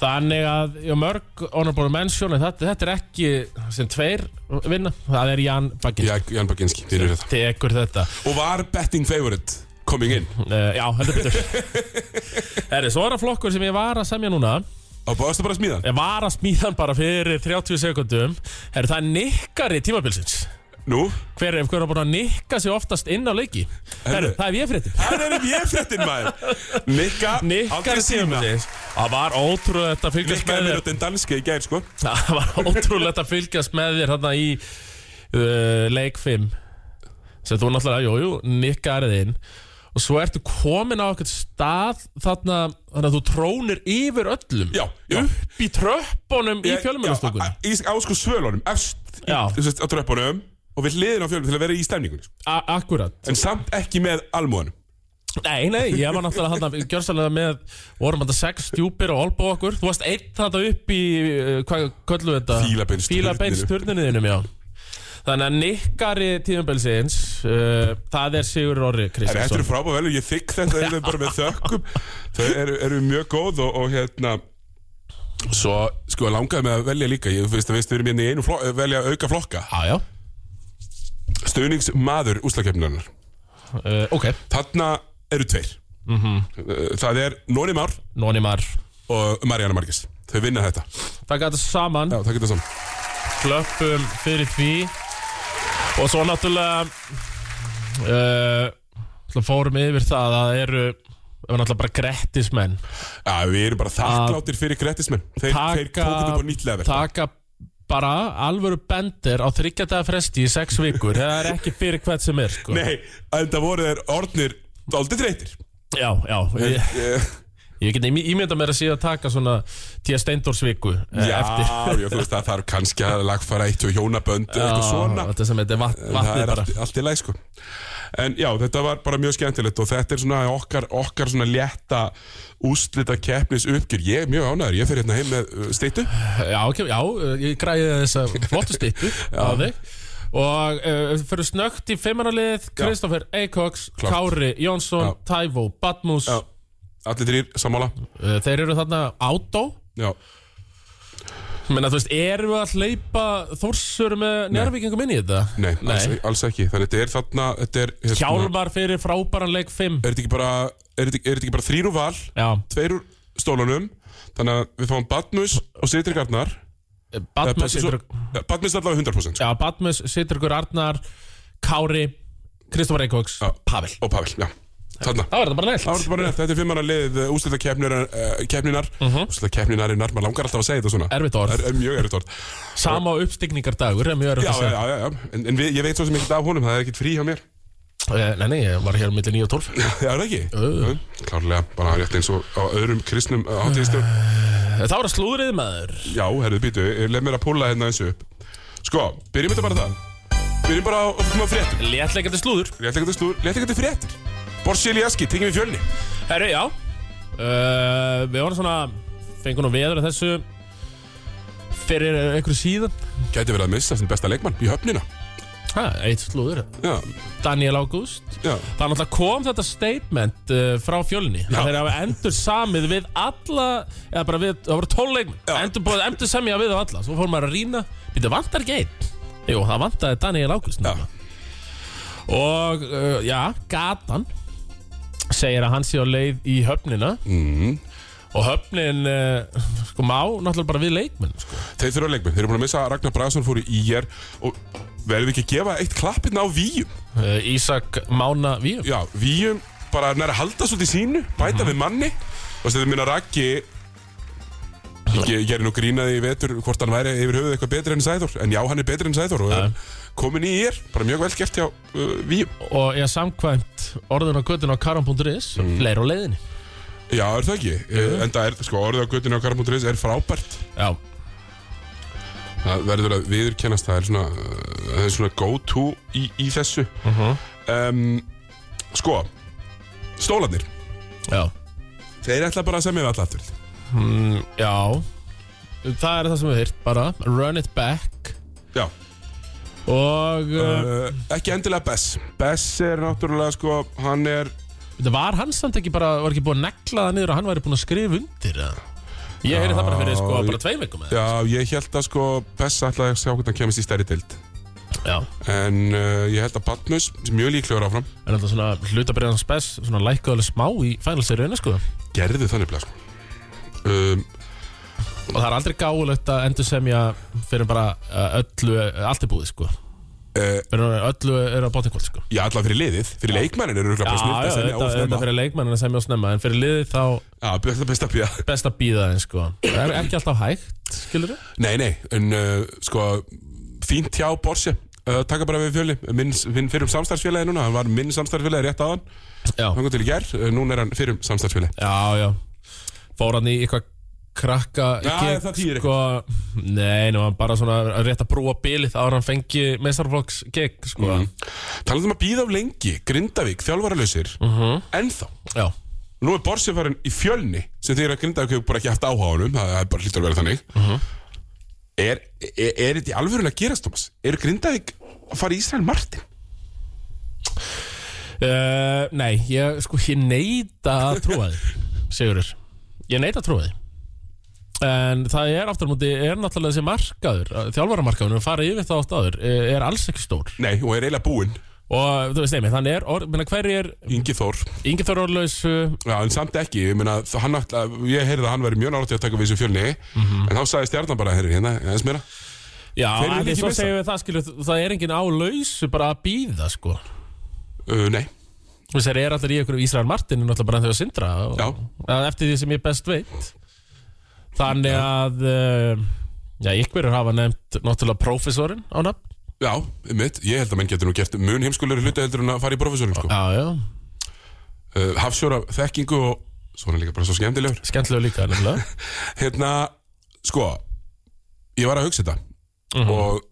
Speaker 3: Þannig að já, mörg honorable mention en þetta, þetta er ekki sem tveir vinna Það er Jan Baggins
Speaker 2: Já, Jan Baginski, þið eru þetta
Speaker 3: Tekur þetta
Speaker 2: Og var betting favorite coming in
Speaker 3: uh, Já, heldur betur Herri, svo er það flokkur sem ég var að semja núna
Speaker 2: á báðastu bara smíðan
Speaker 3: Ég var að smíðan bara fyrir 30 sekundum Herri, það er nikkari tímabilsins
Speaker 2: Nú,
Speaker 3: Hver er hver er búin að nikka sig oftast inn á leiki
Speaker 2: Herri.
Speaker 3: Herri, það er ég fréttin
Speaker 2: það er um ég fréttin maður Nikka,
Speaker 3: Nikkari
Speaker 2: aldrei sína
Speaker 3: tímabilsins Það var ótrúlega þetta að fylgjast
Speaker 2: Nikka er
Speaker 3: með þér
Speaker 2: mér á den danski í gær sko
Speaker 3: Það var ótrúlegt að fylgjast með þér hérna í uh, leik 5 sem þú náttúrulega, jú, jú, nikkaðið inn og svo ertu komin á eitthvað stað þarna, þannig að þú trónir yfir öllum
Speaker 2: Já, já
Speaker 3: upp í tröppunum í fjölmjölastúkunni
Speaker 2: Já, Í á sko svölunum, efst í-
Speaker 3: Já.
Speaker 2: þú veist, á tröppunum og við hliðin á fjölunum til að vera í stemningunni sko.
Speaker 3: Akkurat,
Speaker 2: en samt ekki með almúanum
Speaker 3: nei, nei, ég var náttúrulega hann gjörsalega með, vorum hann sex stjúpir og olbú okkur, þú varst einn þetta upp í, uh, hvað köllu þetta?
Speaker 2: Fílabeinsturninum.
Speaker 3: Fílabeinsturninum, já Þannig að nikkari tíðanbelsins uh, Það er Sigur Orri
Speaker 2: Herri, Þetta
Speaker 3: Kristinsson
Speaker 2: eru frábæð velur, ég þykk þetta er bara með þökkum þau eru, eru mjög góð og, og hérna svo sko langaði með að velja líka ég finnst að veist við erum hérna í einu flokka, velja auka flokka
Speaker 3: Já, já,
Speaker 2: stöðningsmaður úslakefnarnar
Speaker 3: uh, ok
Speaker 2: þarna eru tveir Mhm. það er Nóni Már
Speaker 3: Nóni Mar
Speaker 2: og Mariana Margis þau vinna þetta,
Speaker 3: Það gæti saman,
Speaker 2: já það getur saman
Speaker 3: klöppum fyrir því Og svo eh, náttúrulega uh, náttúrulega Fórum yfir það að það eru Það var náttúrulega bara grettismenn
Speaker 2: Já, við erum bara þakkláttir fyrir grettismenn Þeir, þeir
Speaker 3: Taka-
Speaker 2: tókum upp á nýtt level sko.
Speaker 3: Taka bara alvöru bendir á þryggjadaga fresti í sex vikur Það er ekki fyrir hvert sem er sko.
Speaker 2: Nei, enda voru þeir orðnir Daldið þreytir
Speaker 3: Já, já Ég,
Speaker 2: Eh,
Speaker 3: ég get ímy- ímyndað mér að síðan taka svona Tía Steindórsviku eh,
Speaker 2: Já,
Speaker 3: eftir
Speaker 2: já, þú veist það þarf kannski að lagfæra eitt og hjónabönd eða eitthvað svona
Speaker 3: Þetta sem þetta er vat,
Speaker 2: En það
Speaker 3: vatnið
Speaker 2: er
Speaker 3: bara
Speaker 2: allt, allt í læg sko En já, þetta var bara mjög skemmtilegt og þetta er svona okkar, okkar svona létta úslita keppnis uppgjör Ég er mjög ánæður, ég fer hérna heim með uh, steytu
Speaker 3: Já, ok, já, ég græði þessa flottu stýttu á þig Og uh, fyrir snögt í fimmaralið Kristoffer Eikoks,
Speaker 2: Klárt.
Speaker 3: Kári Jónsson, Tævo, Badmus
Speaker 2: Já. Allir þrýr, sammála
Speaker 3: uh, Þeir eru þarna átó
Speaker 2: Já,
Speaker 3: Menna, þú veist, erum við að hleypa Þórsur með njárvíkingum inn í þetta?
Speaker 2: nei, Alls, alls ekki Þannig þetta er þarna, þetta er hérna,
Speaker 3: Hjálmar fyrir frábæran leik 5
Speaker 2: Er þetta ekki bara, er þetta, er þetta ekki bara þrýr úr val,
Speaker 3: Já,
Speaker 2: tveir úr stólunum Þannig að við fáum Badmus og Sitri Garnar eh,
Speaker 3: Badmus situr
Speaker 2: Badmus er allavega 100%
Speaker 3: Já, Badmus situr ykkur Arnar Kári, Kristoffer Eikoks
Speaker 2: Já.
Speaker 3: Pavel
Speaker 2: Og Pavel, já, þarna
Speaker 3: Það var þetta bara
Speaker 2: Það var
Speaker 3: nælt
Speaker 2: þetta bara rétt, þetta er eh, fimmara lið úslita keppninar Úslita keppninarinnar, eh, maður langar alltaf að segja þetta svona
Speaker 3: Mhm. Erfitt orð.
Speaker 2: er, er Mjög erfitt orð
Speaker 3: Sama uppstigningardagur, er mjög
Speaker 2: Já,
Speaker 3: erfitt að
Speaker 2: já,
Speaker 3: segja
Speaker 2: já, já, en, en við, ég veit svo sem ekkert af honum, það er ekkert frí hjá mér
Speaker 3: Eh, Nei, nei, ég var hér millir 9 og 12
Speaker 2: Já, er það ekki?
Speaker 3: Öh.
Speaker 2: Uh. Klárlega, bara rétt eins og á öðrum kristnum eh, átíðistum
Speaker 3: Eh, Það var að slúðrið maður
Speaker 2: Já, herðu, býtu, leið mér að púla hérna eins og upp Sko, byrjum þetta bara það Byrjum bara á, á fréttum
Speaker 3: Léttleikandi slúður
Speaker 2: Léttleikandi slúr, léttleikandi fréttir Borsiljaski, tengjum við fjölni
Speaker 3: Herru, já uh, Við varum svona Fengum nú veður að þessu Fyrir einhverju síðan
Speaker 2: Gæti verið að missa sinn besta leikmann í höfnina
Speaker 3: Ha, eitt slúður
Speaker 2: Já,
Speaker 3: Daniel Ágúst
Speaker 2: já,
Speaker 3: Það er náttúrulega kom þetta statement uh, frá fjölni
Speaker 2: Já.
Speaker 3: að þeir hafa endur samið við alla eða bara við, það voru tónleik
Speaker 2: Já.
Speaker 3: endur, búið, endur semja við á alla, svo fór maður að rýna býttu, vantar ekki einn Jú, það vantaði Daniel Ágúst
Speaker 2: já,
Speaker 3: nefnilega. Og uh, já, gatan segir að hann sé á leið í höfnina
Speaker 2: mm.
Speaker 3: og höfnin uh, sko má náttúrulega bara við leikmenn sko.
Speaker 2: Þeir þurfa leikmenn, þeir eru búin að missa að Ragnar Braðsson fór í IR og verðum við ekki að gefa eitt klappinn á Víum
Speaker 3: uh, Ísak Mána Víum
Speaker 2: Já, Víum bara næra að halda svolítið sínu, bæta við manni og þetta minna Raggi ég, ég er nú grínaði í vetur hvort hann væri yfir höfuð eitthvað betri en Sæþór en já, hann er betri en Sæþór og er komin í IR, bara mjög vel gert hjá uh, Víum
Speaker 3: og ég samkvæmt orðin á kvötin á karam.is
Speaker 2: Mhm.
Speaker 3: mm. leir á leiðinni
Speaker 2: Já, er það ekki? Uh. En það er, sko, orðið á göttinu á Karamúnduris er frábært
Speaker 3: Já,
Speaker 2: Það verður að viðurkennast, það er svona, uh, það er svona go-to í, í þessu. um, sko, stólarnir,
Speaker 3: já,
Speaker 2: þeir ætla bara að semja við alla aftur.
Speaker 3: mm, já Það er það sem við hýrt bara Run it back
Speaker 2: Já,
Speaker 3: Og uh,
Speaker 2: uh, ekki endilega Bess. Bess er náttúrulega, sko, hann er,
Speaker 3: þetta var hann samt ekki bara var ekki búið að negla það niður og hann væri búin að skrifa undir eða? Ég heyrði það bara fyrir sko
Speaker 2: Já,
Speaker 3: bara tveim veikum eða?
Speaker 2: já, ég held að, sko, Bess ætla að sjá hvernig hann kemist í stærri dild.
Speaker 3: Já,
Speaker 2: En uh, ég held að Batnus, sem mjög líklegur áfram,
Speaker 3: en alltaf svona hlutabriðan spes svona lækkaðu alveg smá í Final Seriuna sko og
Speaker 2: gerði þannig bleið, sko. Um,
Speaker 3: það er aldrei gáulegt að endur semja fyrir bara uh, öllu uh, allt er búið sko
Speaker 2: uh,
Speaker 3: fyrir öllu er á bótingkvöld sko
Speaker 2: já, allavega fyrir liðið, fyrir leikmennin eru
Speaker 3: Já,
Speaker 2: örugglega bara snillt
Speaker 3: já,
Speaker 2: að semja
Speaker 3: þetta, þetta
Speaker 2: ósnemma.
Speaker 3: fyrir leikmennina sem ég á snemma en fyrir liðið þá
Speaker 2: Já, best að- best að bíða.
Speaker 3: best að býða þeim sko Það er ekki alltaf hægt, skilur þau?
Speaker 2: Nei, nei, en uh, sko fínt hjá Borsi uh, taka bara við fjöli, minn, minn fyrrum samstarfsfélagi núna, hann var minn samstarfsfélagi rétt aðan
Speaker 3: Já,
Speaker 2: hann kom til í gær, uh, núna er hann fyrrum samstarfsfélagi
Speaker 3: já, já Fór hann í eitthvað krakka
Speaker 2: Já, það þýðir
Speaker 3: sko, Nei, nú hann bara svona að rétt að brúa bilið ára hann fengi meistarflokks gig sko
Speaker 2: mm. talaðum að býða af lengi, Grindavík þjálfaralausir, ennþá
Speaker 3: Já,
Speaker 2: nú er Borsi farin í fjölni sem þegar að Grindavík hefur bara ekki haft áhuga á honum það það er bara hlýtur að vera þannig er, er, er þetta í alvörun að gerast, Thomas? Er Grindavík að fara í Ísrael Martin?
Speaker 3: Uh, nei, ég, sko, ég neita að trúa því Sigurður Ég neita að trúa því En það er aftur á móti, er náttúrulega þessi markaður Þjálfaramarkaður, við fara yfir það átt áður eh, Er alls ekki stór
Speaker 2: Nei, og er eiginlega búinn,
Speaker 3: Og þú veist, neymi, þannig er, or, menna, hver er
Speaker 2: Ingi Þór
Speaker 3: Ingi Þór uh, Orlaus
Speaker 2: Já, en samt ekki, ég meina, þ- hann ætla, ég heyrði að hann væri mjög náttúrulega að taka við þessu fjölni en þá sagði stjarnan bara, heyrðu, hérna, eins meira
Speaker 3: Já,
Speaker 2: Þeir eru
Speaker 3: en
Speaker 2: ekki
Speaker 3: svo
Speaker 2: missa.
Speaker 3: segjum við það skilur Það er engin á lausu bara að býða, sko
Speaker 2: uh, Nei,
Speaker 3: Þú veist, þeir eru allir í einhverju Ísrael Martin er náttúrulega bara en þau að sindra og,
Speaker 2: Já.
Speaker 3: að eftir því sem ég best veit þannig að uh, já, ykkur hafa nefnt náttúrulega prófessorinn á nafn
Speaker 2: Já, mitt, ég held að menn getur nú gert mun heimskulegur hluti heldur en að fara í professorin sko.
Speaker 3: Já, já,
Speaker 2: uh, Hafsjóra þekkingu og svona líka bara svo skemmtilegur
Speaker 3: skemmtilega líka nefnilega
Speaker 2: Hérna, sko Ég var að hugsa þetta og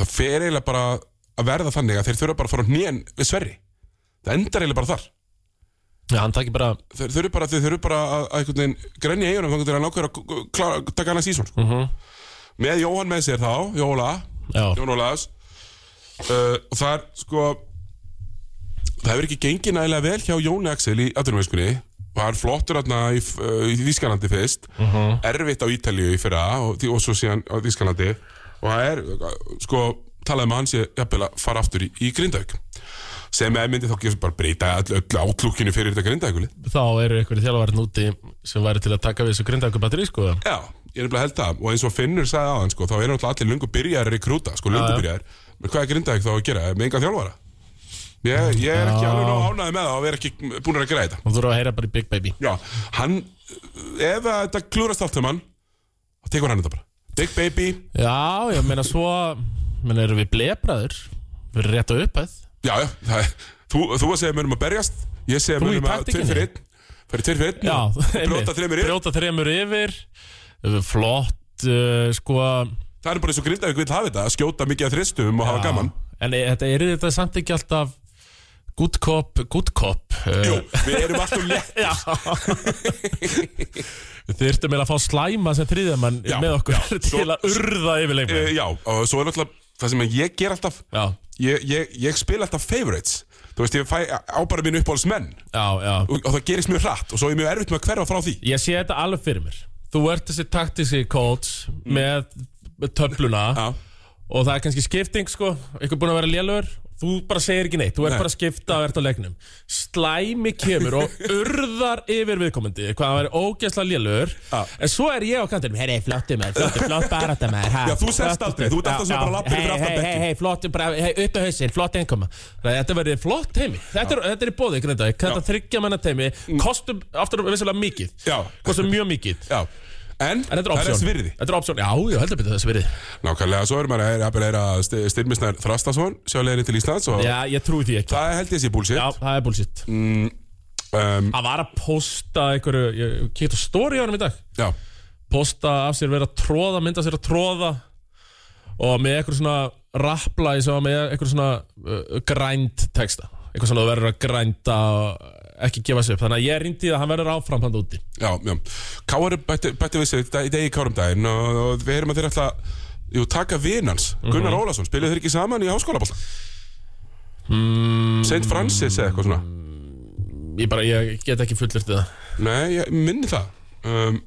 Speaker 2: það fer eiginlega bara að verða þannig að þeir þurfa bara að fara á hnén við Sverri Það endar eiginlega bara þar
Speaker 3: Já, hann takir bara
Speaker 2: Þeir þurfa bara, þeir þurfa bara að, að einhvern veginn grenja í eigunum þannig að hann ákveður að k- k- klára- taka hann að sísón sko. Með Jóhann með sér þá, Jóla
Speaker 3: Já,
Speaker 2: Jón Ólaðs uh, og það er sko það hefur ekki gengið nægilega vel hjá Jóni Axel í aðrunumveiskunni var flottur aðna í, f- uh, í Þískalandi fyrst erfitt á Ítalíu í fyrra og, því- og svo síðan á Þískalandi og það er uh, sko talaði með hans ég jafnvel að fara aftur í, í Grindavík sem eða myndi þá ekki bara breyta öll, öll átlúkinu fyrir þetta Grindavíkulið
Speaker 3: þá eru ykkur þjálfarinn úti sem væri til að taka við þessu grindaku batteri sko
Speaker 2: Já, ég er nefnilega held það og eins og Finnur sagði aðan sko, þá er náttúrulega allir lungu byrjaðar að rekrúta, sko lungu byrjaðar menn hvað er Grindavík þá að gera, með enga þjálfara ég, ég er ekki alveg nóg ánæði með það og við erum ekki búin að gera þetta
Speaker 3: og þú eru að heyra bara í Big Baby
Speaker 2: Já, hann, ef að þetta klúrast allt um hann, þá tekur hann þetta bara Big Baby,
Speaker 3: Já, ég meina svo menn eru við blebraður við erum rétt á upphæð
Speaker 2: já, já það, er- þú, þú að segja mönum að berjast ég segja
Speaker 3: Þú í
Speaker 2: mönum að
Speaker 3: taktíkinni?
Speaker 2: tveir fyrir einn fyrir tveir fyrir einn
Speaker 3: Já,
Speaker 2: og
Speaker 3: einmitt.
Speaker 2: brjóta þreymur yfir
Speaker 3: Brjóta þremur yfir Flott uh, Sko
Speaker 2: það er bara eins og Grindavík vil hafa þetta, að skjóta mikið að þristum og hafa gaman
Speaker 3: En e- þetta er þetta samt ekki alltaf Good cop, good cop uh,
Speaker 2: Jú, við erum alltaf létt
Speaker 3: Já Þið ertu meila að fá slæma sem þriðamann
Speaker 2: Já,
Speaker 3: með okkur
Speaker 2: já,
Speaker 3: til
Speaker 2: svo-
Speaker 3: að urða yfir leikmenn
Speaker 2: Eh, Já, og svo er náttúrulega það sem ég ger alltaf
Speaker 3: Já,
Speaker 2: ég, ég, ég spila alltaf favorites Þú veist, ég fæ á bara mínu uppáhaldsmenn
Speaker 3: já, já
Speaker 2: og, og það gerist mjög hratt og svo er mjög erfitt með að hverfa frá því
Speaker 3: Ég sé þetta alveg fyrir mér Þú ert þessi taktíski coach með með töfluna
Speaker 2: Mm. Já,
Speaker 3: og það er kannski skipting sko ykkur búin að vera lélögur þú bara segir ekki neitt, þú ert
Speaker 2: Nei.
Speaker 3: bara að skipta og ert á leiknum slæmi kemur og urðar yfir viðkomandi hvað hann væri ógeðslega lélögur
Speaker 2: Já.
Speaker 3: en svo er ég á kantinum, herri, flottu maður flottu, flott barata maður ha,
Speaker 2: Já, þú sest
Speaker 3: flottu
Speaker 2: aldrei,
Speaker 3: stuð.
Speaker 2: þú ert alltaf
Speaker 3: Já,
Speaker 2: svona bara
Speaker 3: já.
Speaker 2: lappir fyrir
Speaker 3: Hey,
Speaker 2: aftan
Speaker 3: hey,
Speaker 2: bekkinn.
Speaker 3: hey, hey, flottu, bara, hey, upp á hausinn, flott einkoma Þannig, að þetta verður flott heimi, þetta er, þetta er í bóði Grindavík, þetta þryggja manna teimi kostum aftur vissulega mikið
Speaker 2: Mm. Já.
Speaker 3: kostum mjög mikið
Speaker 2: já En,
Speaker 3: en þetta er
Speaker 2: það er
Speaker 3: option,
Speaker 2: þess virði
Speaker 3: þetta er option. já, já, heldur betur þess virði
Speaker 2: Nákvæmlega, svo er maður að jafnvel er að styrmisnær Þrastason sjá leiðinni til Íslands og
Speaker 3: já, ég trúi því ekki
Speaker 2: það held ég sé búlsitt
Speaker 3: Já, það er bullshit
Speaker 2: um,
Speaker 3: Hann var að posta einhverju Ég ég kíkti á story á hann í dag
Speaker 2: Já,
Speaker 3: Posta af sér verið að tróða, mynda sér að tróða Og með einhverju svona Rappla í sem var með einhverju svona uh, Grænd texta Einhverju svona þú verður að grænda og Ekki gefa sér upp, þannig að ég rýndi að hann verður áfram hann úti
Speaker 2: já, já Káar bætti, bætti við sig dag- í degi Kárum daginn og, og við erum að þeir ætla Jú, taka vinans, Gunnar
Speaker 3: Mhm.
Speaker 2: Ólafsson Spiluðu þeir ekki saman í háskólabóll mm. Saint Francis eða eitthvað svona
Speaker 3: Hmm, Ég bara, ég get ekki fullert það
Speaker 2: Nei, ég minni það um,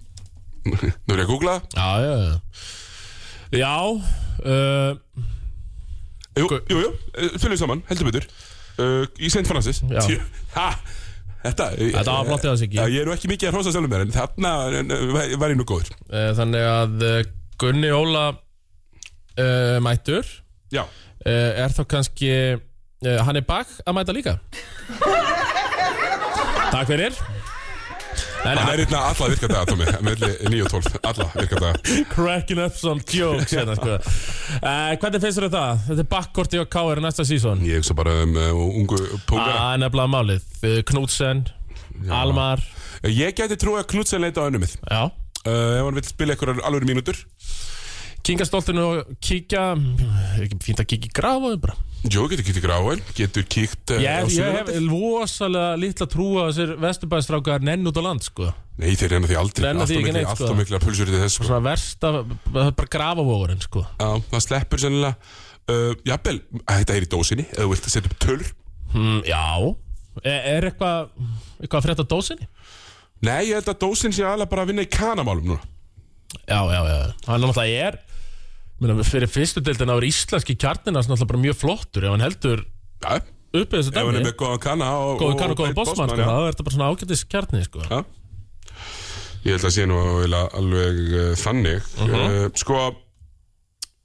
Speaker 2: Nú er ég að googla það.
Speaker 3: Já, já, já Já, uh,
Speaker 2: Jú, jú, jú, eh, fylgjum saman, heldur betur uh, Í St. Francis
Speaker 3: Já.
Speaker 2: Tjú, ha, Þetta eh,
Speaker 3: þetta var flott eða sig ekki
Speaker 2: Já, ég er nú ekki mikið að hrósa sjálfum mér En þarna eh, var ég nú góður
Speaker 3: Eh, Þannig að eh, Gunni Óla uh, mættur
Speaker 2: Já,
Speaker 3: uh, er þá kannski uh, hann er bakk að mæta líka Takk fyrir En
Speaker 2: hann er einna alla virka daga, Tómi Melli 9 og 12, alla virka daga
Speaker 3: cracking up some jokes hérna, sko. uh, Hvernig finnst þér það? Þetta er bakkkorti á KR næsta sísón
Speaker 2: Ég hugsa bara um uh, ungu pungara
Speaker 3: Það er nefnilega málið Eh, Knudsen, Almar
Speaker 2: Eh, Ég gæti trúið að Knudsen leita á önnumið
Speaker 3: Já
Speaker 2: uh, Ef hann vill spila eitthvað alveg mínútur
Speaker 3: Kinga stoltinu og kíkja er ekki fínt að kíkja í graf á þeim bara
Speaker 2: Jó, getur kíkt í gráin, getur kíkt uh, á
Speaker 3: ég, hef- ég hef
Speaker 2: Suðurlandið.
Speaker 3: rosalega litla trúa þessir vesturbæðstrákar nenn út á land sko
Speaker 2: Nei, þeir reyna því aldrei
Speaker 3: Nenna því
Speaker 2: Alltaf
Speaker 3: ekki
Speaker 2: mikla-
Speaker 3: neitt, sko.
Speaker 2: Alltaf mikla pulsur til þess sko.
Speaker 3: svona versta, það er bara grafavogurinn sko
Speaker 2: Já, það sleppur sennilega uh, Jafnvel, að þetta er í dósinni Ef þú vilt setja upp tölur
Speaker 3: Mm, já Er, E, er eitthvað eitthvað að frétta dósinni?
Speaker 2: Nei, ég held að dósin sé alveg bara að vinna í kanamálum núna
Speaker 3: Já, já, já Hann er náttúrulega er minna, fyrir fyrstu deildin á er íslenski kjarnin hans náttúrulega bara mjög flottur ef hann heldur
Speaker 2: Já,
Speaker 3: uppið þessu
Speaker 2: ef hann er
Speaker 3: dæmi
Speaker 2: með góðan kana og,
Speaker 3: Góðu kann og góðu
Speaker 2: beinn
Speaker 3: bossmann sko,
Speaker 2: já.
Speaker 3: þá er þetta bara svona ágætis kjarni sko.
Speaker 2: Já. Ég held að
Speaker 3: Mhm.
Speaker 2: sé nú eiginlega alveg uh, þannig uh Sko,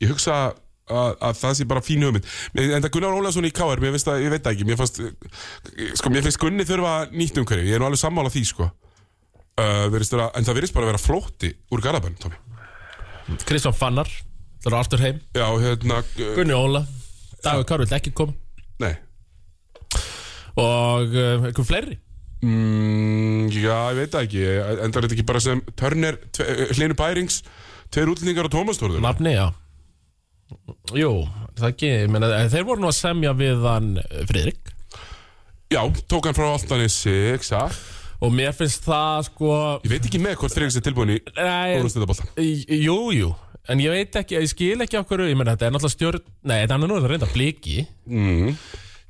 Speaker 2: ég hugsa að, að það sé bara fín hugmynd Mér- en það Gunnar Ólafsson í KR, mér finnst að, ég veit það ekki mér fannst, eh, sko mér finnst Gunni þurfa nýtt umhverfi, ég er nú alveg sammála því sko uh, verist vera, en það verist bara að vera flótti úr Garabæn, Tómi
Speaker 3: Kristján Fannar Það eru aftur heim
Speaker 2: já, hérna, uh,
Speaker 3: Gunni Óla Dagur Karvill ekki kom
Speaker 2: nei
Speaker 3: Og uh, einhver fleiri
Speaker 2: mm, já, ég veit það ekki Ég- endar þetta ekki bara sem Turner tve, eh, Hlynur Bærings, tveir útlendingar og Tómas Þórður
Speaker 3: Nafni, já Jú, það ekki ég meina, Þeir voru nú að semja við hann eh, Friðrik
Speaker 2: já, tók hann frá Altanissi, exakt
Speaker 3: Og mér finnst það sko
Speaker 2: ég veit ekki með hvort Friðriks er tilbúin í
Speaker 3: Nei,
Speaker 2: úrlustendabóltan
Speaker 3: Í- Jú, jú En ég veit ekki, ég skil ekki okkur Ég meina, þetta er náttúrulega stjórn Nei, þetta er nú að reynda bliki
Speaker 2: mm.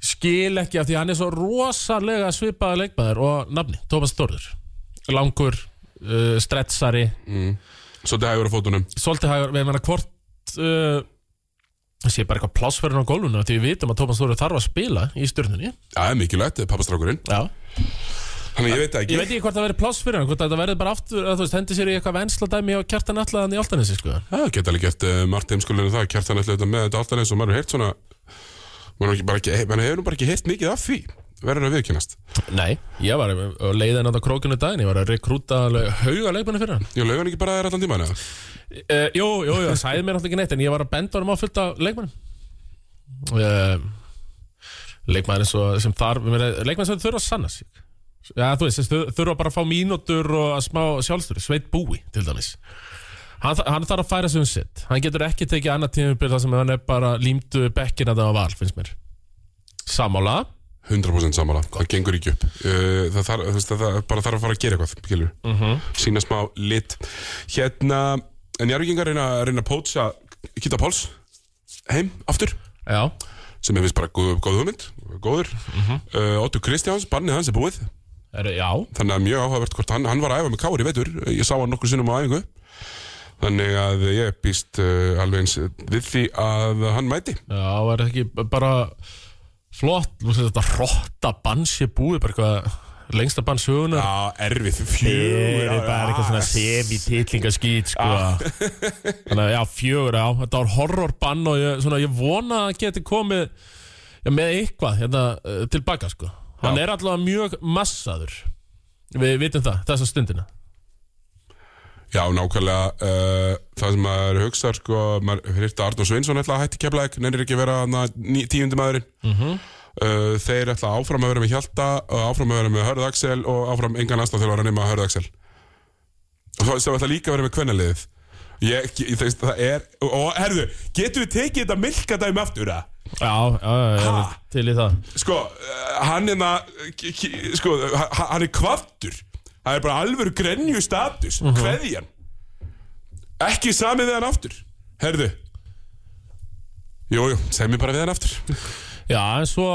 Speaker 3: Skil ekki af því að hann er svo rosalega svipaði leikmaður Og nafni, Tómas Þórður Langur, uh, stretsari
Speaker 2: svo þetta hefur á fótunum
Speaker 3: Svolítið hagur, við meina hvort uh, Sé bara eitthvað plássverðin á gólfinu Því við vitum að Tómas Þórður þarf að spila í stjórnunni
Speaker 2: Já, það er mikilvægt, þetta er pappastrákurinn
Speaker 3: Já
Speaker 2: Þannig ég veit það ekki
Speaker 3: Ég veit ekki hvort það verður pláss fyrir hann Hvort þetta verður bara aftur, að, þú veist, hendi sér í eitthvað vensla dæmi og kjartan allaðan í Altanesi, sko
Speaker 2: Það geta alveg gert uh, margt heimskulinu það Kjartan ætla auðvitað með þetta alltaf eins og maður hefur heyrt svona Maður hefur bara ekki, maður hefur nú bara ekki heyrt mikið af því Verður að viðkennast
Speaker 3: Nei, ég var að leiða hann á krókinu daginn Ég var að rekrúta alveg hauga leikmenni fyrir hann
Speaker 2: Ég lauga hann ekki bara þér allan tíma hana
Speaker 3: uh, Jú, jú, jú, það sæði mér alltaf ekki neitt En ég var að benda honum á fullt af leikmennum uh, Leikmæður svo, sem þar Leikmæður sem þurfa að sanna sig Já, þú veist, þau þurfa bara að fá mínútur og að smá sjálfstöru, Sveit Búi til dæmis Hann, þa- hann þarf að færa sig um sitt Hann getur ekki tekið annað tímabil þar sem hann er bara límdu bekkina það á val, finnst mér Samála
Speaker 2: 100% sammála, það gengur ekki upp uh, Það, þar, það, það bara þarf að fara að gera eitthvað uh -huh. Sýna smá lit Hérna, en jarfingar reyna, reyna að pótsa Kitta Páls Heim, aftur
Speaker 3: Já,
Speaker 2: sem ég finnst bara góð, góð hugmynd, góður uh Otto Kristjáns, bannið hans er búið
Speaker 3: er, já
Speaker 2: þannig að mjög áhugavert hvort hann, hann var að æfa með Kári í vetur, ég sá hann nokkur sinnum á æfingu þannig að ég býst uh, alveg eins við því að hann mæti
Speaker 3: Já, var ekki bara flott, þú veist þetta rotta bans ég búið, bara eitthvað lengsta bans sögunar.
Speaker 2: Já, erfið, fjögur ár, ah,
Speaker 3: semi-titlingaskýt, sko. Þannig að já, fjögur, já, þetta var horrorbann og ég, svona, ég vona að geti komið já, með eitthvað hérna eh, tilbaka, sko. Hann
Speaker 2: Já.
Speaker 3: er allavega mjög massaður. Við vitum það, þessa stundina.
Speaker 2: Já, nákvæmlega uh, það sem maður hugsar sko, maður hefur hýrt að Arnur Sveinsson ætla að hætti keflaðik nennir ekki að vera hana, ní, tíundi maðurinn uh, þeir ætla áfram að vera með Hjalta og áfram að vera með Hörð Axel og áfram engan anstað þegar að nema Hörð Axel og þá sem ætla líka að vera með kvennaliðið ég, ég, það, það er og, og herðu, getum við tekið þetta milkadæmi aftur að?
Speaker 3: Já, já, já, ég er
Speaker 2: Ha?
Speaker 3: til í það.
Speaker 2: sko, eh, hann er na- k- k- sko, ha- ha- hann er kvartur það er bara alvöru grenju status
Speaker 3: Mhm.
Speaker 2: uh kveðjan ekki samið við hann aftur herðu jújú, jú, segð mér bara við hann aftur
Speaker 3: Já, en svo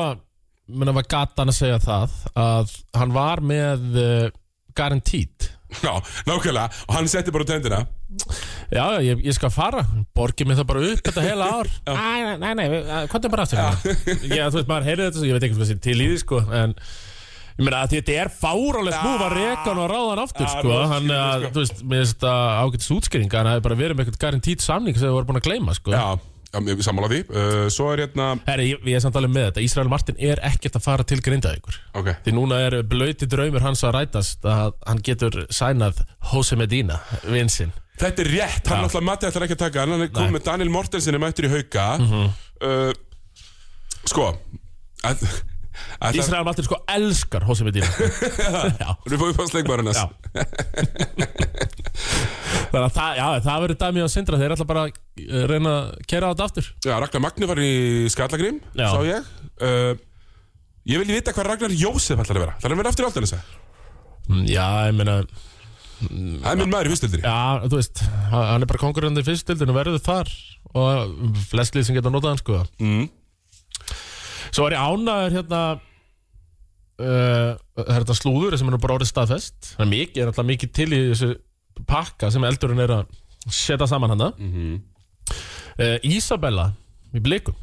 Speaker 3: menna var gatan að segja það að hann var með uh, garantít
Speaker 2: já, nákvæmlega, og hann setti bara út hendina
Speaker 3: Já, já, ég, ég skal fara Borgið mér það bara upp þetta heila ár Æ, Nei, nei, nei, hvað er bara aftur Já, þú veist, maður heyrði þetta svo Ég veit ekki hvað sem til í því, sko En ég meina að þetta er fárálegt múf að reka hann og ráða hann aftur,
Speaker 2: Já,
Speaker 3: sko
Speaker 2: rosa
Speaker 3: Hann,
Speaker 2: skilur,
Speaker 3: að,
Speaker 2: sko.
Speaker 3: þú veist, með þetta ágætis útskýringa Hann hefði bara verið með eitthvað garantít samning sem þau voru búin að gleyma, sko
Speaker 2: já, já mér- sammála því uh, svo er hérna,
Speaker 3: Herri, ég, ég er samt alveg með þetta Ísrael Martin er ekkert að fara til Grindavíkur
Speaker 2: ok
Speaker 3: Því núna er blöyti draumur hans að rætast að hann getur sænað Jose Medina, vinsinn.
Speaker 2: þetta er rétt, hann alltaf Matti ætlar ekki að taka hann, hann er komið með Daniel Mortensen er mættur í hauka
Speaker 3: Mhm.
Speaker 2: uh, sko að, að það-
Speaker 3: Ísrael Martin sko elskar Jose Medina. já.
Speaker 2: Við fáum upp á sleikmarinn þess
Speaker 3: Já. Þannig að það, já, það verður dæmi á sindra Þeir ætla bara að eh, reyna að kera þetta aftur
Speaker 2: Já, Ragnar Magni var í Skallagrím,
Speaker 3: Já.
Speaker 2: sá ég uh, Ég vil vita hvað Ragnar Jósef ætlar að vera Það er að vera aftur í Aldanesa
Speaker 3: Mm, Já, ég meina Mm.
Speaker 2: Það er minn maður í fyrstildri
Speaker 3: Já, þú veist, ha- hann er bara konkurrandi í fyrstildinu Verður þar Og flest lið sem geta notað hann sko
Speaker 2: mm.
Speaker 3: Svo er ég ánæður hérna uh, Það er þetta slúður sem er nú bara orðið staðfest Það er mikið, er alltaf mikið til í þessu pakka sem eldurinn er að setja saman hann mm
Speaker 2: Mhm.
Speaker 3: Ísabella í blikum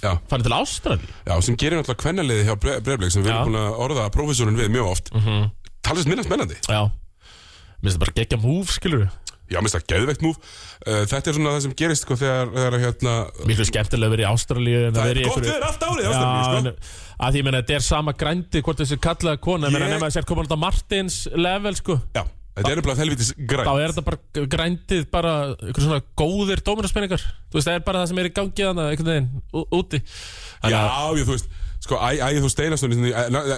Speaker 2: já,
Speaker 3: Farið til Ástrali
Speaker 2: já, sem gerir náttúrulega kvennaliði hjá Breifleik sem við
Speaker 3: Já. Mhm.
Speaker 2: erum búin að orða prófessorinn við mjög oft mm -hmm. Talist minnast mennandi
Speaker 3: Já Mér finnst þetta bara geggja múf, skilur
Speaker 2: Já, mér finnst það geðveikt múf uh, Þetta er svona það sem gerist sko, þegar, þegar hérna,
Speaker 3: Miklu skemmtilega verið í Ástralíu en að
Speaker 2: Það er
Speaker 3: vera í
Speaker 2: gott
Speaker 3: einhverju-
Speaker 2: veður allt árið
Speaker 3: Já,
Speaker 2: Ástralíu, sko.
Speaker 3: en, að því ég meina þetta er sama grændi hvort þessi kallaða kona, ég meina
Speaker 2: Ég-
Speaker 3: nema þessi er komin alltaf Martins level sko,
Speaker 2: sko. Já, þetta er nefnilega helvitis
Speaker 3: þá
Speaker 2: græn
Speaker 3: er þetta bara grændið bara ykkur svona góðir dóminarspinningar þú veist, það er bara það sem er í gangi þannig einhvern veginn ú- úti
Speaker 2: Já,
Speaker 3: Þannig að-
Speaker 2: ég, þú veist Sko, ægir þú Steinarssoni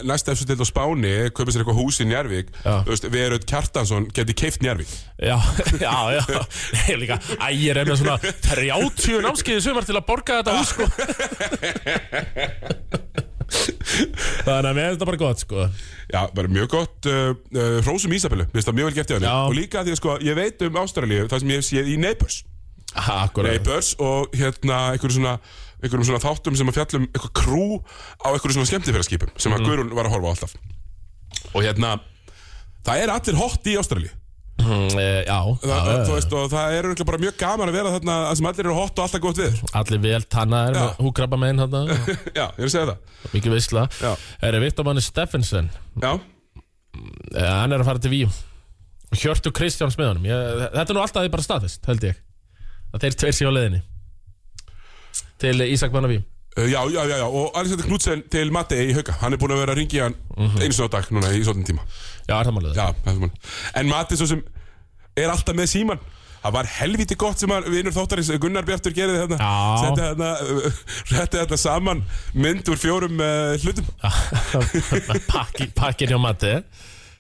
Speaker 2: Næst eftir til á Spáni Kaupið sér eitthvað hús í Njarvík
Speaker 3: Já.
Speaker 2: Þú veist, Veröld Kjartansson geti keift Njarvík
Speaker 3: Já, já, já Ég líka, ægir er með svona 30 námskeiði sumar til að borga þetta hús sko Þannig að mér er þetta bara gott sko
Speaker 2: Já, bara mjög gott uh, uh, Hrósum Ísabellu, mér finnst það mjög vel gert í hann
Speaker 3: Já.
Speaker 2: Og líka af því að sko, ég veit um Ástralíu Það sem ég hef séð í Neighbors
Speaker 3: Akkurat
Speaker 2: Neighbors og hérna einhverjum svona, einhverjum svona þáttum sem að fjallum eitthvað krú á einhverjum svona skemmtifæraskipum sem
Speaker 3: Mhm.
Speaker 2: að Guðrún var að horfa á alltaf og hérna það er allir hot í Ástralíu
Speaker 3: mm, e, Já,
Speaker 2: Þa,
Speaker 3: já,
Speaker 2: þú veist, og það er örugglega bara mjög gaman að vera þarna þar sem allir eru hot og alltaf gott viður
Speaker 3: allir vel tannaðir
Speaker 2: Já.
Speaker 3: með húkrabba megin hann
Speaker 2: Já, ég er að segja það
Speaker 3: Mikið veisla
Speaker 2: Já.
Speaker 3: Er Viktor Manni Steffensen
Speaker 2: Já,
Speaker 3: Eh, Hann er að fara til Víu Hjörtu Kristjáns með honum ég, Þetta er nú alltaf bara staðist, held ég Að þeir tveir séu á leiðinni Til Ísak Manna Víu
Speaker 2: Uh, já, já, já, já, og Alexander Knudsen til Matti í Hauka Hann er búin að vera að ringi hann einu sinni á dag núna í svolítinn tíma
Speaker 3: Já, er það málið
Speaker 2: Já, það er sem hann En Matti svo sem er alltaf með síman Það var helviti gott sem hann vinnur þáttarins eh, Gunnar Bjartur gerði þarna
Speaker 3: Já.
Speaker 2: Setti þarna, uh, setti þarna saman mynd úr fjórum uh, hlutum
Speaker 3: pakki, pakkin hjá mati eh?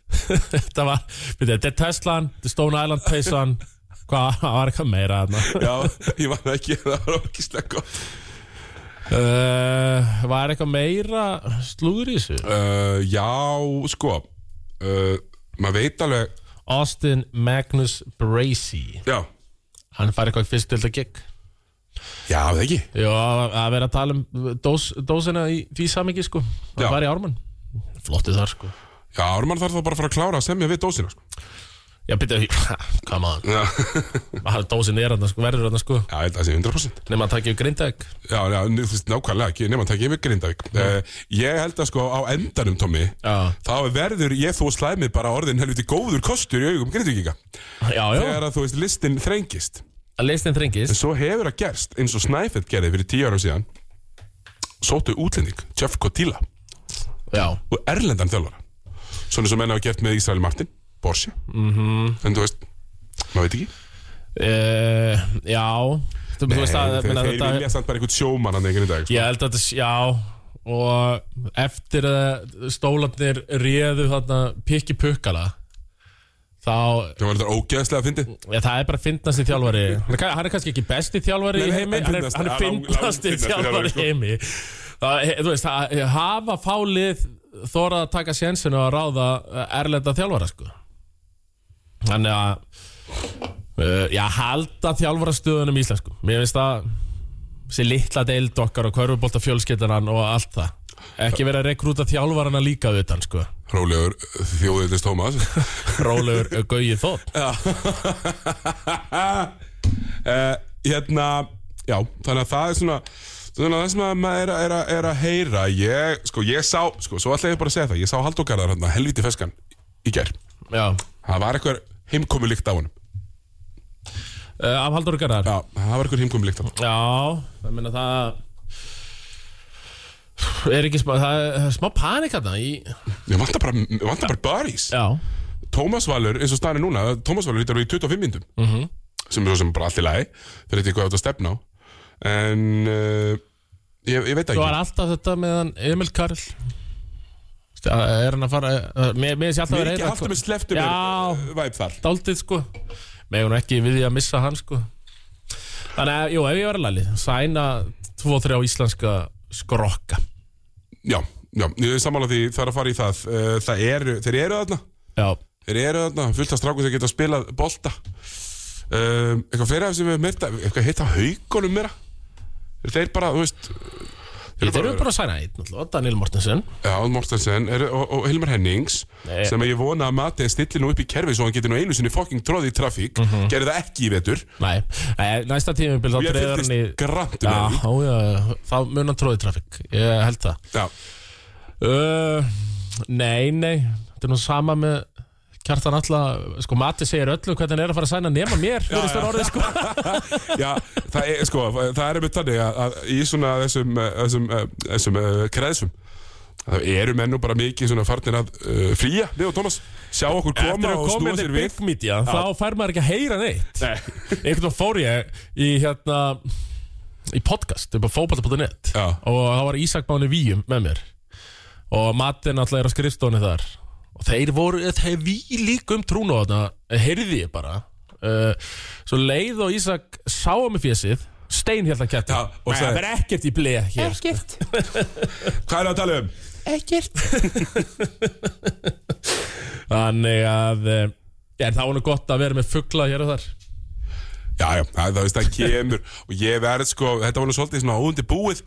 Speaker 3: þetta var byrju, þetta er Teslan, þetta er Stone Island peysan hvað það var eitthvað meira þarna
Speaker 2: Já, ég var það ekki, það var okkislega gott
Speaker 3: uh, var eitthvað meira slúður í þessu
Speaker 2: uh, Já, sko uh, Maður veit alveg
Speaker 3: Austin Magnus Bracey
Speaker 2: Já,
Speaker 3: hann fær eitthvað fyrst til þetta gig
Speaker 2: já, það ekki
Speaker 3: já, að vera að tala um dós, dósina í því samingi sko
Speaker 2: Já.
Speaker 3: hann var í Ármann flottið þar sko
Speaker 2: Já, Ármann þarf þá bara að fara að klára að semja við dósina sko.
Speaker 3: já, byrja, come on
Speaker 2: Já,
Speaker 3: dósin er hann sko, verður hann sko
Speaker 2: já ég held að það sé 100%
Speaker 3: nema að takja grindæk
Speaker 2: Já, já, þú veist nákvæmlega ekki, nema að taka yfir Grindavík uh, Ég held að sko á endanum, Tommy
Speaker 3: já,
Speaker 2: þá verður ég þú slæmið bara orðin helviti góður kostur í augum grindvíkinga
Speaker 3: já, já.
Speaker 2: þegar að þú veist listin þrengist
Speaker 3: að leistin þrengist
Speaker 2: en svo hefur það gerst eins og Snæfell gerði fyrir tíu ára síðan sóttu útlending, Jeff Cotilla
Speaker 3: já
Speaker 2: og erlendan þjálfara svona eins og menn hafa gert með Ísrael Martin Borsi,
Speaker 3: Mhm.
Speaker 2: -hmm. en þú veist maður veit ekki,
Speaker 3: Uh, já Þú, þú veist að,
Speaker 2: þeir,
Speaker 3: meina,
Speaker 2: Eh, þeir
Speaker 3: þetta,
Speaker 2: vilja samt bara einhvern sjómann hann einhvern dag sko.
Speaker 3: Ég held að þetta, já Og eftir að stólarnir réðu þarna pikki pukkala Þá,
Speaker 2: það var þetta ógeðslega að fyndi
Speaker 3: já, það er bara fyndnasti þjálfari Hann er kann- hann er kannski ekki besti þjálfari
Speaker 2: Nei,
Speaker 3: í
Speaker 2: nei,
Speaker 3: heimi
Speaker 2: en
Speaker 3: Hann er,
Speaker 2: fyndnasti,
Speaker 3: hann er
Speaker 2: lang- langfyndnasti
Speaker 3: fyndnasti
Speaker 2: þjálfari,
Speaker 3: þjálfari
Speaker 2: sko.
Speaker 3: í heimi það, he- Þú veist, það, hafa fálið Þórað að taka sénsinu að ráða eh, Erlenda þjálfara, sko Þannig að uh, Já, halda þjálfarastöðunum í Íslandsku Mér finnst það Þessi litla deild okkar og körfubolta fjölskyldanan og allt það Ekki verið að rekrúta þjálfarana líka utan sko
Speaker 2: Rólegur þjóðildist Tómas
Speaker 3: Rólegur eh, gauði þótt
Speaker 2: uh, hérna, já, þannig að það er svona Þannig að það sem að maður er, að- er, að- er að heyra Ég, sko, ég sá, sko, svo ætla ég bara að segja það Ég sá Haldókarðar hérna, helviti feskan Í gær,
Speaker 3: Já, uh,
Speaker 2: það var eitthvað heimkomi líkt á honum
Speaker 3: Eh, af Haldur Garðar
Speaker 2: Já, það var eitthvað heimkomi líkt á honum
Speaker 3: Já, það meina það er ekki smá, það er smá panik þarna í
Speaker 2: Ég vantar bara, ég vantar bara barís
Speaker 3: Já,
Speaker 2: Tómas Valur, eins og staðan er núna Tómas Valur hittar í 25 myndum -hmm.
Speaker 3: Mhm.
Speaker 2: Sem er svo sem bara allt í lagi Það er eitthvað hvað þetta stefna á En, uh, ég, ég veit það
Speaker 3: svo
Speaker 2: ekki
Speaker 3: er alltaf þetta með hann Emil Karl Það Er hann að fara, eh, mér mér sé alltaf að
Speaker 2: Mér
Speaker 3: vera
Speaker 2: ekki alltaf með sleftum
Speaker 3: Já.
Speaker 2: væp eh, þar
Speaker 3: dálítið sko með hún ekki við því að missa hann sko þannig að, jú, ef ég var að lali sæna 2-3 íslenska skrokka
Speaker 2: Já, já, ég er sammála því það er að fara í það Uh, Það eru, þeir eru þarna
Speaker 3: já,
Speaker 2: Þeir eru þarna, fullt af strákum sem geta að spila bolta um, Eitthvað fleira sem við myrta Eitthvað heita haugunum meira Eru þeir bara, þú veist
Speaker 3: þeir eru bara að sæna einn náttúrulega, Daniel Mortensen
Speaker 2: Já, Mortensen er, og, og Hilmar Hennings
Speaker 3: Nei.
Speaker 2: sem að ég vona að Mati stilli nú upp í kerfi svo hann geti nú einu sinni fucking tróði í trafík mm gerir það ekki í vetur
Speaker 3: nei, nei, næsta tímabil
Speaker 2: og ég
Speaker 3: Mhm. þá
Speaker 2: um
Speaker 3: treður hann í
Speaker 2: fylgist grantum
Speaker 3: já,
Speaker 2: með því.
Speaker 3: já, já, já, þá mun hann tróði trafík ég held það
Speaker 2: Já,
Speaker 3: uh, nei, nei, þetta er nú sama með Kjartan alltaf, sko Mati segir öllum hvernig hann er að fara að sæna nema mér Hvernig stór orðið sko
Speaker 2: Já, það er, sko, það er einmitt þannig að, að í svona þessum, eh, þessum, eh, þessum eh, kreðsum Það eru menn nú bara mikið svona farnir að uh, flýja, Leo Thomas, sjá okkur koma
Speaker 3: Eftir að
Speaker 2: og
Speaker 3: koma
Speaker 2: snúa
Speaker 3: inn í
Speaker 2: sér við.
Speaker 3: big media Þá fær maður ekki að heyra neitt Einhvern veginn fór ég í hérna Í podcast, upp á fótbolta.net
Speaker 2: Já.
Speaker 3: Og það var Ísak Máni Víum með mér Og Matti náttúrulega er á skrifstóni þar Og þeir voru, þeir við líka um trúna þarna Heyrði ég bara uh, Svo leið og Ísak sáum með fjesið Stein hérna kætti
Speaker 2: Já, og sagði-
Speaker 3: Það er ekkert í bleið hér sko.
Speaker 4: Ekkert,
Speaker 2: Hvað er það að tala um?
Speaker 4: ekkert
Speaker 3: Þannig að eh, En það var nú gott að vera með fugla hér og þar
Speaker 2: Já, já, það, það, veist, það kemur og ég verð sko, þetta var nú svolítið svona óundi búið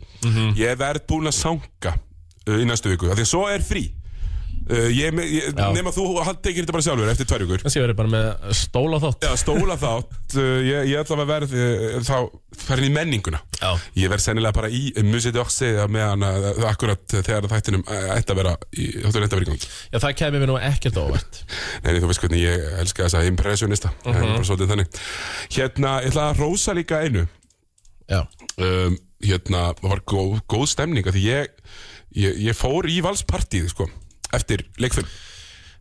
Speaker 2: ég verð búin að sanga uh, í næstu viku, af því að svo er frí uh, ég, ég,
Speaker 3: Já.
Speaker 2: nema þú hann tekir þetta bara sjálfur eftir tvær vikur
Speaker 3: Kannski verið bara með stóla þátt
Speaker 2: Já, stóla þátt, uh, ég, ég ætla að verð uh, þá farin í menninguna
Speaker 3: Já.
Speaker 2: ég verð sennilega bara í musið oxi meðan að uh, akkurat þegar þættinum uh, ætti að vera, í, þáttur ætti að vera í gangi
Speaker 3: Já, það kemur mér nú ekkert óvart
Speaker 2: Nei, nei, þú veist hvernig ég elska þessa impressionista uh -huh. bara svolítið þannig Hérna, ég ætla að rósa líka einu
Speaker 3: Já,
Speaker 2: um, hérna, það var góð, góð stemning af því ég, ég, ég fór í valspartíð sko, eftir leikfilm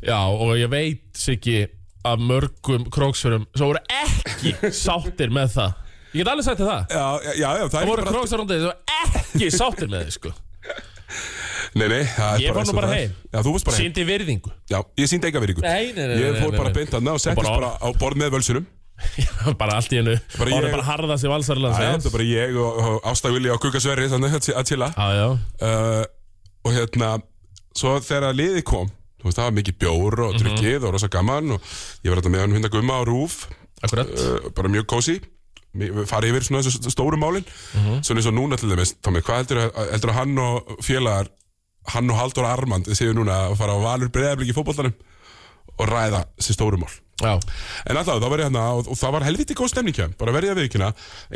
Speaker 3: Já og ég veit Siggi af mörgum króksfjörum sem voru ekki sáttir með það Ég get alveg sagt þér það
Speaker 2: Já, já, já,
Speaker 3: Það voru króksfjörundið sem voru ekki sáttir með þið sko
Speaker 2: Nei, nei, það er
Speaker 3: Ég fór
Speaker 2: eins
Speaker 3: nú
Speaker 2: og
Speaker 3: bara
Speaker 2: það er.
Speaker 3: heim.
Speaker 2: Já, þú varst bara heim
Speaker 3: Sýndi virðingu
Speaker 2: Já, ég síndi enga verið ykkur
Speaker 3: Nei, nei, nei,
Speaker 2: Ég
Speaker 3: nei,
Speaker 2: fór
Speaker 3: nei,
Speaker 2: bara
Speaker 3: nei.
Speaker 2: beint að og settist
Speaker 3: bara-
Speaker 2: bara á borð með völsunum
Speaker 3: Bara allt í hennu
Speaker 2: Bara
Speaker 3: Bara
Speaker 2: ég-
Speaker 3: bara harða sig valsarlega
Speaker 2: Það er bara ég og, og Ástagulli og Kukasverri þannig að að tila
Speaker 3: Já, já
Speaker 2: uh, og hérna svo þegar að liði kom þú veist, það var mikið bjór og drukkið og rosa gaman og ég var alltaf með hann hunda gumma á rúf
Speaker 3: Akkurat
Speaker 2: uh, bara mjög kósi farið yfir svona þessu stóru málin svona eins og núna til dæmis, Tómi, hvað heldur að, heldur að hann og félagar hann og Haldur Armand séu núna að fara á valur breyðablik í fótbollanum og ræða þessi stóru mál
Speaker 3: Já,
Speaker 2: en alltaf, þá var ég hérna og, og það var helviti góð stemning hjá þeim, bara verið að viðkynna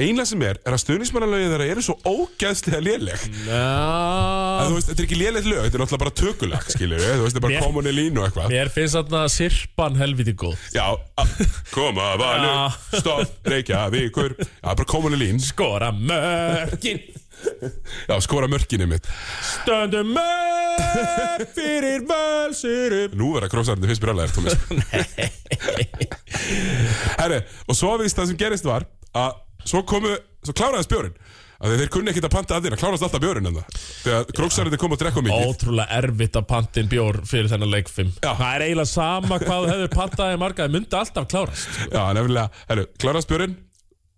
Speaker 2: einlega sem er, er að stuðnismannalögin þeirra eru svo ógæðslega léleg
Speaker 3: Mm. Ná,
Speaker 2: að, þú veist, þetta er ekki lélegt lög, þetta er náttúrulega bara tökulag skilur við, þú veist, þetta er bara
Speaker 3: Mér-
Speaker 2: komunni línu og eitthvað
Speaker 3: Mér finnst þarna sirpan helviti góð
Speaker 2: já, að- koma valur, stopp, reykja, vikur já, bara komunni lín
Speaker 3: Skora mörkin
Speaker 2: Já, skora mörkinni mitt
Speaker 3: Stöndum mörk Fyrir völsurum
Speaker 2: Nú verða króksarðinni fyrst brjálæðir, Tómas Herri, og svo víst það sem gerist var að svo komu, svo kláraðist björn að þeir kunni ekkert að panta að þeirna, kláraðist alltaf björn en það þegar króksarðinni kom og drekka mikið
Speaker 3: Ótrúlega erfitt að panta inn bjór fyrir þennan leikfim
Speaker 2: Já.
Speaker 3: Það er eiginlega sama hvað þú hefur pantað í marga Það myndi alltaf klárast
Speaker 2: Já, nefnilega, herri, kláraðist björn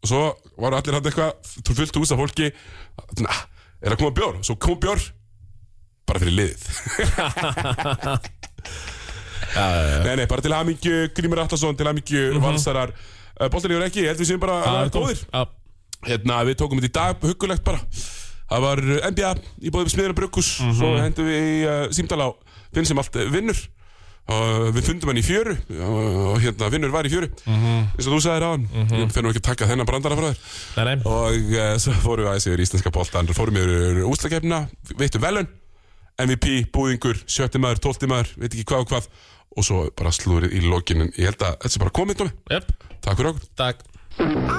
Speaker 2: og svo var allir hann eitthvað þú fullt hús af fólki na, er að koma björn, svo kom björn bara fyrir liðið Nei, nei, bara til hamingju Grímur Atlasson, til hamingju Valsarar uh, Bóltan yfir ekki, ég held við séum bara uh, góðir
Speaker 3: Já,
Speaker 2: hérna, við tókum þetta í dag huggulegt bara það var uh, NBA í bóðið smiðina Brugghús mm svo hendum við í uh, símdala á finn sem allt uh, vinnur og við fundum hann í fjöru og hérna vinnur var í fjöru eins og þú sagðir á hann ég fer nú ekki að taka þennan brandara frá þér
Speaker 3: Nei, nei,
Speaker 2: og uh, svo fórum við aðeins yfir íslenska boltan fórum yfir eh, úslakefna, veittum velun MVP, búðingur, sjötti maður, tólti maður veit ekki hvað og hvað og svo bara slúrið í lokinin ég held að þetta sé bara komið tómi,
Speaker 3: jöp,
Speaker 2: takk fyrir okkur
Speaker 3: takk